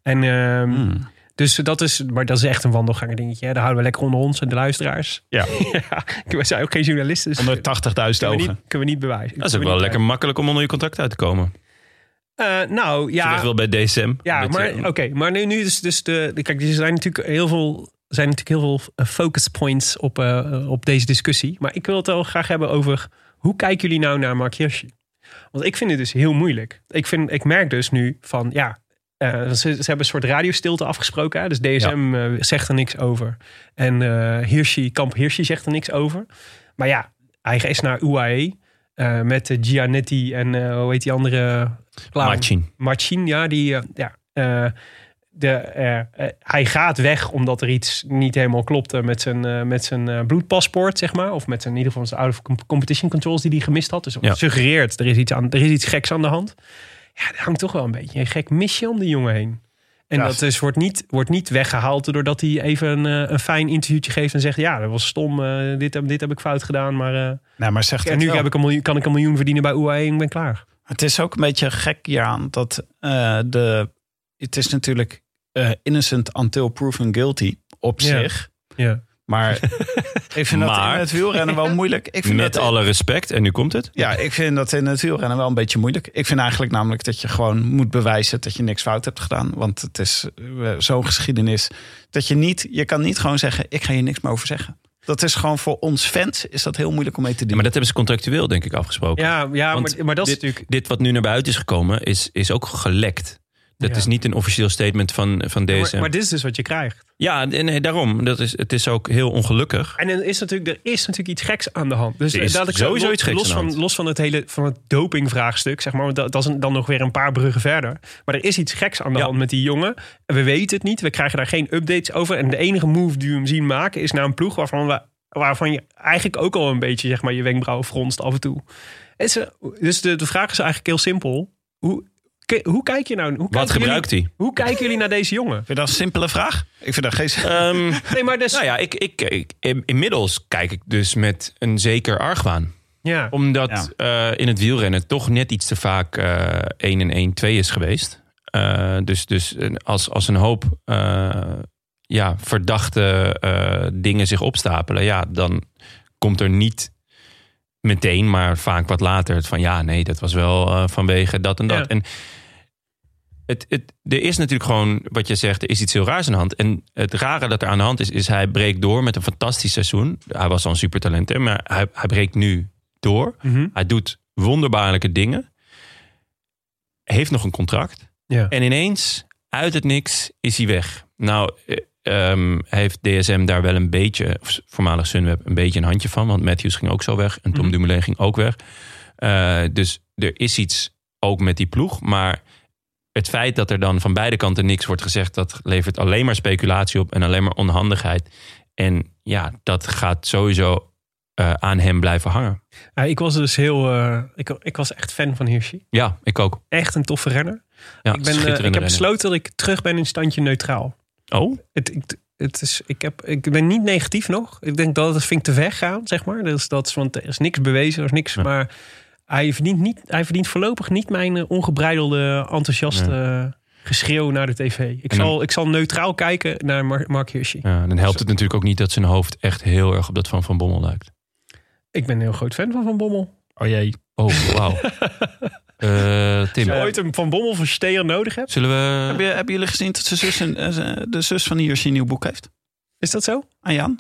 Speaker 2: En ehm,
Speaker 3: Hmm.
Speaker 2: dus dat is, maar dat is echt een wandelganger dingetje. Hè? Daar houden we lekker onder ons en de luisteraars.
Speaker 3: Ja.
Speaker 2: ja we zijn ook geen journalisten. Dus kunnen
Speaker 3: 180.000
Speaker 2: we, niet,
Speaker 3: ogen.
Speaker 2: kunnen we niet
Speaker 1: Dat
Speaker 2: bewijzen.
Speaker 1: is ook
Speaker 2: Kunnen
Speaker 1: wel
Speaker 2: we
Speaker 1: lekker
Speaker 2: niet
Speaker 1: makkelijk om onder je contact uit te komen.
Speaker 2: bewijzen. Eh, nou,
Speaker 1: Ja.
Speaker 2: ja.
Speaker 1: wel bij DSM.
Speaker 2: Ja,
Speaker 1: Dat
Speaker 2: maar
Speaker 1: je-
Speaker 2: oké. maar nu, nu is dus de, de- Kijk, er zijn natuurlijk heel veel, zijn natuurlijk heel veel eh, focus points op, eh, eh, op deze discussie. Maar ik wil het wel graag hebben over hoe kijken jullie nou naar Mark Hirschi? Want ik vind het dus heel moeilijk. Ik, vind, ik merk dus nu van ja. eh, ze, ze hebben een soort radiostilte afgesproken. Hè? Dus DSM eh, zegt er niks over. En eh Hirschi, kamp Hirschi zegt er niks over. Maar ja, hij is naar UAE. eh, met eh, Gianetti en eh, hoe heet die andere? clown?
Speaker 1: Martin.
Speaker 2: Marcin, ja, die, eh, ja eh, de, eh, eh, hij gaat weg omdat er iets niet helemaal klopte met zijn, eh, met zijn eh, bloedpaspoort, zeg maar. Of met zijn, in ieder geval zijn out of com- competition controls die hij gemist had. Dus
Speaker 1: Ja.
Speaker 2: suggereert, er is, iets aan, er is iets geks aan de hand. Ja, er hangt toch wel een beetje een gek misje om die jongen heen. En
Speaker 3: Ja.
Speaker 2: dat dus wordt, niet, wordt niet weggehaald doordat hij even een, eh, een fijn interviewtje geeft en zegt... ja, dat was stom, eh, dit, heb, dit heb ik fout gedaan, maar eh,
Speaker 3: Nee, maar zegt
Speaker 2: en
Speaker 3: het
Speaker 2: nu
Speaker 3: wel.
Speaker 2: heb ik een miljoen, kan ik een miljoen verdienen bij UAE en ik ben klaar.
Speaker 3: Het is ook een beetje gek hieraan dat eh, de. Het is natuurlijk eh, innocent until proven guilty op
Speaker 2: Ja.
Speaker 3: zich.
Speaker 2: Ja.
Speaker 3: Maar ik vind dat
Speaker 1: Maar-
Speaker 3: in het wielrennen wel moeilijk. Ik vind
Speaker 1: Met
Speaker 3: dat
Speaker 1: alle respect, en nu komt het.
Speaker 3: Ja, ik vind dat in het wielrennen wel een beetje moeilijk. Ik vind eigenlijk namelijk dat je gewoon moet bewijzen dat je niks fout hebt gedaan. Want het is eh, zo'n geschiedenis dat je niet... Je kan niet gewoon zeggen, ik ga hier niks meer over zeggen. Dat is gewoon voor ons fans is dat heel moeilijk om mee te
Speaker 1: Ja,
Speaker 3: doen.
Speaker 1: maar dat hebben ze contractueel, denk ik, afgesproken.
Speaker 2: Ja, ja
Speaker 1: Want
Speaker 2: maar, maar dat is
Speaker 1: dit,
Speaker 2: natuurlijk...
Speaker 1: dit wat nu naar buiten is gekomen, is, is ook gelekt. Dat
Speaker 2: Ja.
Speaker 1: is niet een officieel statement van, van
Speaker 2: Maar,
Speaker 1: deze.
Speaker 2: maar dit is dus wat je krijgt.
Speaker 1: Ja, nee, nee, daarom. Dat is, het is ook heel ongelukkig.
Speaker 2: En er is natuurlijk, er is natuurlijk iets geks aan de hand. Dus
Speaker 1: Er is
Speaker 2: dat ik
Speaker 1: sowieso
Speaker 2: los,
Speaker 1: iets geks
Speaker 2: los
Speaker 1: aan de
Speaker 2: van,
Speaker 1: hand.
Speaker 2: Los van het hele van het dopingvraagstuk, zeg maar. Want dat, dat is een- dan nog weer een paar bruggen verder. Maar er is iets geks aan de
Speaker 1: Ja.
Speaker 2: hand met die jongen. En we weten het niet. We krijgen daar geen updates over. En de enige move die we hem zien maken is naar een ploeg waarvan, we, waarvan je eigenlijk ook al een beetje zeg maar, je wenkbrauwen fronst af en toe. En ze- dus de, de vraag is eigenlijk heel simpel. Hoe, ke- hoe kijk je nou? Hoe
Speaker 1: Wat
Speaker 2: kijken
Speaker 1: gebruikt
Speaker 2: jullie,
Speaker 1: hij?
Speaker 2: Hoe kijken jullie naar deze jongen?
Speaker 3: Vind je dat een simpele vraag? Ik vind dat geen...
Speaker 1: Ehm,
Speaker 2: Nee, maar dus,
Speaker 1: nou ja, ik, ik, ik, in- inmiddels kijk ik dus met een zeker argwaan.
Speaker 2: ja.
Speaker 1: Omdat eh, in het wielrennen toch net iets te vaak eh 1 en 1 2 is geweest. Eh, dus dus een- als, als een hoop eh, ja, verdachte eh, dingen zich opstapelen, ja, dan komt er niet meteen, maar vaak wat later het van ja, nee, dat was wel eh, vanwege dat en dat.
Speaker 2: Ja.
Speaker 1: En het, het, er is natuurlijk gewoon, wat je zegt, er is iets heel raars aan de hand. En het rare dat er aan de hand is, is hij breekt door met een fantastisch seizoen. Hij was al een supertalent, hè, maar hij, hij breekt nu door.
Speaker 2: Mhm.
Speaker 1: Hij doet wonderbaarlijke dingen. Heeft nog een contract.
Speaker 2: Ja.
Speaker 1: En ineens, uit het niks, is hij weg. Nou, eh, ehm, heeft DSM daar wel een beetje, of voormalig Sunweb, een beetje een handje van. Want Matthews ging ook zo weg. En Tom
Speaker 2: Mhm.
Speaker 1: Dumoulin ging ook weg. Eh, dus er is iets ook met die ploeg. Maar het feit dat er dan van beide kanten niks wordt gezegd... dat levert alleen maar speculatie op en alleen maar onhandigheid. En ja, dat gaat sowieso eh, aan hem blijven hangen.
Speaker 2: Ja, ik was dus heel. eh, ik, ik was echt fan van Hirschi.
Speaker 1: Ja, ik ook.
Speaker 2: Echt een toffe renner.
Speaker 1: Ja,
Speaker 2: ik, ben, eh, ik
Speaker 1: schitterende
Speaker 2: heb
Speaker 1: renner.
Speaker 2: besloten dat ik terug ben in standje neutraal.
Speaker 1: Oh,
Speaker 2: Het, ik, het is, ik, heb, ik ben niet negatief nog. Ik denk dat het vind ik te ver gaan, zeg maar. Dus dat is, want er is niks bewezen, er is niks.
Speaker 1: Ja.
Speaker 2: Maar hij verdient, niet, hij verdient voorlopig niet mijn eh, ongebreidelde, enthousiaste eh, geschreeuw naar de tv. Ik,
Speaker 1: En dan-
Speaker 2: zal, ik zal neutraal kijken naar Mar- Mark Hirschi.
Speaker 1: ja, dan helpt het natuurlijk ook niet dat zijn hoofd echt heel erg op dat van Van Bommel lijkt.
Speaker 2: Ik ben een heel groot fan van Van Bommel.
Speaker 3: Oh jee.
Speaker 1: Oh, wauw. Eh, Tim,
Speaker 2: Als je ooit een Van Bommel versteer nodig hebt,
Speaker 1: zullen
Speaker 3: Heb je,
Speaker 1: we...
Speaker 3: hebben jullie gezien dat zijn zus een, eh, de zus van hier een nieuw boek heeft?
Speaker 2: is dat zo?
Speaker 3: Aan Jan?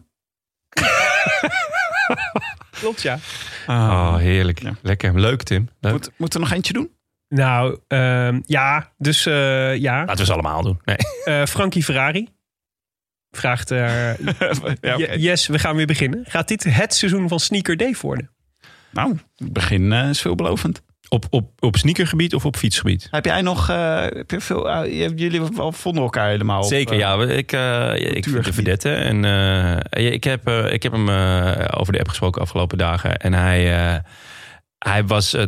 Speaker 2: Klopt, ja.
Speaker 3: Ah,
Speaker 1: Oh, heerlijk.
Speaker 3: Ja.
Speaker 1: Lekker. Leuk, Tim. Leuk.
Speaker 3: moet, moet er nog eentje doen?
Speaker 2: Nou, ehm, ja. Dus eh, ja.
Speaker 1: Laten we ze allemaal doen. Nee.
Speaker 2: Eh, Frankie Ferrari vraagt... eh,
Speaker 3: ja, oké.
Speaker 2: "J- Yes, we gaan weer beginnen. Gaat dit het seizoen van Sneaker Day worden?
Speaker 3: Nou, het begin eh, is veelbelovend.
Speaker 1: Op, op, op sneakergebied of op fietsgebied?
Speaker 3: Heb jij nog... eh, heb je veel, eh, je- jullie wel vonden elkaar helemaal op,
Speaker 1: Zeker,
Speaker 3: eh,
Speaker 1: ja. Ik, eh ik vind de
Speaker 3: cultuurgebied.
Speaker 1: vedette. En eh, ik, heb, eh, ik heb hem eh, over de app gesproken afgelopen dagen. En hij, eh, hij was eh,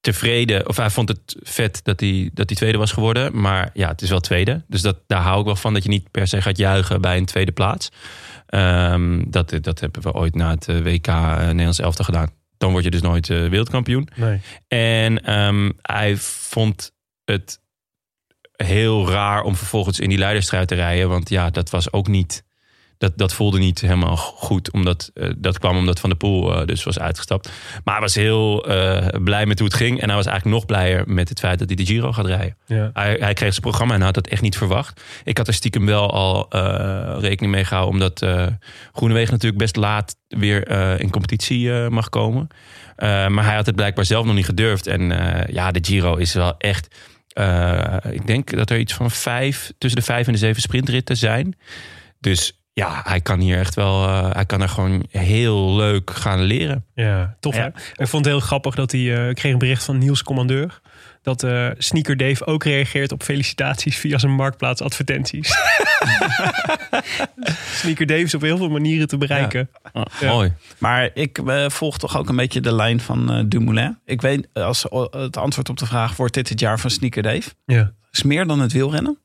Speaker 1: tevreden. Of hij vond het vet dat hij, dat hij tweede was geworden. Maar ja, het is wel tweede. Dus dat, daar hou ik wel van. Dat je niet per se gaat juichen bij een tweede plaats. Ehm, dat, dat hebben we ooit na het eh, WK eh, Nederlands elftal gedaan. Dan word je dus nooit eh, wereldkampioen.
Speaker 2: Nee.
Speaker 1: En ehm, hij vond het heel raar om vervolgens in die leidersstrijd te rijden. Want ja, dat was ook niet. Dat, dat voelde niet helemaal goed. Omdat, eh, dat kwam omdat Van der Poel eh, dus was uitgestapt. Maar hij was heel eh, blij met hoe het ging. En hij was eigenlijk nog blijer met het feit dat hij de Giro gaat rijden.
Speaker 2: Ja.
Speaker 1: Hij, hij kreeg zijn programma en had dat echt niet verwacht. Ik had er stiekem wel al eh, rekening mee gehouden. Omdat eh Groenewegen natuurlijk best laat weer eh, in competitie eh, mag komen. Eh, maar hij had het blijkbaar zelf nog niet gedurfd. En eh, ja, de Giro is wel echt... eh, ik denk dat er iets van vijf, tussen de vijf en de zeven sprintritten zijn. Dus ja, hij kan hier echt wel... eh, hij kan er gewoon heel leuk gaan leren.
Speaker 2: Ja, tof
Speaker 1: Ja.
Speaker 2: hè? Ik vond het heel grappig dat hij... eh, ik kreeg een bericht van Niels Commandeur... dat eh, Sneaker Dave ook reageert op felicitaties... via zijn marktplaatsadvertenties. Sneaker Dave is op heel veel manieren te bereiken. Ja.
Speaker 1: Mooi.
Speaker 3: Maar ik eh, volg toch ook een beetje de lijn van eh, Dumoulin. Ik weet, eh, als eh, het antwoord op de vraag wordt dit het jaar van Sneaker Dave,
Speaker 2: Ja.
Speaker 3: is meer dan het wielrennen.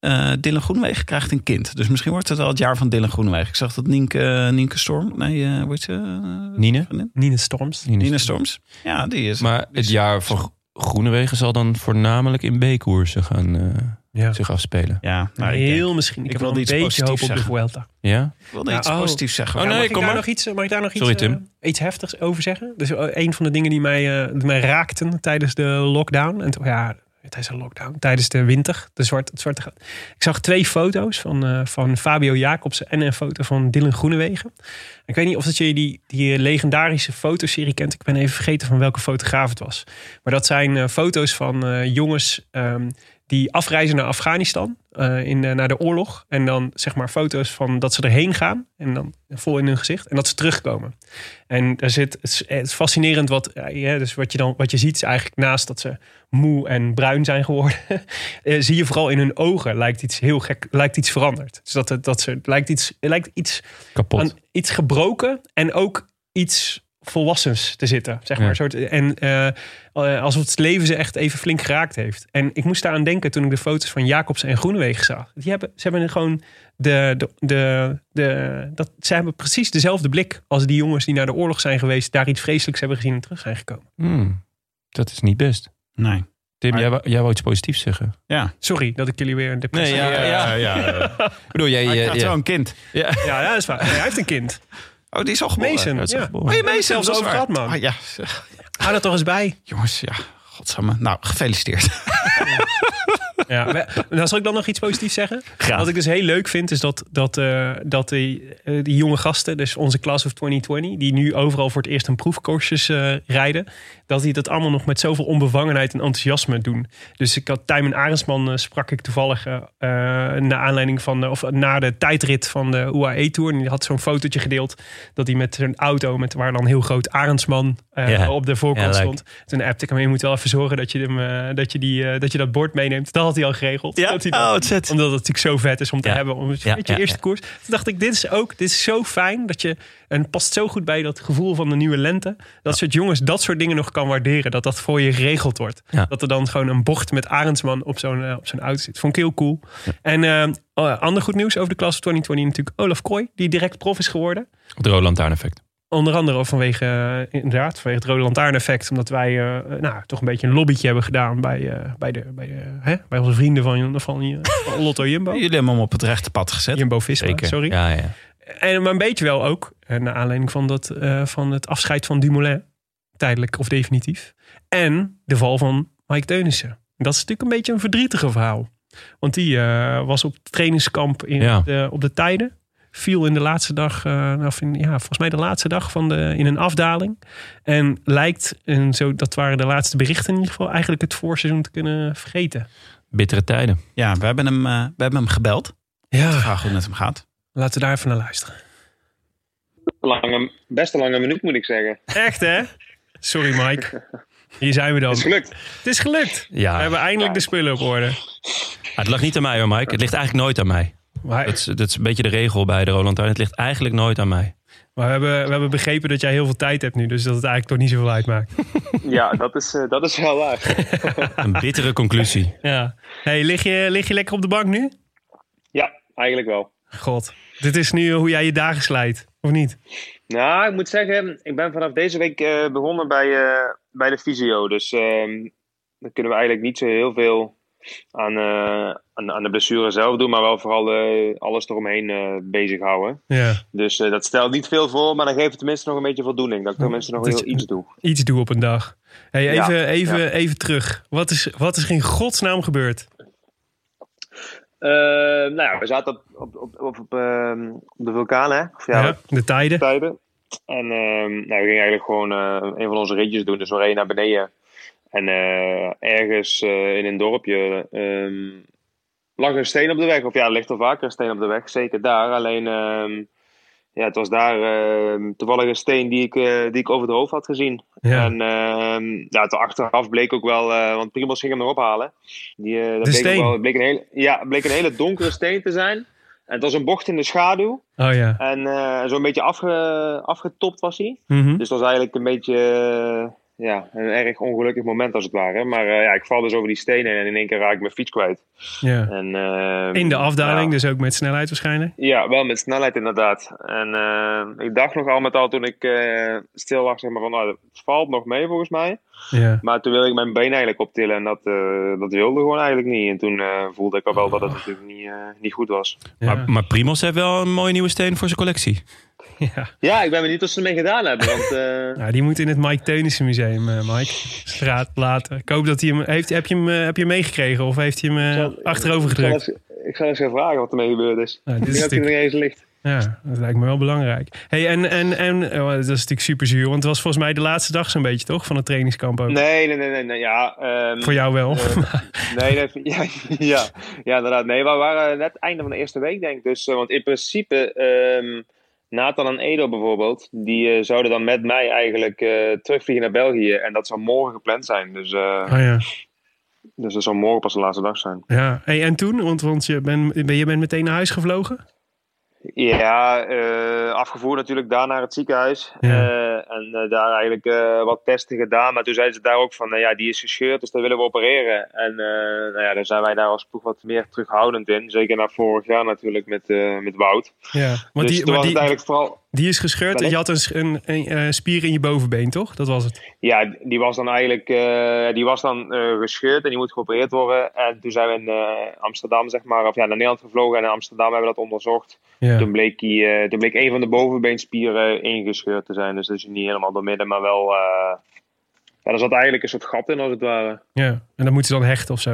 Speaker 3: Eh Dylan Groenwegen krijgt een kind. Dus misschien wordt het wel het jaar van Dylan Groenwegen. Ik zag dat Nienke, eh, Nienke Storm... Nee, eh hoe heet ze? eh,
Speaker 1: Nine?
Speaker 3: vriendin?
Speaker 2: Nina Storms. Nou,
Speaker 3: Nina Storms. Ja, die is...
Speaker 1: Maar het jaar van Groenewegen zal dan voornamelijk in B-koersen gaan eh,
Speaker 2: Ja.
Speaker 1: zich afspelen.
Speaker 3: Ja, nou, ik,
Speaker 2: Heel
Speaker 3: denk-
Speaker 2: misschien. Ik,
Speaker 3: ik
Speaker 2: heb wel
Speaker 3: wilde
Speaker 2: een
Speaker 3: iets
Speaker 2: beetje hoop
Speaker 3: positiefs
Speaker 2: op de
Speaker 3: zeggen.
Speaker 2: Vuelta.
Speaker 1: Ja?
Speaker 3: ik wilde
Speaker 2: Ja,
Speaker 3: iets
Speaker 2: oh.
Speaker 3: positiefs
Speaker 1: Oh,
Speaker 3: zeggen. maar-
Speaker 1: nee,
Speaker 2: mag, ik
Speaker 1: kom
Speaker 2: daar
Speaker 1: maar.
Speaker 2: nog iets, eh, mag ik daar nog
Speaker 1: Sorry,
Speaker 2: iets, eh,
Speaker 1: Tim.
Speaker 2: iets heftigs over zeggen? Dus eh, een van de dingen die mij, eh, die mij raakten tijdens de lockdown. En toen- ja, tijdens de lockdown. Tijdens de winter. De zwarte, het zwarte gat. Ik zag twee foto's van, eh, van Fabio Jacobsen en een foto van Dylan Groenewegen. Ik weet niet of dat jullie die, die legendarische fotoserie kent. Ik ben even vergeten van welke fotograaf het was. Maar dat zijn eh, foto's van eh, jongens ehm, die afreizen naar Afghanistan. eh, in, eh, naar de oorlog. En dan zeg maar foto's van dat ze erheen gaan. En dan vol in hun gezicht. En dat ze terugkomen. En daar zit, het is, het is fascinerend wat, eh, ja, dus wat, je dan, wat je ziet. Is eigenlijk naast dat ze moe en bruin zijn geworden. eh, zie je vooral in hun ogen. Lijkt iets heel gek. Lijkt iets veranderd. Dus dat, het- dat ze. Lijkt iets, lijkt iets
Speaker 1: Kapot.
Speaker 2: aan iets gebroken en ook iets volwassens te zitten. Zeg maar.
Speaker 1: Ja.
Speaker 2: Een soort, en eh, eh, alsof het leven ze echt even flink geraakt heeft. En ik moest daaraan denken toen ik de foto's van Jacobs en Groenewegen zag. Die hebben, ze hebben gewoon de, de, de, de, dat, ze hebben precies dezelfde blik als die jongens die naar de oorlog zijn geweest, daar iets vreselijks hebben gezien en terug zijn gekomen.
Speaker 1: Hmm, dat is niet best.
Speaker 3: Nee.
Speaker 1: Tim,
Speaker 3: Maar-
Speaker 1: jij, wou- jij wou iets positiefs zeggen.
Speaker 3: Ja.
Speaker 2: Sorry dat ik jullie weer een depressie.
Speaker 1: Nee, Ja, ja.
Speaker 3: ja.
Speaker 1: Ik bedoel, jij...
Speaker 3: Hij
Speaker 1: jij-
Speaker 3: krijgt
Speaker 1: jij-
Speaker 3: wel een kind.
Speaker 2: ja, ja, dat is waar. Nee, hij heeft een kind.
Speaker 3: Oh, die is al geboren.
Speaker 2: Mason.
Speaker 1: Ja, het is
Speaker 2: Ja.
Speaker 1: geboren.
Speaker 3: Oh, je
Speaker 2: het
Speaker 3: Mason.
Speaker 2: zelfs
Speaker 3: dat is
Speaker 2: over
Speaker 3: waar.
Speaker 2: gehad, man.
Speaker 3: Ah, ja, zeg.
Speaker 2: Hou dat toch eens bij.
Speaker 3: jongens, ja. Godsamme. Nou, gefeliciteerd.
Speaker 2: Ja, we- nou, zal ik dan nog iets positiefs zeggen?
Speaker 3: Graag.
Speaker 2: Wat ik dus heel leuk vind, is dat, dat, eh, dat die, eh, die jonge gasten, dus onze class of 2020, die nu overal voor het eerst een proefcursus eh, rijden, dat die dat allemaal nog met zoveel onbevangenheid en enthousiasme doen. Dus ik had Tijmen Arendsman eh, sprak ik toevallig eh eh, naar aanleiding van, de- of eh, na de tijdrit van de UAE Tour. En die had zo'n fotootje gedeeld dat hij met zijn auto, met, waar dan heel groot Arendsman eh,
Speaker 1: Ja.
Speaker 2: op de voorkant
Speaker 1: Ja, leuk.
Speaker 2: stond. Toen appte ik hem, je moet wel even zorgen dat je, hem, eh, dat, je die, eh, dat je dat bord meeneemt. Dat had hij al geregeld. Dat hij dat-
Speaker 1: Oh, het zet.
Speaker 2: omdat het natuurlijk zo vet is om te
Speaker 1: Ja.
Speaker 2: hebben. Om, weet je,
Speaker 1: Ja, ja,
Speaker 2: eerste
Speaker 1: ja.
Speaker 2: koers. Toen dacht ik, dit is ook, dit is zo fijn dat je, en het past zo goed bij dat gevoel van de nieuwe lente. Dat soort jongens dat soort dingen nog kan waarderen. Dat dat voor je geregeld wordt.
Speaker 1: Ja.
Speaker 2: Dat er dan gewoon een bocht met Arendsman op zo'n eh, op zo'n auto zit. Vond ik heel cool. En eh, eh, ander goed nieuws over de klas 2020 natuurlijk Olaf Kooi. Die direct prof is geworden.
Speaker 1: Het rode lantaarneffect.
Speaker 2: Onder andere vanwege, eh, inderdaad, vanwege het Rode Lantaarn effect. Omdat wij eh, nou, toch een beetje een lobbytje hebben gedaan bij, eh, bij, de, bij, de, hè? bij onze vrienden van, van, eh, van Lotto Jumbo.
Speaker 3: Jullie hebben hem op het rechte pad gezet.
Speaker 2: Jumbo Visma,
Speaker 1: Zeker.
Speaker 2: sorry.
Speaker 1: Ja, ja.
Speaker 2: En, maar een beetje wel ook, eh, naar aanleiding van, dat, eh, van het afscheid van Dumoulin. Tijdelijk of definitief. En de val van Mike Teunissen. Dat is natuurlijk een beetje een verdrietige verhaal. Want die eh, was op trainingskamp in
Speaker 1: Ja.
Speaker 2: de, op de tijden. Viel in de laatste dag, eh, of in, ja, volgens mij de laatste dag van de, in een afdaling. En lijkt, en zo, dat waren de laatste berichten in ieder geval, eigenlijk het voorseizoen te kunnen vergeten.
Speaker 1: Bittere tijden.
Speaker 3: Ja, we hebben hem, eh, we hebben hem gebeld. Ik
Speaker 2: Ja,
Speaker 3: vraag hoe het met hem gaat.
Speaker 2: laten we daar even naar luisteren.
Speaker 4: Lange, best een lange minuut moet ik zeggen.
Speaker 2: Echt hè? Sorry Mike. Hier zijn we dan.
Speaker 4: Het is gelukt.
Speaker 2: Het is gelukt.
Speaker 1: Ja,
Speaker 2: We hebben eindelijk de spullen op orde.
Speaker 1: het lag niet aan mij hoor, Mike. Het ligt eigenlijk nooit aan mij.
Speaker 2: Maar,
Speaker 1: Dat is, dat is een beetje de regel bij de Roland Lantaarn. Het ligt eigenlijk nooit aan mij.
Speaker 2: maar we, hebben, we hebben begrepen dat jij heel veel tijd hebt nu. Dus dat het eigenlijk toch niet zoveel uitmaakt.
Speaker 4: Ja, dat is, eh, dat is wel waar.
Speaker 1: Een bittere conclusie.
Speaker 2: Ja. Hey, lig, je, lig je lekker op de bank nu?
Speaker 4: Ja, eigenlijk wel.
Speaker 2: God, dit is nu hoe jij je dagen slijt. Of niet?
Speaker 4: Nou, ik moet zeggen, ik ben vanaf deze week eh, begonnen bij, eh, bij de fysio. Dus ehm dan kunnen we eigenlijk niet zo heel veel aan, eh, aan, aan de blessure zelf doen. Maar wel vooral eh, alles eromheen eh, bezighouden.
Speaker 2: Ja.
Speaker 4: Dus eh, dat stelt niet veel voor, maar dan geeft het tenminste nog een beetje voldoening. Dat ik tenminste nog
Speaker 2: Dat
Speaker 4: heel
Speaker 2: je-
Speaker 4: iets doe.
Speaker 2: Iets doe op een dag. Hey,
Speaker 4: Ja,
Speaker 2: even, even,
Speaker 4: ja.
Speaker 2: even terug. Wat is, wat is er in godsnaam gebeurd?
Speaker 4: Eh, nou ja, we zaten op, op, op, op, op, ehm, op de vulkaan, hè? Of ja,
Speaker 2: de tijden.
Speaker 4: tijden. En ehm, nou, we gingen eigenlijk gewoon eh, een van onze ritjes doen. Dus we reden naar beneden. En eh, ergens eh, in een dorpje ehm, lag een steen op de weg. Of ja, er ligt er vaker een steen op de weg. Zeker daar. Alleen, ehm, ja, het was daar ehm, toevallig een steen die ik, eh, die ik over het hoofd had gezien.
Speaker 2: Ja.
Speaker 4: En ehm ja, te achteraf bleek ook wel, eh, want Primos ging hem nog ophalen. Die, eh, dat bleek ook
Speaker 2: steen?
Speaker 4: Wel, bleek een hele, ja, bleek een hele donkere steen te zijn. En het was een bocht in de schaduw.
Speaker 2: Oh ja.
Speaker 4: En eh, zo'n beetje afge, afgetopt was hij.
Speaker 2: Mhm.
Speaker 4: Dus dat was eigenlijk een beetje eh, ja, een erg ongelukkig moment als het ware. Maar eh, ja, ik val dus over die stenen en in één keer raak ik mijn fiets kwijt.
Speaker 2: Ja.
Speaker 4: En, ehm,
Speaker 2: In de afdaling,
Speaker 4: ja.
Speaker 2: dus ook met snelheid waarschijnlijk.
Speaker 4: Ja, wel met snelheid inderdaad. En eh, ik dacht nog al met al toen ik eh, stil lag, zeg maar van, nou, het valt nog mee volgens mij.
Speaker 2: Ja.
Speaker 4: Maar toen wilde ik mijn been eigenlijk optillen en dat, eh, dat wilde gewoon eigenlijk niet. En toen eh, voelde ik al wel dat het natuurlijk niet, eh, niet goed was.
Speaker 2: Ja.
Speaker 1: Maar, maar Primos heeft wel een mooie nieuwe steen voor zijn collectie.
Speaker 2: ja.
Speaker 4: Ja, ik ben benieuwd wat ze ermee gedaan hebben. Want eh,
Speaker 2: Nou, die moet in het Mike Teunissen Museum, eh, Mike. Straat laten. Ik hoop dat hij hem... Heeft, heb, je hem eh, heb je hem meegekregen of heeft hij hem eh,
Speaker 4: zal-
Speaker 2: achterover
Speaker 4: ik, zal
Speaker 2: gedrukt?
Speaker 4: eens, ik zal eens gaan vragen wat ermee gebeurd is.
Speaker 2: Nou,
Speaker 4: ik
Speaker 2: dit is
Speaker 4: denk dat hij er
Speaker 2: natuurlijk-
Speaker 4: nog eens ligt.
Speaker 2: Ja, dat lijkt me wel belangrijk. Hey, en, en, en oh, dat is natuurlijk super zuur, want het was volgens mij de laatste dag zo'n beetje, toch? Van het trainingskamp ook.
Speaker 4: Nee, nee, nee, nee. nee ja, ehm,
Speaker 2: Oh. Voor jou wel.
Speaker 4: Nee, dat, ja, ja, ja, inderdaad. Nee, we waren net het einde van de eerste week, denk ik. Dus, eh, want in principe, ehm, Nathan en Edo bijvoorbeeld, die eh, zouden dan met mij eigenlijk eh, terugvliegen naar België. En dat zou morgen gepland zijn. Dus, eh,
Speaker 2: Oh ja.
Speaker 4: dus dat zou morgen pas de laatste dag zijn.
Speaker 2: ja. Hey, en toen? Want, want je, ben, ben, je bent meteen naar huis gevlogen?
Speaker 4: Ja, eh, afgevoerd natuurlijk daar naar het ziekenhuis.
Speaker 2: Ja.
Speaker 4: Eh, en eh, daar eigenlijk eh, wat testen gedaan. Maar toen zeiden ze daar ook van, nou ja, die is gescheurd, dus daar willen we opereren. En eh, nou ja, daar zijn wij daar als ploeg wat meer terughoudend in. Zeker na vorig jaar natuurlijk met, eh, met Wout.
Speaker 2: Ja. Want
Speaker 4: dus
Speaker 2: die,
Speaker 4: toen
Speaker 2: maar
Speaker 4: was
Speaker 2: die,
Speaker 4: het eigenlijk vooral...
Speaker 2: die is gescheurd en je had een, sch- een, een, eh, spier in je bovenbeen, toch? Dat was het.
Speaker 4: Ja, die was dan eigenlijk eh, die was dan, eh, gescheurd en die moet geopereerd worden. En toen zijn we in eh, Amsterdam, zeg maar, of ja, naar Nederland gevlogen. En in Amsterdam hebben we dat onderzocht.
Speaker 2: Ja.
Speaker 4: Toen, bleek die, eh, toen bleek een van de bovenbeenspieren ingescheurd te zijn. Dus dat is niet helemaal door midden, maar wel... eh, ja, er zat eigenlijk een soort gat in, als het ware.
Speaker 2: ja. En dan moeten ze dan hechten of zo.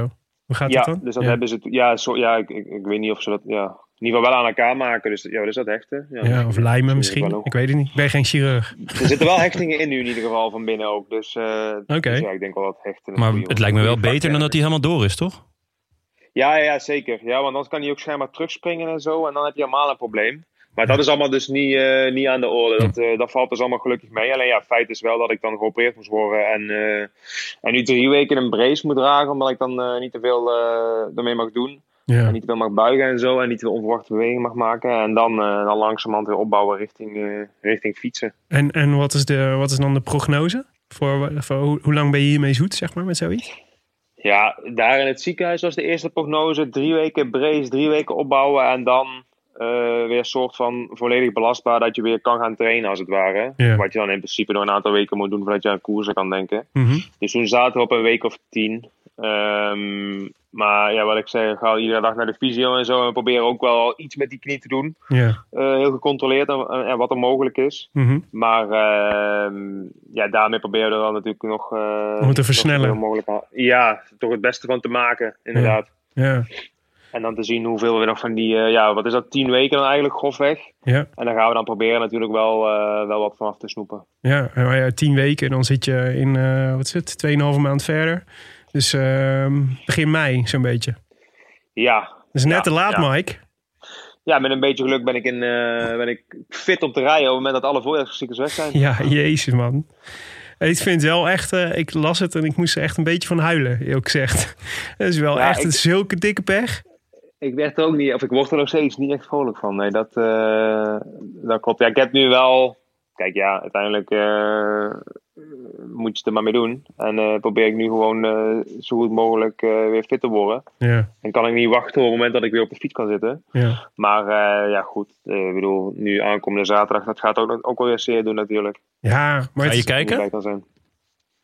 Speaker 2: Hoe gaat
Speaker 4: ja,
Speaker 2: dat dan?
Speaker 4: dus dat
Speaker 2: ja.
Speaker 4: hebben ze... t- Ja, zo, ja ik, ik, ik weet niet of ze dat... Ja, in ieder geval wel aan elkaar maken. Dus ja, dat is dat hechten. Ja,
Speaker 2: Ja, of lijmen
Speaker 4: Wel
Speaker 2: misschien.
Speaker 4: ook.
Speaker 2: Ik weet het niet. Ik ben geen chirurg.
Speaker 4: Er zitten wel hechtingen in nu in ieder geval van binnen ook. Dus, eh,
Speaker 2: Oké.
Speaker 4: dus ja, ik denk wel dat hechten... een
Speaker 1: Maar
Speaker 4: goeie-
Speaker 1: het lijkt me wel
Speaker 4: goeie
Speaker 1: beter dan dat
Speaker 4: factor
Speaker 1: hij helemaal door is, toch?
Speaker 4: Ja, ja, ja, zeker. Ja, want anders kan hij ook schijnbaar terugspringen en zo. En dan heb je helemaal een probleem. Maar dat is allemaal dus niet, eh, niet aan de orde. Dat, eh, dat valt dus allemaal gelukkig mee. Alleen ja, feit is wel dat ik dan geopereerd moest worden. En, eh, en nu drie weken een brace moet dragen. Omdat ik dan eh, niet te veel eh, ermee mag doen.
Speaker 2: Ja.
Speaker 4: En niet te veel mag buigen en zo. En niet te veel onverwachte bewegingen mag maken. En dan, eh, dan langzamerhand weer opbouwen richting, eh, richting fietsen.
Speaker 2: En, en wat, is de, wat is dan de prognose? Voor, voor hoe, hoe lang ben je hiermee zoet, zeg maar, met zoiets?
Speaker 4: Ja, daar in het ziekenhuis was de eerste prognose. Drie weken brace, drie weken opbouwen en dan eh, weer een soort van volledig belastbaar dat je weer kan gaan trainen als het ware.
Speaker 2: Ja.
Speaker 4: Wat je dan in principe nog een aantal weken moet doen voordat je aan koersen kan denken.
Speaker 2: Mhm.
Speaker 4: Dus toen zaten we op een week of tien. Ehm, maar ja, wat ik zei, ga iedere dag naar de fysio en zo. En we proberen ook wel al iets met die knie te doen.
Speaker 2: Ja.
Speaker 4: Eh, heel gecontroleerd en, en wat er mogelijk is.
Speaker 2: Mhm.
Speaker 4: Maar ehm, ja, daarmee proberen we er wel natuurlijk nog... eh,
Speaker 2: Om het te
Speaker 4: nog
Speaker 2: versnellen.
Speaker 4: zoveel mogelijk aan- Ja, toch het beste van te maken, inderdaad.
Speaker 2: ja.
Speaker 4: En dan te zien hoeveel we nog van die... eh, ja, wat is dat, tien weken dan eigenlijk grofweg?
Speaker 2: Ja.
Speaker 4: En dan gaan we dan proberen natuurlijk wel, eh, wel wat vanaf te snoepen.
Speaker 2: Ja, maar ja, tien weken en dan zit je in, eh, wat is het, tweeënhalve maand verder. Dus ehm, begin mei zo'n beetje.
Speaker 4: Ja.
Speaker 2: Dus net
Speaker 4: Ja,
Speaker 2: te laat,
Speaker 4: ja.
Speaker 2: Mike.
Speaker 4: Ja, met een beetje geluk ben ik, in, eh, ben ik fit om te rijden op het moment dat alle voorjaarsziektes weg zijn.
Speaker 2: Ja, jezus man. Ik vind wel echt, eh, ik las het en ik moest er echt een beetje van huilen, eerlijk gezegd. Dat is wel
Speaker 4: Ja,
Speaker 2: echt
Speaker 4: ik-
Speaker 2: een zulke dikke pech.
Speaker 4: Ik werd er ook niet, of ik word er nog steeds niet echt vrolijk van. Nee, dat, eh, dat klopt. Ja, ik heb nu wel. Kijk, ja, uiteindelijk eh, moet je het er maar mee doen. En eh, probeer ik nu gewoon eh, zo goed mogelijk eh, weer fit te worden.
Speaker 2: Ja,
Speaker 4: En kan ik niet wachten op het moment dat ik weer op de fiets kan zitten.
Speaker 2: ja.
Speaker 4: Maar eh, ja, goed. eh, ik bedoel, nu aankomende zaterdag, dat gaat ook, ook wel weer zeer doen natuurlijk.
Speaker 2: Ja, maar
Speaker 1: Ga je
Speaker 2: het,
Speaker 4: Moet
Speaker 1: kijken?
Speaker 4: bij kan zijn.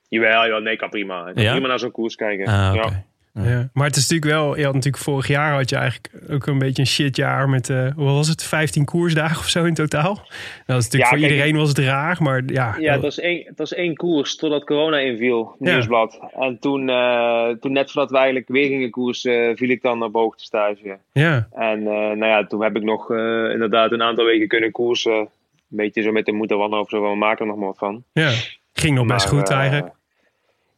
Speaker 4: Jawel, jawel, nee, ik kan prima. Ik kan
Speaker 1: Ja?
Speaker 4: prima naar zo'n koers kijken.
Speaker 1: Ah, oké.
Speaker 4: ja.
Speaker 2: Ja, maar het is natuurlijk wel, je had natuurlijk vorig jaar had je eigenlijk ook een beetje een shitjaar met, eh wat was het, 15 koersdagen of zo in totaal. Nou, dat is natuurlijk
Speaker 4: Ja,
Speaker 2: voor
Speaker 4: kijk,
Speaker 2: iedereen was het raar, maar ja.
Speaker 4: Ja,
Speaker 2: dat-
Speaker 4: het was, één, het was één koers totdat corona inviel,
Speaker 2: Ja.
Speaker 4: nieuwsblad. En toen, eh, toen, net voordat we eigenlijk weer gingen koersen, eh, viel ik dan op hoogtestage.
Speaker 2: ja.
Speaker 4: En eh, nou ja, toen heb ik nog eh, inderdaad een aantal weken kunnen koersen. Een beetje zo met de moeder wandelen of zo, maar we maken er nog maar wat van.
Speaker 2: ja, ging nog best
Speaker 4: Maar,
Speaker 2: goed
Speaker 4: eh,
Speaker 2: eigenlijk.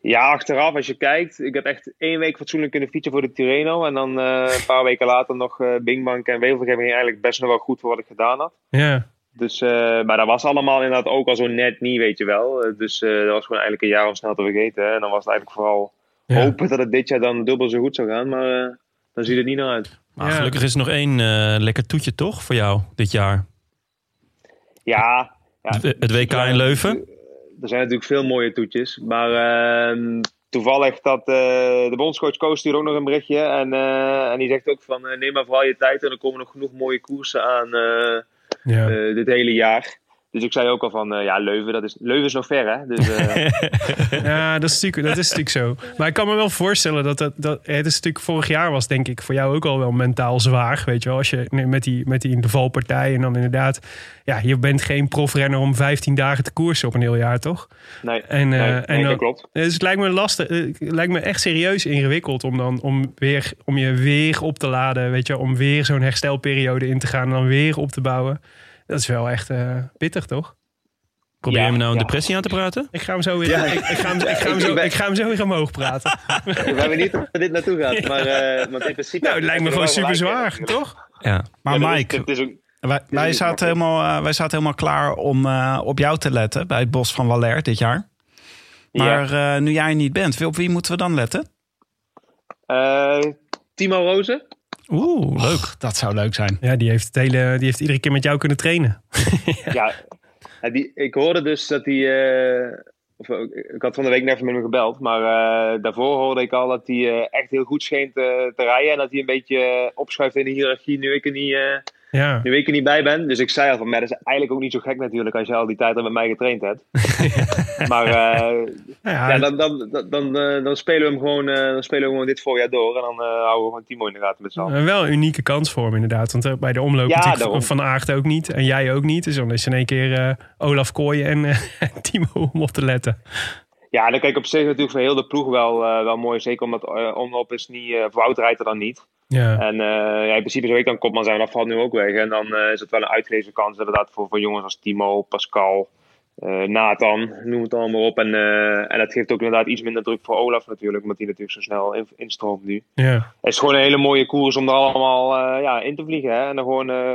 Speaker 4: Ja, achteraf als je kijkt. Ik heb echt één week fatsoenlijk kunnen fietsen voor de Tirreno. En dan eh, een paar weken later nog eh Bingbank en Wevelgem ging eigenlijk best nog wel goed voor wat ik gedaan had.
Speaker 2: Ja,
Speaker 4: Dus, eh, maar dat was allemaal inderdaad ook al zo net niet, weet je wel. Eh, Dus eh, dat was gewoon eigenlijk een jaar om snel te vergeten. Hè. En dan was het eigenlijk vooral
Speaker 2: ja.
Speaker 4: hopen dat het dit jaar dan dubbel zo goed zou gaan. Maar eh, dan ziet het niet naar uit.
Speaker 1: Maar
Speaker 2: Ja.
Speaker 1: gelukkig is er nog één eh, lekker toetje, toch? Voor jou dit jaar.
Speaker 4: Ja, ja
Speaker 1: Het het WK in Leuven.
Speaker 4: er zijn natuurlijk veel mooie toetjes. Maar ehm, toevallig dat eh, de bondscoach Koos stuurt ook nog een berichtje. En, eh, en die zegt ook van eh, neem maar vooral je tijd. En er komen nog genoeg mooie koersen aan eh,
Speaker 2: Ja.
Speaker 4: eh, dit hele jaar. Dus ik zei ook al van eh, ja, Leuven, dat is, Leuven is nog ver hè. Dus, eh,
Speaker 2: Ja, dat is, natuurlijk, dat is natuurlijk zo. Maar ik kan me wel voorstellen dat, dat, dat het is natuurlijk vorig jaar was, denk ik, voor jou ook al wel mentaal zwaar. Weet je wel, als je nee, met die, met die de valpartij en dan inderdaad, ja, je bent geen profrenner om 15 dagen te koersen op een heel jaar, toch?
Speaker 4: nee,
Speaker 2: En, eh,
Speaker 4: nee,
Speaker 2: en
Speaker 4: nee,
Speaker 2: dan-
Speaker 4: dat klopt.
Speaker 2: Dus het lijkt me lastig, eh, het lijkt me echt serieus ingewikkeld om dan om weer, om je weer op te laden, weet je, wel, om weer zo'n herstelperiode in te gaan en dan weer op te bouwen. Dat is wel echt eh, pittig, toch?
Speaker 1: Probeer
Speaker 4: Ja,
Speaker 1: je me nou een
Speaker 4: ja.
Speaker 1: depressie aan te praten?
Speaker 2: Ik ga hem zo weer, ik, ik ga hem, ik ga hem zo, ik ga hem zo weer omhoog praten.
Speaker 4: We hebben niet dat dit naartoe gaat. Maar, eh, want in principe.
Speaker 2: Nou, het lijkt me
Speaker 4: heb je
Speaker 2: gewoon
Speaker 4: er wel
Speaker 2: super
Speaker 4: gelijk
Speaker 2: zwaar,
Speaker 4: in.
Speaker 2: toch?
Speaker 1: Ja.
Speaker 3: Maar
Speaker 4: Ja, dat is-
Speaker 3: Mike,
Speaker 4: dat is ook-
Speaker 3: wij, wij,
Speaker 4: is
Speaker 3: zaten
Speaker 4: makkelijk.
Speaker 3: helemaal, eh, wij zaten helemaal klaar om eh, op jou te letten bij het Bos van Waller dit jaar. Maar eh, nu jij er niet bent, wie- op wie moeten we dan letten?
Speaker 4: Eh, Timo Rozen.
Speaker 3: Oeh, leuk. dat zou leuk zijn.
Speaker 2: Ja, die heeft, het hele, die heeft iedere keer met jou kunnen trainen.
Speaker 4: ja. Ja, die, ik hoorde dus dat hij. eh, of, eh, ik had van de week net even met hem gebeld. Maar eh, daarvoor hoorde ik al dat hij eh, echt heel goed scheen te, te rijden. En dat hij een beetje eh, opschuift in de hiërarchie nu ik, er niet, eh,
Speaker 2: Ja,
Speaker 4: nu ik er niet bij ben. Dus ik zei al van, maar dat is eigenlijk ook niet zo gek natuurlijk als je al die tijd al met mij getraind hebt. maar eh,
Speaker 2: ja,
Speaker 4: ja, dan, dan, dan, dan, eh, dan spelen we hem gewoon, eh, dan spelen we gewoon dit voorjaar door. En dan eh, houden we gewoon Timo in de gaten met z'n allen.
Speaker 2: een wel een unieke kans voor hem inderdaad. Want eh, bij de omloop
Speaker 4: Ja,
Speaker 2: natuurlijk
Speaker 4: daarom.
Speaker 2: Van Aert ook niet. En jij ook niet. Dus dan is in één keer eh, Olaf Kooij en eh, Timo om op te letten.
Speaker 4: Ja, dan kijk ik op zich natuurlijk voor heel de ploeg wel, eh, wel mooi. Zeker omdat eh, Omloop is niet, eh Wout rijdt er dan niet.
Speaker 2: Ja,
Speaker 4: En eh, ja, in principe zou ik dan kopman zijn, maar dat valt nu ook weg. En dan eh, is het wel een uitgelezen kans inderdaad voor, voor jongens als Timo, Pascal, eh, Nathan, noem het allemaal op. En, eh, en dat geeft ook inderdaad iets minder druk voor Olaf natuurlijk, omdat die natuurlijk zo snel in- instroomt nu.
Speaker 2: ja.
Speaker 4: Het is gewoon een hele mooie koers om er allemaal eh, ja, in te vliegen. Hè? En dan gewoon eh,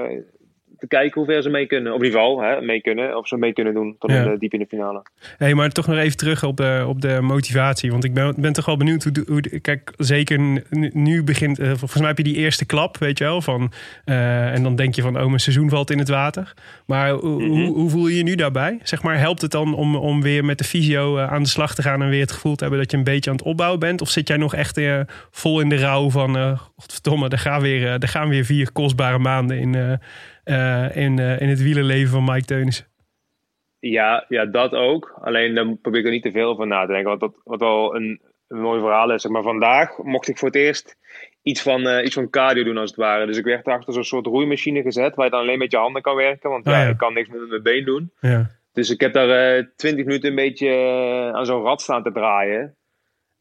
Speaker 4: te kijken hoe ver ze mee kunnen. Op niveau, hè, mee kunnen. Of ze mee kunnen doen tot
Speaker 2: Ja.
Speaker 4: in de- diep in de finale.
Speaker 2: Hey, maar toch nog even terug op de, op de motivatie. Want ik ben, ben toch wel benieuwd hoe, de- hoe de- Kijk, zeker nu, nu begint... eh, volgens mij heb je die eerste klap, weet je wel. Van, eh, en dan denk je van, oh, mijn seizoen valt in het water. Maar hoe- hoe, hoe voel je je nu daarbij? Zeg maar, helpt het dan om, om weer met de fysio eh, aan de slag te gaan... en weer het gevoel te hebben dat je een beetje aan het opbouwen bent? Of zit jij nog echt eh, vol in de rouw van... eh godverdomme, er gaan, weer, eh, er gaan weer vier kostbare maanden in, eh, eh, in, eh, in het wielerleven van Mike Teunissen?
Speaker 4: Ja, ja, dat ook. Alleen dan probeer ik er niet te veel van na te denken. Want dat, wat wel een, een mooi verhaal is. Zeg maar vandaag mocht ik voor het eerst iets van, eh, iets van cardio doen als het ware. Dus ik werd achter zo'n soort roeimachine gezet. Waar je dan alleen met je handen kan werken. Want
Speaker 2: Ah,
Speaker 4: ja,
Speaker 2: ja.
Speaker 4: ik kan niks met mijn been doen.
Speaker 2: Ja.
Speaker 4: Dus ik heb daar twintig minuten een beetje eh, aan zo'n rad staan te draaien.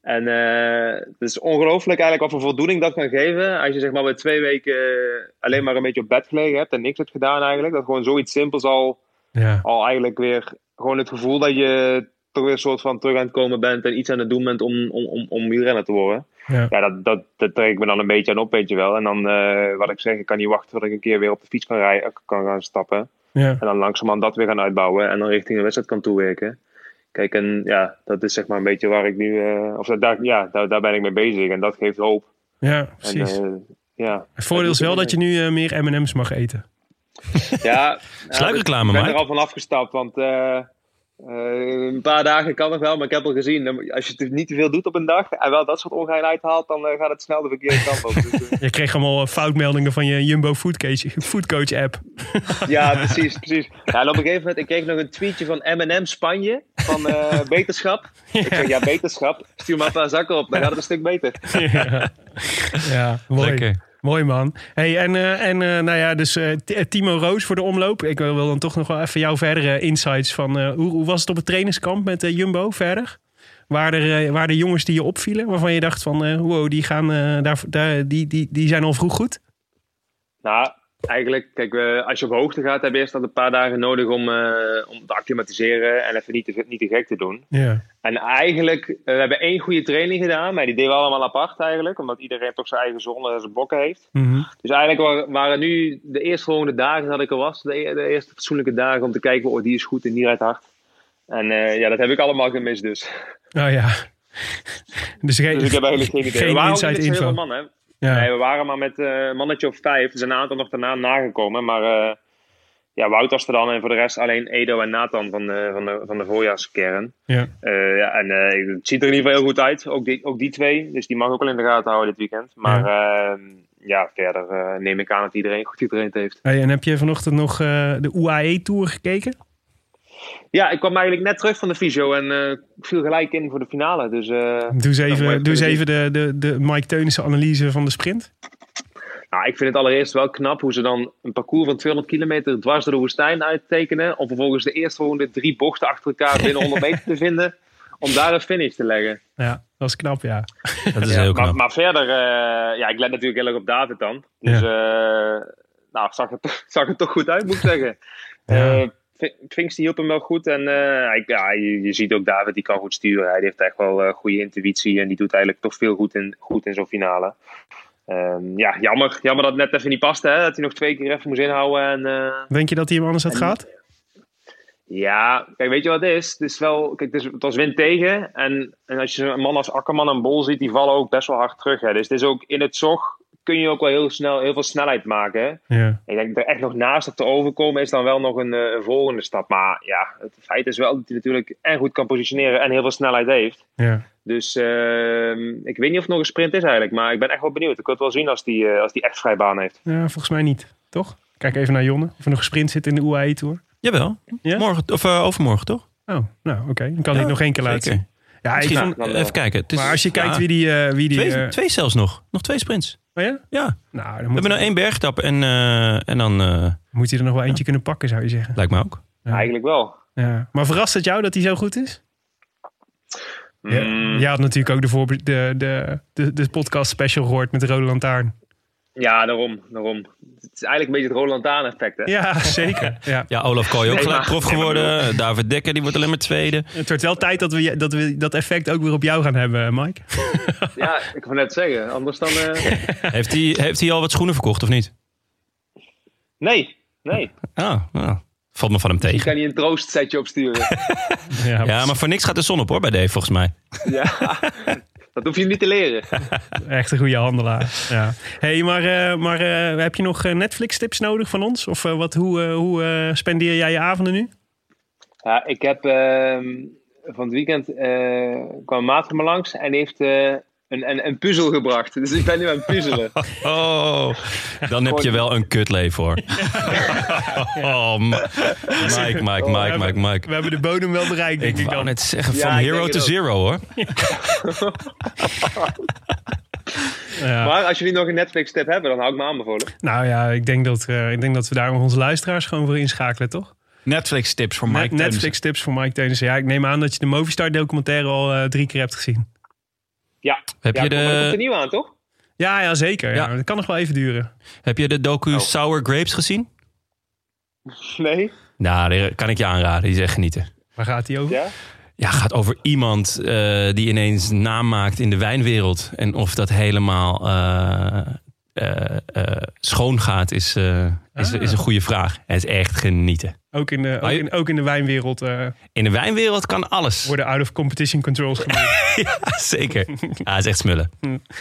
Speaker 4: En eh, het is ongelooflijk eigenlijk wat voor voldoening dat kan geven. Als je zeg maar bij twee weken eh, alleen maar een beetje op bed gelegen hebt en niks hebt gedaan eigenlijk. Dat gewoon zoiets simpels al
Speaker 2: Ja.
Speaker 4: al eigenlijk weer gewoon het gevoel dat je toch weer een soort van terug aan het komen bent en iets aan het doen bent om, om, om, om wielrenner te worden.
Speaker 2: Ja.
Speaker 4: Ja, dat, dat, dat trek ik me dan een beetje aan op, weet je wel. En dan, eh, wat ik zeg, ik kan niet wachten tot ik een keer weer op de fiets kan, rijden, kan gaan stappen.
Speaker 2: ja.
Speaker 4: En dan langzamerhand dat weer gaan uitbouwen en dan richting de wedstrijd kan toewerken. Kijk, en ja, dat is zeg maar een beetje waar ik nu, eh, of daar, ja, daar, daar ben ik mee bezig en dat geeft hoop.
Speaker 2: Ja,
Speaker 4: En,
Speaker 2: precies.
Speaker 4: eh, ja.
Speaker 2: het voordeel is wel dat je nu eh, meer M&M's mag eten.
Speaker 4: Ja,
Speaker 1: Sluikreclame,
Speaker 4: ik ben
Speaker 1: Mike.
Speaker 4: er al van afgestapt, want eh, eh, een paar dagen kan nog wel, maar ik heb al gezien, dan- als je het niet te veel doet op een dag en wel dat soort ongein uithaalt, dan eh, gaat het snel de verkeerde kant op. Dus, eh,
Speaker 2: Je kreeg allemaal eh, foutmeldingen van je Jumbo Foodcoach, foodcoach app.
Speaker 4: ja, precies, precies. Ja, en op een gegeven moment, ik kreeg nog een tweetje van M&M Spanje, van eh, beterschap. Ik zeg, ja, beterschap, stuur maar een paar zakken op, dan gaat het een stuk beter.
Speaker 2: ja. ja, mooi.
Speaker 1: Lekker.
Speaker 2: Mooi man. Hey, en eh, en eh, nou ja, dus eh, T- eh, Timo Roos voor de omloop. Ik wil wil dan toch nog wel even jouw verdere insights van eh, hoe, hoe was het op het trainingskamp met eh, Jumbo verder? Waren er, eh, waren er jongens die je opvielen waarvan je dacht van eh, wow, die, gaan, eh, daar, daar, die, die, die zijn al vroeg goed?
Speaker 4: Nou, eigenlijk, kijk, eh, als je op hoogte gaat, heb je eerst al een paar dagen nodig om, eh, om te acclimatiseren en even niet te, niet te gek te doen.
Speaker 2: Ja,
Speaker 4: En eigenlijk, eh, we hebben één goede training gedaan, maar die deden we allemaal apart eigenlijk, omdat iedereen toch zijn eigen zone en zijn blokken heeft.
Speaker 2: Mhm.
Speaker 4: Dus eigenlijk wa- waren nu de eerstvolgende dagen dat ik er was, de, e- de eerste fatsoenlijke dagen om te kijken, oh die is goed en die rijdt hard. En eh, ja, dat heb ik allemaal gemist dus.
Speaker 2: nou ja. Dus, ge-
Speaker 4: Dus ik heb eigenlijk geen idee.
Speaker 2: Geen
Speaker 4: we waren ook
Speaker 2: inside
Speaker 4: niet met z'n
Speaker 2: info.
Speaker 4: heel veel mannen.
Speaker 2: ja.
Speaker 4: Dus Nee, we waren maar met eh, een mannetje of vijf. Er zijn een aantal nog daarna nagekomen, maar eh, ja, Wout Amsterdam en voor de rest alleen Edo en Nathan van de, van de, van de voorjaarskern.
Speaker 2: Ja.
Speaker 4: Eh, ja, en eh, het ziet er in ieder geval heel goed uit. Ook die, ook die twee. Dus die mag ik ook wel in de gaten houden dit weekend. Maar ja, ja verder eh, neem ik aan dat iedereen goed getraind heeft.
Speaker 2: Hey, en heb je vanochtend nog eh, de UAE-tour gekeken?
Speaker 4: Ja, ik kwam eigenlijk net terug van de fysio en eh, ik viel gelijk in voor de finale. Dus eh,
Speaker 2: Doe eens
Speaker 4: Nou, maar
Speaker 2: even,
Speaker 4: ik
Speaker 2: doe eens
Speaker 4: vind
Speaker 2: even de, de, de Mike Teunissen analyse van de sprint.
Speaker 4: nou, ik vind het allereerst wel knap hoe ze dan een parcours van 200 kilometer dwars door de woestijn uittekenen. Om vervolgens de eerstvolgende drie bochten achter elkaar binnen 100 meter te vinden. Om daar een finish te leggen.
Speaker 2: Ja, dat is knap, ja.
Speaker 1: Dat is heel
Speaker 4: Maar,
Speaker 1: knap.
Speaker 4: maar verder, eh, ja, ik let natuurlijk heel erg op David dan. Dus eh, nou, zag het, toch- zag het toch goed uit, moet ik zeggen.
Speaker 2: Ja.
Speaker 4: Eh, Vin- Vinks die hielp hem wel goed. En eh, hij- ja, je, je ziet ook David, die kan goed sturen. Hij heeft echt wel eh, goede intuïtie. En die doet eigenlijk toch veel goed in, goed in zo'n finale. Ehm, ja, jammer, jammer dat het net even niet paste. Hè? Dat hij nog twee keer even moest inhouden. En, eh,
Speaker 2: Denk je dat hij hem anders had
Speaker 4: En-
Speaker 2: gehad?
Speaker 4: ja, kijk, weet je wat het is? Het, is wel, kijk, het, is, het was wind tegen. En, en als je een man als Akkerman en Bol ziet, die vallen ook best wel hard terug. Hè. Dus het is ook in het zog kun je ook wel heel snel heel veel snelheid maken. hè.
Speaker 2: Ja.
Speaker 4: Ik denk er echt nog naast op te overkomen is dan wel nog een, eh, een volgende stap. Maar ja, het feit is wel dat hij natuurlijk en goed kan positioneren en heel veel snelheid heeft.
Speaker 2: ja.
Speaker 4: Dus ehm, ik weet niet of het nog een sprint is eigenlijk. Maar ik ben echt wel benieuwd. Ik wil het wel zien als die, eh, als die echt vrij baan heeft.
Speaker 2: Ja, volgens mij niet, toch? Kijk even naar Jonne, of er nog een sprint zit in de UAE-tour.
Speaker 1: Jawel.
Speaker 2: Ja?
Speaker 1: Morgen, of eh, overmorgen toch?
Speaker 2: Oh, nou oké. Dan kan
Speaker 1: Ja,
Speaker 2: dit nog één keer laten
Speaker 1: zeker.
Speaker 2: zien. Ja, ik
Speaker 1: Misschien-
Speaker 2: vond-
Speaker 4: dan wel.
Speaker 1: even kijken. Het is-
Speaker 2: maar als je kijkt
Speaker 1: ja,
Speaker 2: wie die... eh, wie die
Speaker 1: Twee,
Speaker 2: eh,
Speaker 1: twee zelfs nog. Nog twee sprints.
Speaker 2: oh ja?
Speaker 1: Ja.
Speaker 2: Nou, dan
Speaker 1: We
Speaker 2: moet,
Speaker 1: hebben nou één bergtap en, eh, en dan eh,
Speaker 2: moet hij er nog wel eentje kunnen pakken, zou je zeggen.
Speaker 1: lijkt me ook.
Speaker 4: Eigenlijk wel.
Speaker 2: Ja. Maar verrast het jou dat hij zo goed is? Ja,
Speaker 4: Mm.
Speaker 2: jij had natuurlijk ook de, voorbe- de, de, de, de podcast special gehoord met de Rode Lantaarn.
Speaker 4: Ja, daarom, daarom. Het is eigenlijk een beetje het Roland Daan effect, hè?
Speaker 2: Ja, zeker. Ja.
Speaker 1: Ja, Olaf Kooi ook
Speaker 4: Nee,
Speaker 1: gelijk
Speaker 4: maar-
Speaker 1: prof geworden. David Dekker, die wordt alleen maar tweede.
Speaker 2: Het wordt wel tijd dat we, je- dat we dat effect ook weer op jou gaan hebben, eh, Mike.
Speaker 4: Ja, ik wou net zeggen. Anders dan... eh,
Speaker 1: Heeft hij heeft hij al wat schoenen verkocht of niet?
Speaker 4: Nee, nee.
Speaker 1: Ah, nou, valt me van hem
Speaker 4: Ik
Speaker 1: tegen.
Speaker 4: kan niet een troostsetje opsturen.
Speaker 1: Ja, maar voor niks gaat de zon op hoor bij Dave volgens mij.
Speaker 4: ja, dat hoef je niet te leren.
Speaker 2: Echt een goede handelaar. Ja. hey, maar, eh, maar eh, heb je nog Netflix-tips nodig van ons? Of eh, wat, hoe, eh, hoe eh, spendeer jij je avonden nu?
Speaker 4: Ja, ik heb ehm, van het weekend eh, kwam een maat van me langs en die heeft eh, een, een, een puzzel gebracht. Dus ik ben nu aan het puzzelen.
Speaker 1: Oh, dan heb je wel een kutleven hoor. Oh, Ma- Mike, Mike,
Speaker 4: Oh,
Speaker 1: Mike, Mike, Mike.
Speaker 2: We hebben de bodem wel bereikt, denk ik
Speaker 1: Ik wou
Speaker 2: dan.
Speaker 1: net zeggen,
Speaker 4: Ja,
Speaker 1: van
Speaker 4: ik
Speaker 1: hero
Speaker 4: denk
Speaker 1: to
Speaker 4: het ook.
Speaker 1: zero hoor.
Speaker 2: Ja.
Speaker 4: Maar als jullie nog een Netflix-tip hebben, dan hou ik me aanbevolen.
Speaker 2: Nou ja, ik denk, dat, eh, ik denk dat we daar onze luisteraars gewoon voor inschakelen, toch?
Speaker 3: Netflix tips voor Mike
Speaker 2: Netflix tips voor Mike Teunissen. Ja, ik neem aan dat je de Movistar documentaire al eh, drie keer hebt gezien.
Speaker 4: Ja,
Speaker 1: Heb
Speaker 4: ja
Speaker 1: je
Speaker 4: maar er komt
Speaker 1: de-
Speaker 4: een nieuwe aan, toch?
Speaker 2: Ja, ja zeker. Ja.
Speaker 1: Ja.
Speaker 2: Dat kan nog wel even duren.
Speaker 1: Heb je de
Speaker 4: Oh.
Speaker 1: docu Sour Grapes gezien?
Speaker 4: Nee?
Speaker 1: Nou, die kan ik je aanraden. Die is echt genieten.
Speaker 2: Waar gaat hij over?
Speaker 4: Ja?
Speaker 1: Ja, gaat over iemand eh, die ineens naam maakt in de wijnwereld. En of dat helemaal eh, eh, eh, schoon gaat, is, eh, is,
Speaker 2: Ah.
Speaker 1: is een goede vraag. Het is echt genieten.
Speaker 2: Ook, in de, ook,
Speaker 1: je-
Speaker 2: in, ook in de wijnwereld eh,
Speaker 1: In de wijnwereld kan alles.
Speaker 2: worden out of competition controls gemaakt.
Speaker 1: Zeker. Ja, het is echt smullen.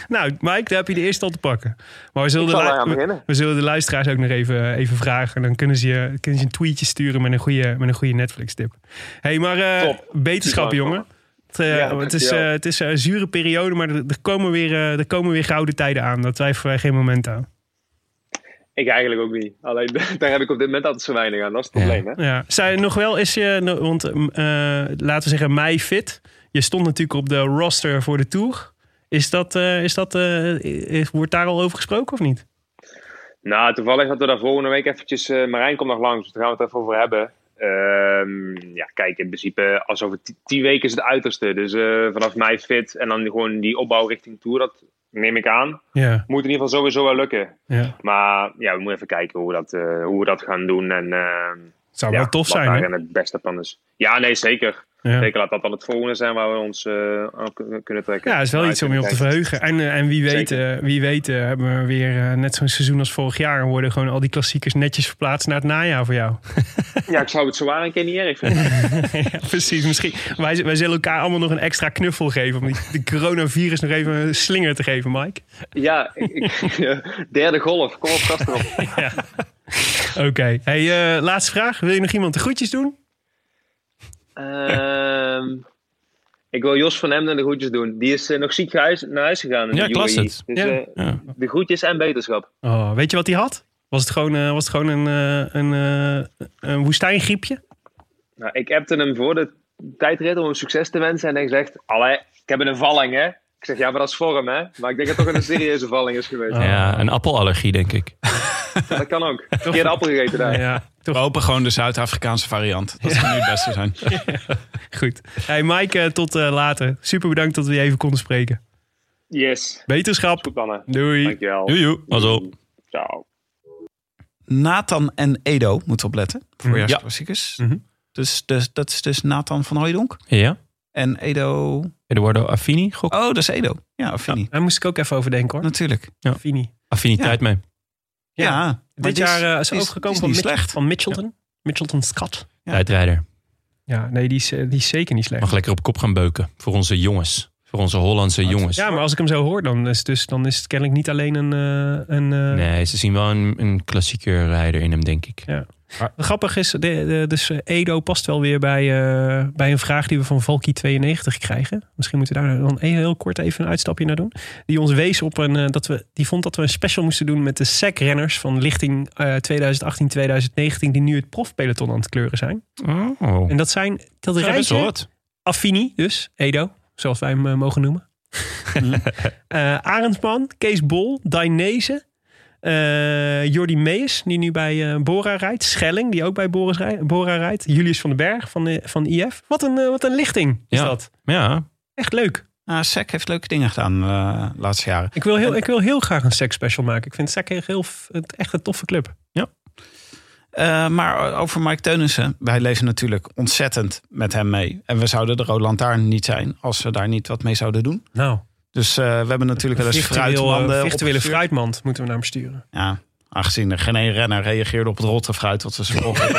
Speaker 2: nou, Mike, daar heb je de eerste al te pakken. Maar we zullen,
Speaker 4: Ik
Speaker 2: de,
Speaker 4: zal
Speaker 2: lu-
Speaker 4: eraan
Speaker 2: we-
Speaker 4: beginnen.
Speaker 2: we zullen de luisteraars ook nog even, even vragen. En dan kunnen ze, je, kunnen ze een tweetje sturen met een goede, met een goede Netflix-tip. hey, maar eh,
Speaker 4: Top.
Speaker 2: beterschap,
Speaker 4: Dankjewel.
Speaker 2: jongen. Het, eh,
Speaker 4: Ja,
Speaker 2: het is,
Speaker 4: dankjewel.
Speaker 2: eh, het is een zure periode, maar er, er komen weer, eh, er komen weer gouden tijden aan. Daar twijfelen wij geen moment aan.
Speaker 4: Ik eigenlijk ook niet. Alleen daar heb ik op dit moment altijd zo weinig aan. Dat is het probleem, hè?
Speaker 2: Ja. Zij nog wel is je, no- want eh, laten we zeggen, mei fit. Je stond natuurlijk op de roster voor de tour. Is dat, eh, is dat, eh, is- wordt daar al over gesproken of niet?
Speaker 4: Nou, toevallig hadden we daar volgende week eventjes... eh, Marijn komt nog langs, dus daar gaan we het even over hebben. Ehm, ja, kijk, in principe, als over ti- tien weken is het uiterste. Dus eh, vanaf mij fit en dan gewoon die opbouw richting Tour, dat neem ik aan.
Speaker 2: Ja,
Speaker 4: Moet in ieder geval sowieso wel lukken.
Speaker 2: ja.
Speaker 4: Maar ja, we moeten even kijken hoe, dat, eh, hoe we dat gaan doen. En, eh,
Speaker 2: Het zou
Speaker 4: ja,
Speaker 2: wel tof
Speaker 4: wat
Speaker 2: zijn. hè?
Speaker 4: daarin het beste plan is. Ja, nee, zeker.
Speaker 2: Ja.
Speaker 4: Zeker laat dat dan het volgende zijn waar we ons eh, aan kun- kunnen trekken.
Speaker 2: Ja, het is wel iets om je op te verheugen. En, eh, en wie weet, eh, wie weet eh, hebben we weer eh, net zo'n seizoen als vorig jaar. En worden gewoon al die klassiekers netjes verplaatst naar het najaar voor jou.
Speaker 4: Ja, ik zou het zwaar een keer niet erg vinden.
Speaker 2: ja, precies. Misschien, wij, wij zullen elkaar allemaal nog een extra knuffel geven. Om die, de coronavirus nog even een slinger te geven, Mike.
Speaker 4: ja, ik, ik- derde golf. Kom op, gast erop.
Speaker 2: Oké. Hey, eh, laatste vraag. Wil je nog iemand de groetjes doen?
Speaker 4: Ehm, ik wil Jos van Emden de groetjes doen. Die is eh, nog ziek huis- naar huis gegaan. in
Speaker 1: Ja,
Speaker 4: de
Speaker 1: ik las
Speaker 4: UAE.
Speaker 1: het.
Speaker 4: Dus
Speaker 2: Ja.
Speaker 4: eh,
Speaker 1: Ja.
Speaker 4: de groetjes en beterschap.
Speaker 2: Oh, weet je wat hij had? Was het gewoon, eh, was het gewoon een, eh, een, eh, een woestijngriepje?
Speaker 4: Nou, ik appte hem voor de tijdrit om hem succes te wensen. En hij zegt, allee, ik heb een valling, hè. Ik zeg, ja, maar dat is vorm, hè. Maar ik denk dat het toch een serieuze valling is geweest.
Speaker 1: Ja, een appelallergie, denk ik.
Speaker 4: Dat kan ook. Verkeerde appel gegeten daar.
Speaker 2: Ja,
Speaker 3: We
Speaker 2: toch
Speaker 3: hopen gewoon de Zuid-Afrikaanse variant. Dat zou nu het beste zijn.
Speaker 2: goed. Hey Mike, eh, tot eh, later. Super bedankt dat we je even konden spreken.
Speaker 4: Yes.
Speaker 2: Beterschap.
Speaker 4: Goed, mannen.
Speaker 2: Doei.
Speaker 4: Dankjewel.
Speaker 1: Joe, joe. Was op.
Speaker 4: Ciao.
Speaker 3: Nathan en Edo moeten opletten.
Speaker 2: Ja.
Speaker 3: Voorjaarsklassiekers.
Speaker 2: Mhm.
Speaker 3: Dus, dus dat is dus Nathan van Hooijdonk.
Speaker 1: Ja?
Speaker 3: En Edo...
Speaker 1: Eduardo Affini, gok.
Speaker 3: Oh, dat is Edo. Ja, Fini.
Speaker 2: Daar moest ik ook even over denken hoor.
Speaker 3: Natuurlijk.
Speaker 2: Fini.
Speaker 1: Affiniteit mee.
Speaker 3: Ja.
Speaker 2: Ja.
Speaker 3: maar
Speaker 2: Dit
Speaker 3: die is-
Speaker 2: jaar eh, is
Speaker 3: die
Speaker 2: er ook gekomen
Speaker 3: die
Speaker 2: van,
Speaker 3: is niet
Speaker 2: Mitch-
Speaker 3: slecht.
Speaker 2: van Mitchelton. Mitchelton Scott.
Speaker 3: Ja.
Speaker 1: Tijdrijder.
Speaker 2: Ja, nee, die is, eh, die is zeker niet slecht.
Speaker 1: Mag lekker op kop gaan beuken. Voor onze jongens. Voor onze Hollandse jongens.
Speaker 2: Ja, maar als ik hem zo hoor, dan is, het dus, dan is het kennelijk niet alleen een... eh, een eh,
Speaker 1: Nee, ze zien wel een, een klassieker rijder in hem, denk ik.
Speaker 2: Grappig is, de, de- dus eh, Edo past wel weer bij, eh, bij een vraag die we van Valky92 krijgen. Misschien moeten we daar dan heel, heel kort even een uitstapje naar doen. Die ons wees op een, eh, dat we, die vond dat we een special moesten doen met de SEC-renners van lichting eh, 2018-2019, die nu het profpeloton aan het kleuren zijn.
Speaker 1: Oh.
Speaker 2: En dat zijn, dat rijtje, Affini dus, Edo, zoals wij hem eh, mogen noemen. Eh Arendsman, Kees Bol, Dainese, eh, Jordi Mees, die nu bij eh Bora rijdt. Schelling, die ook bij Boris rij- Bora rijdt. Julius van den Berg van, eh, van IF. Wat een, eh, wat een lichting is
Speaker 1: Ja.
Speaker 2: dat.
Speaker 1: Ja,
Speaker 2: Echt leuk.
Speaker 3: Ah, SEC heeft leuke dingen gedaan eh, de laatste jaren.
Speaker 2: Ik wil heel, ik wil heel graag een seks special maken. Ik vind SEC echt heel, f- het- echt een toffe club.
Speaker 3: Eh, maar over Mike Teunissen. Wij leven natuurlijk ontzettend met hem mee. En we zouden de Rode Lantaarn niet zijn als we daar niet wat mee zouden doen.
Speaker 2: Nou,
Speaker 3: Dus eh, we hebben natuurlijk wel eens fruitmanden
Speaker 2: virtuele
Speaker 3: opgestuurd.
Speaker 2: eh, fruitmand moeten we naar hem sturen.
Speaker 3: Ja, aangezien er geen één renner reageerde op het rotte fruit dat ze Dus, eh, sprong.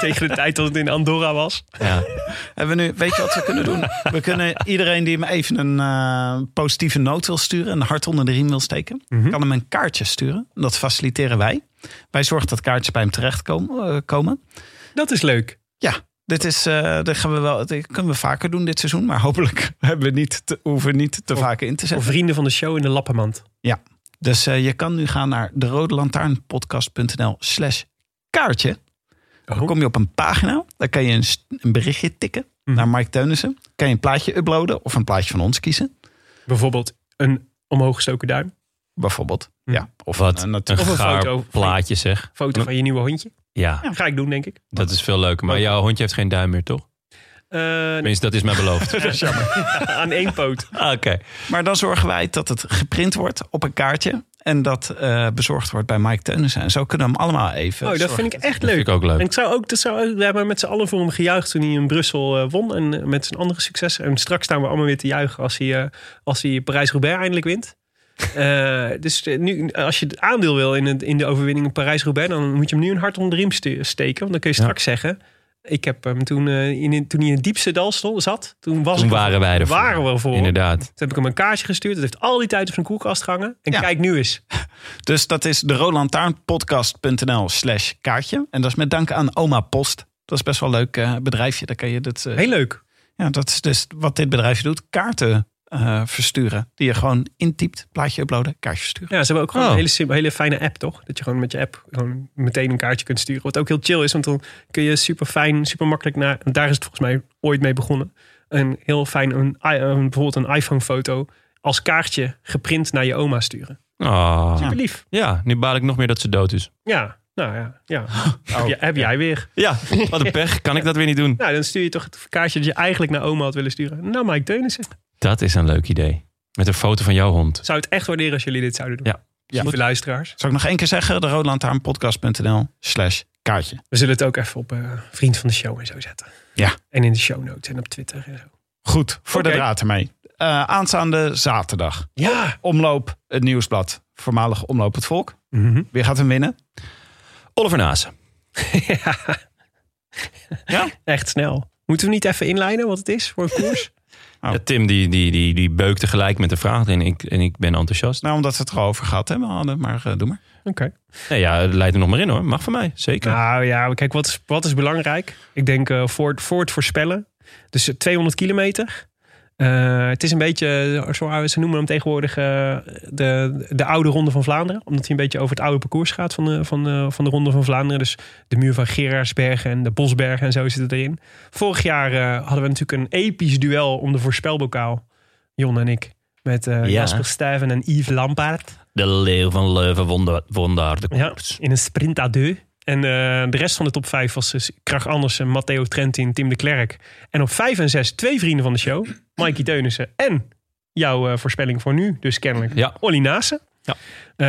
Speaker 2: Tegen de tijd dat het in Andorra was.
Speaker 1: ja.
Speaker 3: Hebben we nu, weet je wat we kunnen doen? We kunnen iedereen die hem even een eh, positieve noot wil sturen, een hart onder de riem wil steken, kan hem een kaartje sturen. Dat faciliteren wij. Wij zorgen dat kaartjes bij hem terechtkomen. eh, komen.
Speaker 2: Dat is leuk.
Speaker 3: Ja, dit is, eh dat gaan we wel, dit kunnen we vaker doen dit seizoen, maar hopelijk hebben we niet te, hoeven we niet te vaak in te
Speaker 2: Voor
Speaker 3: zetten.
Speaker 2: vrienden van de show in de lappenmand.
Speaker 3: Ja, dus eh, je kan nu gaan naar de slash kaartje.
Speaker 2: Oh,
Speaker 3: Dan kom je op een pagina. Daar kan je een, st- een berichtje tikken
Speaker 2: Mhm.
Speaker 3: naar Mike Teunissen. Kan je een plaatje uploaden of een plaatje van ons kiezen.
Speaker 2: Bijvoorbeeld een omhooggestoken duim.
Speaker 3: Bijvoorbeeld.
Speaker 2: Mhm.
Speaker 3: Ja, of
Speaker 1: Wat
Speaker 3: een,
Speaker 1: een,
Speaker 3: natuurlijk.
Speaker 2: een
Speaker 1: gaar
Speaker 2: foto.
Speaker 1: plaatje zeg.
Speaker 2: Foto van je nieuwe hondje.
Speaker 1: Ja,
Speaker 2: Ga ik doen, denk ik.
Speaker 1: dat is veel leuker. Maar jouw hondje heeft geen duim meer, toch?
Speaker 2: Eh,
Speaker 1: Tenminste, dat is mij beloofd.
Speaker 2: dat is jammer. Aan één poot.
Speaker 1: Ah, Oké.
Speaker 3: Maar dan zorgen wij dat het geprint wordt op een kaartje. En dat eh, bezorgd wordt bij Mike Teunissen. En zo kunnen we hem allemaal even.
Speaker 2: Oh, dat
Speaker 3: zorgen.
Speaker 2: vind ik echt
Speaker 1: Dat
Speaker 2: leuk.
Speaker 1: vind ik ook leuk.
Speaker 2: En ik zou ook, dat zou, ook- we hebben met z'n allen voor hem gejuicht toen hij in Brussel eh, won. En eh, met zijn andere succes. En straks staan we allemaal weer te juichen als hij, eh, als hij Parijs-Roubaix eindelijk wint. Eh, dus eh, nu, als je het aandeel wil in, het, in de overwinning in Parijs-Roubaix... dan moet je hem nu een hart onder de riem ste- steken. Want dan kun je
Speaker 1: Ja.
Speaker 2: straks zeggen... Ik heb hem toen, eh, in, toen hij in het diepste dal stond, zat. Toen, was
Speaker 1: Toen
Speaker 2: ik er-
Speaker 1: waren wij er voor.
Speaker 2: Waren we voor.
Speaker 1: Inderdaad.
Speaker 2: Toen heb ik hem een kaartje gestuurd. Dat heeft al die tijd op zijn koelkast gehangen. En
Speaker 3: Ja.
Speaker 2: kijk nu eens.
Speaker 3: Dus dat is de slash kaartje. En dat is met dank aan Oma Post. Dat is best wel een leuk eh, bedrijfje. Daar kan je dit, eh,
Speaker 2: Heel leuk.
Speaker 3: ja, dat is dus wat dit bedrijfje doet. Kaarten eh, versturen. Die je gewoon intypt. Plaatje uploaden. Kaartje versturen.
Speaker 2: Ja, ze hebben ook gewoon
Speaker 1: Oh.
Speaker 2: een hele, sim- hele fijne app, toch? Dat je gewoon met je app gewoon meteen een kaartje kunt sturen. Wat ook heel chill is, want dan kun je super fijn, super makkelijk naar... en Daar is het volgens mij ooit mee begonnen. Een heel fijn, een, i- een- bijvoorbeeld een iPhone-foto als kaartje geprint naar je oma sturen.
Speaker 1: Oh. Ja.
Speaker 3: Ja.
Speaker 2: Lief.
Speaker 1: nu baal ik nog meer dat ze dood is.
Speaker 2: Ja, nou ja. ja. heb, je- heb jij weer.
Speaker 1: Oh, Ja, wat een pech. Kan ik dat weer niet doen?
Speaker 2: Nou, dan stuur je toch het kaartje dat je eigenlijk naar oma had willen sturen. Nou, Mike Teunissen.
Speaker 1: Dat is een leuk idee. Met een foto van jouw hond.
Speaker 2: Zou het echt waarderen als jullie dit zouden doen.
Speaker 1: Ja.
Speaker 2: Ja. Lieve luisteraars.
Speaker 3: Zal ik nog één keer zeggen? De slash kaartje.
Speaker 2: We zullen het ook even op eh, vriend van de show en zo zetten.
Speaker 3: Ja.
Speaker 2: En in de show notes en op Twitter en zo.
Speaker 3: Goed, voor
Speaker 2: Oké.
Speaker 3: de draad ermee. Eh, aanstaande zaterdag.
Speaker 2: Ja.
Speaker 3: Omloop het Nieuwsblad. Voormalig Omloop het Volk.
Speaker 2: Mhm.
Speaker 3: Wie gaat hem winnen?
Speaker 1: Oliver Naassen.
Speaker 3: Ja?
Speaker 2: Echt snel. Moeten we niet even inlijnen wat het is voor een koers?
Speaker 3: Oh.
Speaker 1: Ja, Tim die, die, die, die beukte gelijk met de vraag en ik, en ik ben enthousiast.
Speaker 3: Nou, omdat we het er al over gehad hebben, hadden, maar eh, doe maar.
Speaker 2: Oké.
Speaker 1: Nee, ja, het leidt er nog maar in hoor. Mag van mij, zeker.
Speaker 2: Nou ja, kijk, wat is, wat is belangrijk? Ik denk eh, voor, het- voor het voorspellen. Dus eh, 200 kilometer. Eh, het is een beetje, eh, zo, ze noemen hem tegenwoordig eh, de, de oude Ronde van Vlaanderen. Omdat hij een beetje over het oude parcours gaat van de, van de, van de Ronde van Vlaanderen. Dus de muur van Gerardsbergen en de Bosbergen en zo zit het erin. Vorig jaar eh, hadden we natuurlijk een episch duel om de voorspelbokaal. Jon en ik. Met eh,
Speaker 1: Ja.
Speaker 2: Jasper Stuyven en Yves Lampaard.
Speaker 1: De leeuw van Leuven won daar- won daar de
Speaker 2: Ja,
Speaker 1: koers.
Speaker 2: in een sprint à deux. En eh, de rest van de top 5 was dus Krach Andersen, Matteo Trentin, Tim de Klerk. En op 5 en 6 twee vrienden van de show. Mikey Teunissen en jouw eh, voorspelling voor nu, dus kennelijk.
Speaker 1: Ja.
Speaker 2: Olly Naassen.
Speaker 1: Ja.
Speaker 2: Eh,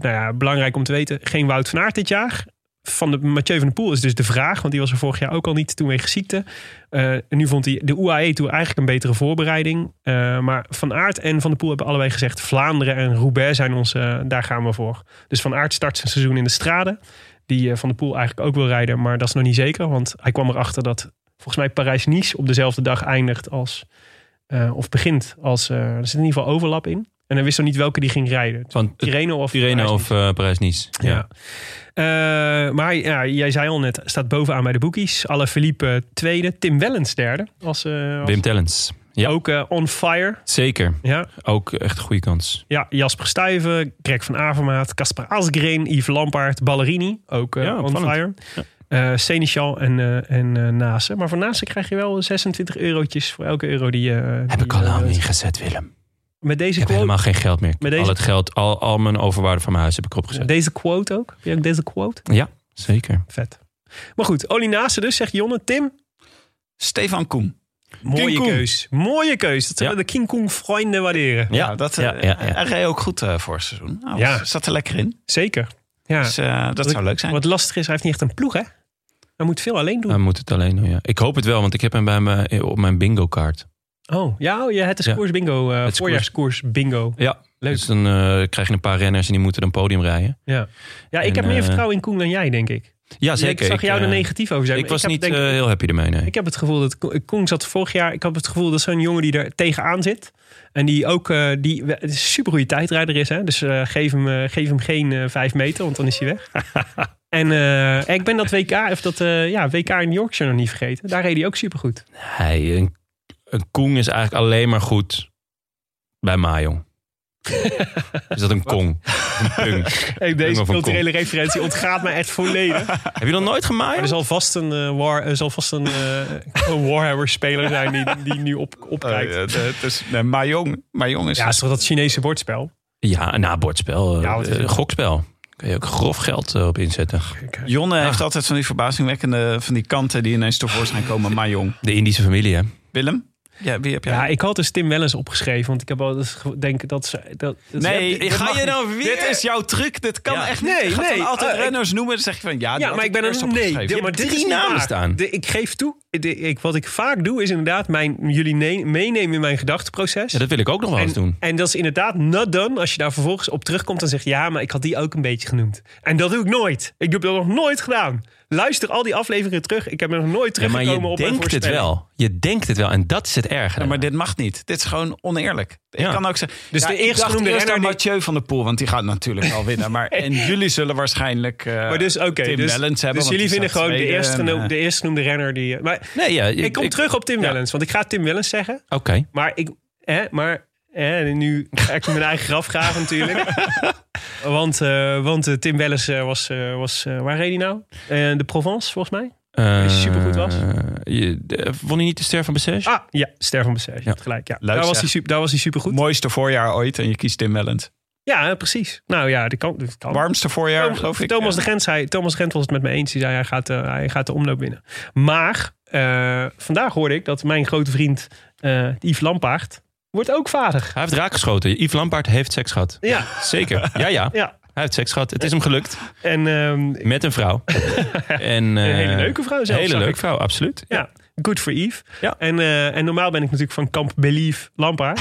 Speaker 2: nou ja, belangrijk om te weten, geen Wout van Aert dit jaar. Van de, Mathieu van der Poel is dus de vraag, want die was er vorig jaar ook al niet toen wegens ziekte. Eh, en nu vond hij de UAE toe eigenlijk een betere voorbereiding. Eh, maar Van Aert en Van der Poel hebben allebei gezegd... Vlaanderen en Roubaix zijn onze, eh, daar gaan we voor. Dus Van Aert start zijn seizoen in de strade. Die eh, Van der Poel eigenlijk ook wil rijden, maar dat is nog niet zeker. Want hij kwam erachter dat volgens mij Parijs-Nice op dezelfde dag eindigt als... eh, of begint als... eh, er zit in ieder geval overlap in. En hij wist nog niet welke die ging rijden.
Speaker 1: Van
Speaker 2: Tirreno of
Speaker 1: Tirreno
Speaker 2: Parijs-Nice.
Speaker 1: of eh Parijs-Nice. Ja.
Speaker 2: Ja. Eh, maar ja, jij zei al net, staat bovenaan bij de boekies. Alle Philippe eh, tweede, Tim Wellens derde. Als, eh, als-
Speaker 1: Wim Tellens. Ja,
Speaker 2: Ook eh, on fire.
Speaker 1: zeker.
Speaker 2: Ja,
Speaker 1: Ook echt een goede kans.
Speaker 2: ja, Jasper Stuyven, Greg van Avermaat, Casper Asgreen, Yves Lampaard, Ballerini. Ook eh,
Speaker 1: Ja,
Speaker 2: on
Speaker 1: opvallend.
Speaker 2: fire. Eh, Seneschal en, eh en eh, Nase. Maar voor Nase krijg je wel 26 eurotjes voor elke euro die je...
Speaker 1: Heb ik al lang ingezet, Willem.
Speaker 2: Met
Speaker 1: Ik
Speaker 2: deze
Speaker 1: heb
Speaker 2: quote,
Speaker 1: helemaal geen geld meer.
Speaker 2: Met deze-
Speaker 1: Al het geld, al, al mijn overwaarde van mijn huis heb ik opgezet.
Speaker 2: deze quote ook. Heb je ook deze quote?
Speaker 1: Zeker.
Speaker 2: Vet. Maar goed, Oli Nase dus, zegt Jonne. Tim,
Speaker 3: Stefan Koen.
Speaker 2: Mooie
Speaker 3: King Kong.
Speaker 2: keus. Mooie keus. Dat zullen
Speaker 1: Ja.
Speaker 2: de King Kong vrienden waarderen.
Speaker 1: Ja,
Speaker 3: dat,
Speaker 1: ja,
Speaker 3: eh,
Speaker 1: ja, ja.
Speaker 3: Hij reed ook goed eh, voor het seizoen. Nou,
Speaker 2: Ja.
Speaker 3: dat Zat er lekker in.
Speaker 2: Zeker. Ja.
Speaker 3: Dus eh, dat
Speaker 2: Wat-
Speaker 3: zou leuk zijn.
Speaker 2: Wat lastig is, hij heeft niet echt een ploeg, hè? Hij moet veel alleen doen.
Speaker 1: Hij moet het alleen doen, ja. Ik hoop het wel, want ik heb hem bij me eh, op mijn bingo-kaart.
Speaker 2: oh, ja, oh, ja, het is
Speaker 1: Ja.
Speaker 2: koers bingo. eh,
Speaker 1: Het is
Speaker 2: voorjaarskoers bingo.
Speaker 1: Ja, leuk. Dus dan eh, krijg je een paar renners en die moeten dan podium rijden.
Speaker 2: Ja, ja ik
Speaker 1: En,
Speaker 2: heb meer
Speaker 1: eh,
Speaker 2: vertrouwen in Koen dan jij, denk ik.
Speaker 1: Ja, zeker.
Speaker 2: Ik zag jou
Speaker 1: eh,
Speaker 2: er negatief over zijn.
Speaker 1: Ik
Speaker 2: maar
Speaker 1: was
Speaker 2: heb
Speaker 1: niet
Speaker 2: denk-
Speaker 1: eh, heel happy ermee, nee.
Speaker 2: Ik heb het gevoel dat Ko- Koen zat vorig jaar. Ik heb het gevoel dat zo'n jongen die er tegenaan zit. En die ook eh, die we- het is een supergoeie tijdrijder is. Hè? Dus eh, geef, hem, eh, geef hem geen eh, vijf meter, want dan is hij weg. en eh, ik ben dat WK, of dat, eh, ja, WK in Yorkshire nog niet vergeten. Daar reed hij ook supergoed.
Speaker 1: Hij, een, een Koen is eigenlijk alleen maar goed bij Majong. is dat een Kong? Een pung.
Speaker 2: Hey,
Speaker 1: Prima
Speaker 2: deze
Speaker 1: van
Speaker 2: culturele referentie ontgaat me echt volledig. Maar
Speaker 1: heb je nog nooit
Speaker 2: er
Speaker 1: gemaaid?
Speaker 2: zal vast een, eh, war, er zal vast een, eh, een Warhammer-speler zijn die, die nu op, opkijkt.
Speaker 1: Oh,
Speaker 3: Eh, eh, het is, nee, Mahjong, Mahjong is
Speaker 1: Dus
Speaker 2: Ja, het is toch dat Chinese bordspel?
Speaker 1: Ja, na bordspel. eh,
Speaker 2: Ja, wat is het?
Speaker 1: eh, gokspel. Kun je ook grof geld eh, op inzetten.
Speaker 3: Jonne
Speaker 2: Ah.
Speaker 3: heeft altijd van die verbazingwekkende van die kanten die ineens tevoorschijn komen. Maar jong,
Speaker 1: De Indische familie, hè?
Speaker 3: Willem? Ja, wie heb jij?
Speaker 2: Ja, ik had dus Tim Wellens opgeschreven, want ik heb altijd ge- denk dat ze dat, dat
Speaker 3: nee,
Speaker 2: dat
Speaker 3: ga
Speaker 2: mag
Speaker 3: je
Speaker 2: niet.
Speaker 3: nou weer? Dit is jouw truc. Dit kan
Speaker 1: Ja.
Speaker 3: echt niet.
Speaker 2: Nee,
Speaker 3: je gaat
Speaker 2: nee.
Speaker 3: dan altijd
Speaker 2: Oh, ik-
Speaker 3: renners noemen. Dan zeg je van ja,
Speaker 2: Ja, maar ik ben een nee.
Speaker 3: nee.
Speaker 2: Ja, maar dit
Speaker 1: drie
Speaker 2: is niet
Speaker 1: namen
Speaker 2: waar.
Speaker 1: staan.
Speaker 2: De- ik geef toe. de- ik, wat ik vaak doe is inderdaad mijn, jullie ne- meenemen in mijn gedachteproces.
Speaker 1: Ja, dat wil ik ook nog wel
Speaker 2: en,
Speaker 1: eens doen.
Speaker 2: en dat is inderdaad not done. Als je daar vervolgens op terugkomt, dan zeg je ja, maar ik had die ook een beetje genoemd. En dat doe ik nooit. Ik heb dat nog nooit gedaan. Luister al die afleveringen terug. Ik heb er nog nooit
Speaker 1: Ja, maar
Speaker 2: teruggekomen
Speaker 1: je
Speaker 2: op mijn
Speaker 1: denkt het
Speaker 2: voorspelling.
Speaker 1: wel. Je denkt het wel. En dat is het erge.
Speaker 3: Ja, maar
Speaker 1: daaraan.
Speaker 3: dit mag niet. Dit is gewoon oneerlijk.
Speaker 1: Ja.
Speaker 3: Ik kan ook zeggen.
Speaker 2: Dus
Speaker 3: ja,
Speaker 2: de
Speaker 3: ik
Speaker 2: eerst
Speaker 3: dacht
Speaker 2: genoemde
Speaker 3: eerst
Speaker 2: renner
Speaker 3: aan
Speaker 2: die-
Speaker 3: Mathieu van der Poel, want die gaat natuurlijk wel winnen. Maar en jullie zullen waarschijnlijk. eh,
Speaker 2: Maar dus oké,
Speaker 3: Tim
Speaker 2: dus,
Speaker 3: Wellens hebben.
Speaker 2: dus
Speaker 3: want
Speaker 2: jullie
Speaker 3: die
Speaker 2: vinden
Speaker 3: staat
Speaker 2: gewoon de
Speaker 3: tweede
Speaker 2: eerst
Speaker 3: en,
Speaker 2: geno-
Speaker 3: eh,
Speaker 2: de eerst genoemde renner die. eh, Maar
Speaker 1: Nee, ja,
Speaker 2: ik kom terug op Tim Wellens, want ik ga Tim Wellens zeggen.
Speaker 1: Oké.
Speaker 2: Maar ik, hè, maar hè, nu ga ik mijn eigen graf graven natuurlijk. want eh, want eh, Tim Wellens eh, was, eh, was eh, waar reed hij nou? Eh, de Provence, volgens mij.
Speaker 1: Eh,
Speaker 2: Als je supergoed was.
Speaker 1: je- de- Won hij niet de ster van Bessèges?
Speaker 2: Ah, ja, Ster van Bessage.
Speaker 1: Ja.
Speaker 2: Gelijk, ja.
Speaker 3: Leuk,
Speaker 2: Daar was,
Speaker 3: zeg.
Speaker 2: hij super, daar was hij supergoed.
Speaker 3: Mooiste voorjaar ooit en je kiest Tim Wellens.
Speaker 2: Ja, hè, precies. Nou ja, dat kan. Dat kan.
Speaker 3: Warmste voorjaar,
Speaker 2: Tom-
Speaker 3: geloof ik.
Speaker 2: Thomas
Speaker 3: eh.
Speaker 2: de Gent zei, Thomas de Gent was het met me eens. Die zei, hij gaat, eh, hij gaat de omloop winnen. Maar eh, vandaag hoorde ik dat mijn grote vriend eh Yves Lampaard wordt ook vader.
Speaker 1: Hij heeft raak geschoten. Yves Lampaard heeft seks gehad.
Speaker 2: Ja,
Speaker 1: Zeker. Ja, ja.
Speaker 2: ja.
Speaker 1: Hij heeft seks gehad. Het is hem gelukt.
Speaker 2: En ehm,
Speaker 1: Met een vrouw. En,
Speaker 2: Een
Speaker 1: eh,
Speaker 2: hele leuke vrouw
Speaker 1: Een
Speaker 2: zelfs.
Speaker 1: hele
Speaker 2: zag
Speaker 1: leuke
Speaker 2: ik.
Speaker 1: vrouw, absoluut.
Speaker 2: Ja, good for Yves.
Speaker 1: Ja.
Speaker 2: En, eh, en normaal ben ik natuurlijk van kamp Belief Lampaard.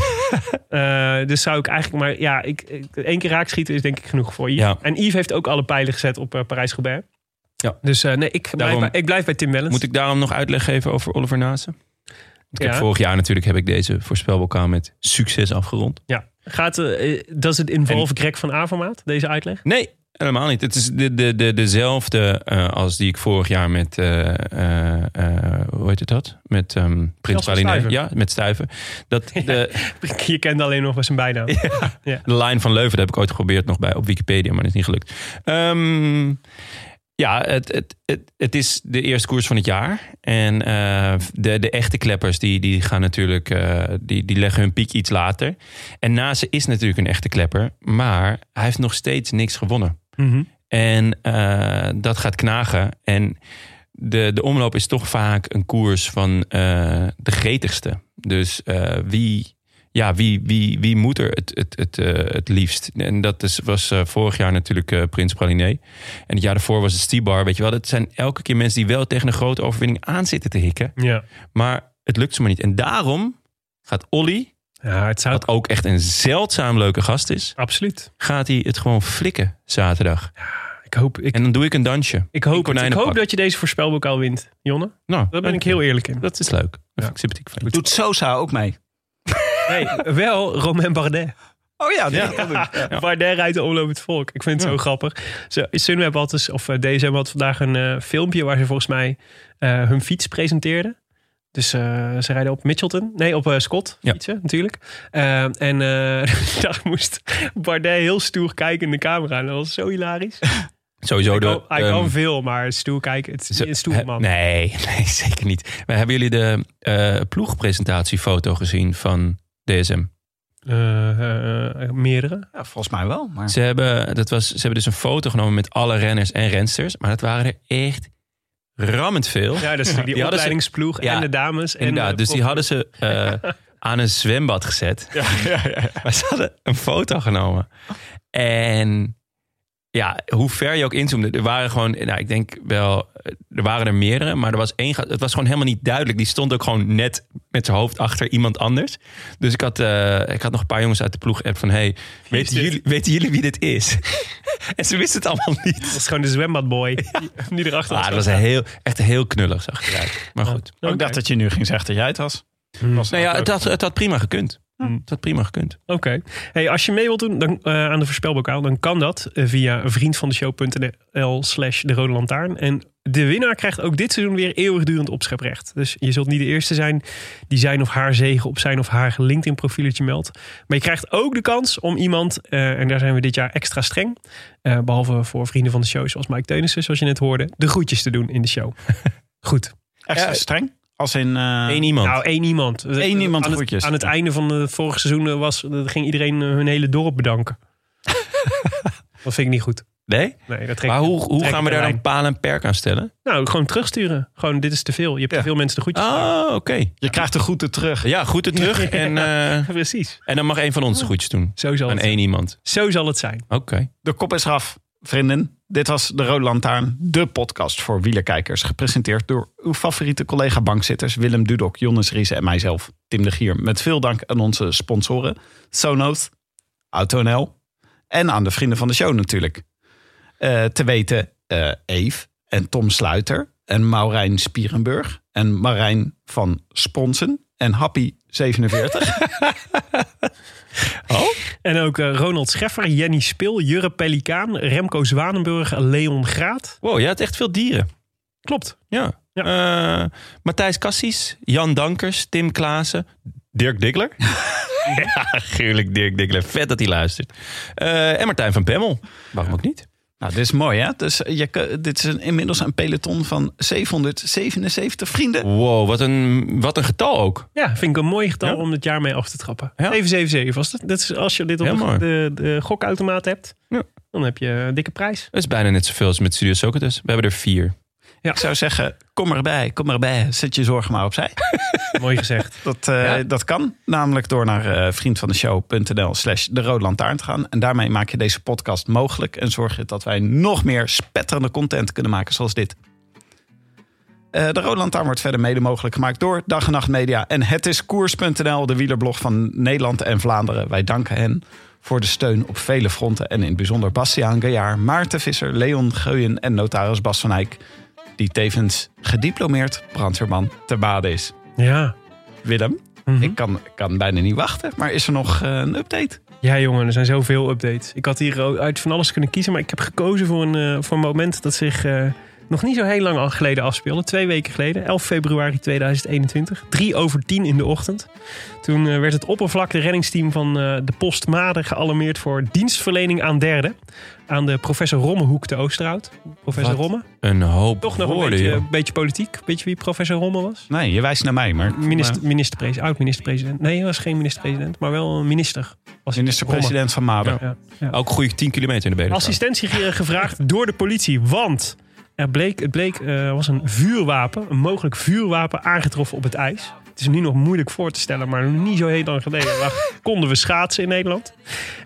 Speaker 2: Eh, dus zou ik eigenlijk maar... Ja, ik, ik- één keer raak schieten is denk ik genoeg voor Yves.
Speaker 1: Ja.
Speaker 2: En Yves heeft ook alle pijlen gezet op eh, Parijs-Roubaix.
Speaker 1: Ja.
Speaker 2: Dus eh, nee, ik blijf,
Speaker 1: Daarom-
Speaker 2: bij, ik blijf bij Tim Wellens.
Speaker 1: Moet ik daarom nog uitleg geven over Oliver Nase? Want ik heb
Speaker 2: Ja.
Speaker 1: vorig jaar natuurlijk heb ik deze voorspelbokaal met succes afgerond.
Speaker 2: Ja. Gaat, eh, eh, does it involve Greg van Avermaat, deze uitleg?
Speaker 1: Nee, helemaal niet. Het is de, de, de, dezelfde eh, als die ik vorig jaar met, eh, eh, eh, hoe heet het dat? Met ehm Prins
Speaker 2: Jasper
Speaker 1: Praline.
Speaker 2: Stuyven.
Speaker 1: Ja, met Stuiven. Dat, de,
Speaker 2: Je kende alleen nog wel zijn bijnaam.
Speaker 1: De Line van Leuven, dat heb ik ooit geprobeerd nog bij op Wikipedia, maar dat is niet gelukt. Ehm, ja, het, het, het, het is de eerste koers van het jaar. En eh, de, de echte kleppers, die, die gaan natuurlijk, eh, die, die leggen hun piek iets later. En Nase is natuurlijk een echte klepper, maar hij heeft nog steeds niks gewonnen.
Speaker 2: Mhm.
Speaker 1: En eh, dat gaat knagen. En de, de omloop is toch vaak een koers van eh, de gretigste. Dus eh, wie, ja, wie, wie, wie moet er het, het, het, eh, het liefst? En dat is, was eh, vorig jaar natuurlijk eh, Prins Praliné. En het jaar daarvoor was het Stibar. Weet je wel, dat zijn elke keer mensen die wel tegen een grote overwinning aan zitten te hikken.
Speaker 2: Ja.
Speaker 1: Maar het lukt ze maar niet. En daarom gaat Olly,
Speaker 2: ja, het zou
Speaker 1: wat ook echt een zeldzaam leuke gast is,
Speaker 2: Absoluut.
Speaker 1: gaat hij het gewoon flikken zaterdag.
Speaker 2: Ik hoop, ik,
Speaker 1: En dan doe ik een dansje.
Speaker 2: ik hoop, het. ik
Speaker 1: konijnenpak.
Speaker 2: hoop dat je deze voorspelbokaal wint, Jonne.
Speaker 1: Nou,
Speaker 2: Daar ben ik heel eerlijk in.
Speaker 1: Dat is leuk. Dat
Speaker 2: Ja.
Speaker 1: vind ik sympathiek van je.
Speaker 3: Doet Sosa ook mee?
Speaker 2: Nee, wel Romain Bardet.
Speaker 3: Oh ja, dat
Speaker 2: Bardet rijdt de omloop het volk. Ik vind het zo grappig. Ze, Sunweb had dus, of eh, DSM had vandaag een eh, filmpje waar ze volgens mij eh, hun fiets presenteerden. Dus eh, ze rijden op Mitchelton. Nee, op eh, Scott
Speaker 1: Ja.
Speaker 2: fietsen natuurlijk. Eh, en eh daar moest Bardet heel stoer kijken in de camera. En dat was zo hilarisch.
Speaker 1: Sowieso
Speaker 2: Hij
Speaker 1: de...
Speaker 2: kan, hij
Speaker 1: ehm,
Speaker 2: kan veel, maar stoer kijken. Het is
Speaker 1: zo-
Speaker 2: een stoer
Speaker 1: he-
Speaker 2: man.
Speaker 1: Nee, nee, zeker niet. Maar hebben jullie de eh, ploegpresentatiefoto gezien van DSM?
Speaker 2: Eh, eh, meerdere.
Speaker 3: Ja, volgens mij wel. Maar...
Speaker 1: Ze hebben, dat was, ze hebben dus een foto genomen met alle renners en rensters. Maar dat waren er echt rammend veel.
Speaker 2: Ja, dat is natuurlijk die
Speaker 1: Die hadden ze-
Speaker 2: opleidingsploeg
Speaker 1: ja,
Speaker 2: en de dames. En eh,
Speaker 1: Inderdaad,
Speaker 2: de
Speaker 1: dus die
Speaker 2: prof-
Speaker 1: hadden ze eh, aan een zwembad gezet. Maar ze hadden een foto genomen. En ja, hoe ver je ook inzoomde, er waren gewoon, nou, ik denk wel, er waren er meerdere, maar er was één, ga- het was gewoon helemaal niet duidelijk. Die stond ook gewoon net met zijn hoofd achter iemand anders. Dus ik had, eh, ik had nog een paar jongens uit de ploeg-app van, hey, weten
Speaker 2: dit?
Speaker 1: jullie, weten jullie wie dit is? en ze wisten het allemaal niet.
Speaker 2: Dat is gewoon de zwembadboy. Die, die erachter
Speaker 1: Ah, dat was een heel, echt heel knullig, zag ik eruit. Maar goed.
Speaker 3: Ik dacht dat je nu ging zeggen dat jij het was. was
Speaker 1: Nou ja, het had, het had prima gekund. Het had prima gekund.
Speaker 2: Oké. Hey, als je mee wilt doen dan, eh, aan de voorspelbokaal, dan kan dat eh, via vriendvandeshow.nl slash de rode lantaarn. En de winnaar krijgt ook dit seizoen weer eeuwigdurend opscheprecht. Dus je zult niet de eerste zijn die zijn of haar zegen op zijn of haar LinkedIn profieletje meldt. Maar je krijgt ook de kans om iemand, eh, en daar zijn we dit jaar extra streng, eh, behalve voor vrienden van de show zoals Mike Teunissen, zoals je net hoorde, de groetjes te doen in de show. Goed.
Speaker 3: Extra
Speaker 1: Ja.
Speaker 3: streng. Als in... eh,
Speaker 1: Eén iemand.
Speaker 2: Nou, één iemand.
Speaker 3: Eén iemand
Speaker 2: aan het,
Speaker 3: groetjes.
Speaker 2: Aan het einde van het vorige seizoen eh, was, eh, ging iedereen eh, hun hele dorp bedanken. dat vind ik niet goed.
Speaker 1: nee?
Speaker 2: Nee, dat trek
Speaker 1: Maar
Speaker 2: ik-
Speaker 1: hoe, hoe
Speaker 2: trek
Speaker 1: gaan
Speaker 2: ik
Speaker 1: we daar
Speaker 2: aan.
Speaker 1: dan paal en perk aan stellen?
Speaker 2: Nou, gewoon terugsturen. Gewoon, dit is te veel. Je hebt te veel mensen de groetjes. gedaan.
Speaker 1: Ah, oké.
Speaker 3: Je krijgt de groeten terug.
Speaker 1: Ja, goed er terug. En, eh,
Speaker 2: Precies.
Speaker 1: en dan mag één van ons de groetjes doen.
Speaker 2: Zo zal,
Speaker 1: Aan
Speaker 2: het, zijn.
Speaker 1: één iemand.
Speaker 2: zo zal het zijn.
Speaker 1: Oké.
Speaker 3: De kop is eraf, vrienden. Dit was De Rode Lantaarn, de podcast voor wielerkijkers. Gepresenteerd door uw favoriete collega-bankzitters... Willem Dudok, Jonas Riese en mijzelf, Tim de Gier. Met veel dank aan onze sponsoren Sonos, AutoNL... en aan de vrienden van de show natuurlijk. Eh, te weten eh Eve en Tom Sluiter en Maurijn Spierenburg... en Marijn van Sponsen en Happy47.
Speaker 2: En ook eh, Ronald Scheffer, Jenny Spil, Jurre Pelikaan, Remco Zwanenburg, Leon Graat.
Speaker 1: Wow, je had echt veel dieren.
Speaker 2: Klopt.
Speaker 1: Ja. Eh, Matthijs Cassis, Jan Dankers, Tim Klaassen, Dirk Diggler. ja, gruwelijk Dirk Diggler. Vet dat hij luistert. Eh, en Martijn van Pemmel. Waarom ook niet?
Speaker 3: Nou, dit is mooi, hè? Dus je, kun- dit is een, inmiddels een peloton van 777 vrienden.
Speaker 1: Wow, wat een, wat een getal ook.
Speaker 2: Ja, vind ik een mooi getal
Speaker 1: Ja.
Speaker 2: om het jaar mee af te trappen.
Speaker 1: Ja.
Speaker 2: 777 was dat. dat is, als je dit op
Speaker 1: Heel
Speaker 2: de,
Speaker 1: mooi.
Speaker 2: de, de gokautomaat hebt,
Speaker 1: Ja.
Speaker 2: dan heb je een dikke prijs.
Speaker 1: Dat is bijna net zoveel als met Studio Socrates. We hebben er vier.
Speaker 3: Ik zou zeggen, kom erbij, kom erbij. Zet je zorgen maar opzij.
Speaker 2: Mooi gezegd.
Speaker 3: Dat, eh,
Speaker 1: Ja.
Speaker 3: dat kan namelijk door naar eh, vriendvandeshow.nl slash de rode lantaarn te gaan. En daarmee maak je deze podcast mogelijk. En zorg je dat wij nog meer spetterende content kunnen maken zoals dit. Eh, de Rode Lantaarn wordt verder mede mogelijk gemaakt door Dag en Nacht Media. En het is koers.nl, de wielerblog van Nederland en Vlaanderen. Wij danken hen voor de steun op vele fronten. En in het bijzonder Bastiaan Gaillard, Maarten Visser, Leon Geuyen en notaris Bas van Eyck. Die tevens gediplomeerd brandweerman te bade is.
Speaker 2: Ja.
Speaker 3: Willem,
Speaker 2: Mhm.
Speaker 3: ik kan, kan bijna niet wachten. Maar is er nog eh, een update?
Speaker 2: Ja, jongen, er zijn zoveel updates. Ik had hier uit van alles kunnen kiezen, maar ik heb gekozen voor een, eh, voor een moment dat zich eh, nog niet zo heel lang al geleden afspeelde. Twee weken geleden, 11 februari 2021, drie over tien in de ochtend. Toen eh, werd het oppervlakte reddingsteam van eh, de Post Maden gealarmeerd voor dienstverlening aan derden. Aan de professor Rommehoek te Oosterhout. Professor
Speaker 1: Wat?
Speaker 2: Romme,
Speaker 1: Een hoop
Speaker 2: toch nog een
Speaker 1: woorden,
Speaker 2: beetje,
Speaker 1: joh.
Speaker 2: een beetje politiek. Weet je wie professor Romme was?
Speaker 3: Nee, je wijst naar mij, maar...
Speaker 2: Minister, minister-president, oud-minister-president. Nee, hij was geen minister-president, maar wel een minister. Was Romme.
Speaker 3: Minister-president van Maden.
Speaker 2: Ja, ja.
Speaker 1: Ook goede 10 kilometer in de benen.
Speaker 2: Assistentie ge- gevraagd door de politie, want er bleek, het bleek, eh, was een vuurwapen, een mogelijk vuurwapen aangetroffen op het ijs. Het is nu nog moeilijk voor te stellen, maar niet zo heel lang geleden lag- konden we schaatsen in Nederland.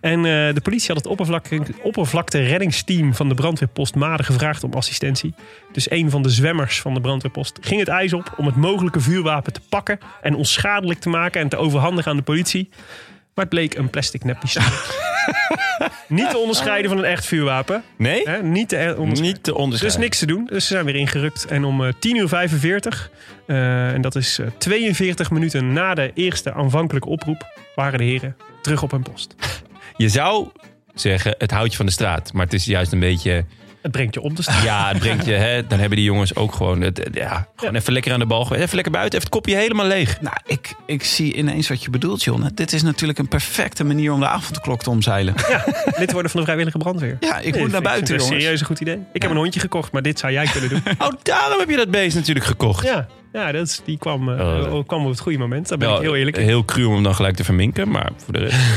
Speaker 2: En eh, de politie had het oppervlakte, oppervlakte reddingsteam van de brandweerpost Maden gevraagd om assistentie. Dus een van de zwemmers van de brandweerpost ging het ijs op om het mogelijke vuurwapen te pakken en onschadelijk te maken en te overhandigen aan de politie. Maar het bleek een plastic neppistool. Niet te onderscheiden van een echt vuurwapen.
Speaker 1: Nee?
Speaker 2: Hè? Niet te er- onderscheiden.
Speaker 1: Niet te
Speaker 2: Dus
Speaker 1: onderscheiden.
Speaker 2: niks te doen. Dus ze zijn weer ingerukt. En om eh, 10 uur 45, eh, en dat is eh, 42 minuten na de eerste aanvankelijke oproep, waren de heren terug op hun post.
Speaker 1: Je zou zeggen, het houdt je van de straat. Maar het is juist een beetje...
Speaker 2: Het brengt je op de straat.
Speaker 1: Ja, het brengt je... Hè, dan hebben die jongens ook gewoon... Het, ja, gewoon even lekker aan de bal. geweest. Even lekker buiten. Even het kopje helemaal leeg.
Speaker 3: Nou, ik, ik zie ineens wat je bedoelt, John. Dit is natuurlijk een perfecte manier om de avondklok te omzeilen.
Speaker 2: Lid worden van de vrijwillige brandweer.
Speaker 3: Ja, ik
Speaker 2: Nee,
Speaker 3: moet
Speaker 2: vind
Speaker 3: naar
Speaker 2: vind
Speaker 3: buiten,
Speaker 2: het
Speaker 3: jongens.
Speaker 2: serieus een goed idee. Ik heb een hondje gekocht, maar dit zou jij kunnen doen.
Speaker 1: Oh, daarom heb je dat beest natuurlijk gekocht.
Speaker 2: ja, ja dat is, die kwam, eh,
Speaker 1: Oh, eh, dat-
Speaker 2: kwam op het goede moment. Daar ben ik
Speaker 1: Wel,
Speaker 2: heel eerlijk in.
Speaker 1: Heel cru om hem dan gelijk te verminken. Maar voor de rest...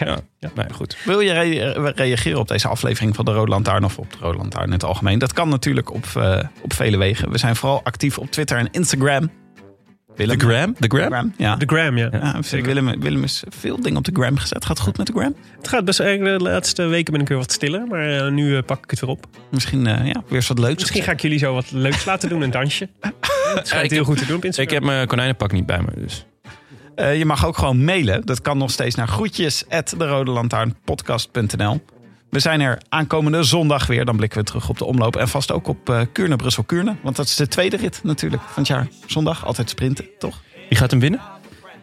Speaker 2: Ja.
Speaker 1: ja. Nee, goed.
Speaker 3: Wil je re- reageren op deze aflevering van de Rode Lantaarn of op de Rode Lantaarn in het algemeen? Dat kan natuurlijk op, eh, op vele wegen. We zijn vooral actief op Twitter en Instagram.
Speaker 1: De
Speaker 3: Willem.
Speaker 1: gram? De gram?
Speaker 3: Gram, ja.
Speaker 2: De gram, ja.
Speaker 3: Ja, Willem, Willem is veel dingen op de gram gezet. Gaat goed met de gram?
Speaker 2: Het gaat best erg. De laatste weken ben ik weer wat stiller, maar eh, nu eh, pak ik het weer op.
Speaker 3: Misschien eh, ja, weer eens wat leuks.
Speaker 2: Misschien ga ik jullie zo wat leuks laten doen, een dansje. Het
Speaker 1: Ja, ik
Speaker 2: schijnt heel
Speaker 1: heb-
Speaker 2: goed te doen op Instagram.
Speaker 1: Ik heb mijn konijnenpak niet bij me. Dus.
Speaker 3: Eh, je mag ook gewoon mailen. Dat kan nog steeds naar groetjes We zijn er aankomende zondag weer. Dan blikken we terug op de omloop. En vast ook op eh Kuurne, Brussel-Kuurne. Want dat is de tweede rit natuurlijk van het jaar. Zondag altijd sprinten, toch?
Speaker 1: Wie gaat hem winnen?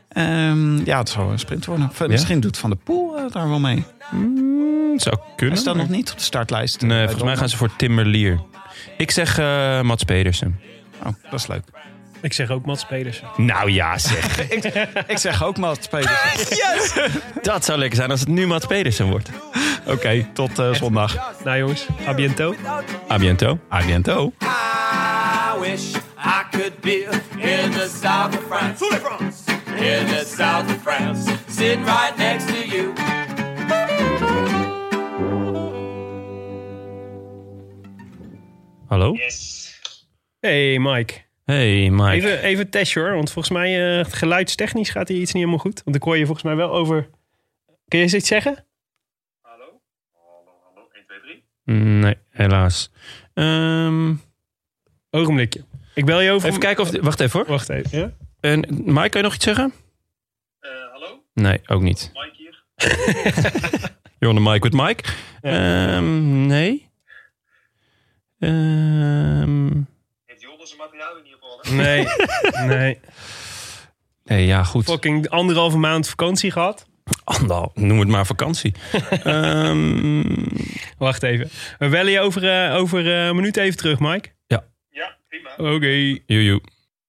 Speaker 3: Ehm, ja, het zou een sprint worden. V- Misschien doet Van der Poel eh, daar wel mee.
Speaker 1: Mm, zou kunnen.
Speaker 3: Hij staat nog niet op de startlijst.
Speaker 1: Nee,
Speaker 3: Eh,
Speaker 1: volgens mij gaan
Speaker 3: donderdag.
Speaker 1: ze voor Timmerlier. Ik zeg eh Mats Pedersen.
Speaker 3: Oh, dat is leuk.
Speaker 2: Ik zeg ook Mats Pedersen.
Speaker 1: Nou ja, zeg.
Speaker 3: Ik zeg ook Mats Pedersen.
Speaker 1: Dat zou lekker zijn als het nu Mats Pedersen wordt.
Speaker 3: Oké, tot eh, zondag.
Speaker 2: Nou jongens, a biento.
Speaker 1: A biento.
Speaker 3: A biento.
Speaker 5: I wish I could be in the south of France. In the south of France. Sitting right next to you.
Speaker 1: Hallo?
Speaker 2: Hey Mike.
Speaker 1: Hey Mike.
Speaker 2: Even, even test hoor, want volgens mij eh, geluidstechnisch gaat hier iets niet helemaal goed. Want ik hoor je volgens mij wel over... Kun je eens iets zeggen?
Speaker 1: Nee, helaas. Ehm,
Speaker 2: Ogenblikje. Ik bel je over...
Speaker 1: even kijken of... Wacht even hoor.
Speaker 2: Wacht even. Ja?
Speaker 1: En, Mike, kan je nog iets zeggen?
Speaker 6: hallo,
Speaker 1: Nee, ook niet.
Speaker 6: Mike hier.
Speaker 1: You're on the mic with Mike. Ehm, nee. Ehm,
Speaker 6: Heeft Jordan zijn materiaal in ieder geval?
Speaker 2: Nee. nee.
Speaker 1: nee, ja, goed.
Speaker 2: Fucking anderhalve maand vakantie gehad.
Speaker 1: Andal. Noem het maar vakantie. Ehm,
Speaker 2: Wacht even. We bellen je over, eh, over eh, een minuut even terug, Mike.
Speaker 6: Ja, prima.
Speaker 2: Oké.
Speaker 1: joe, joe.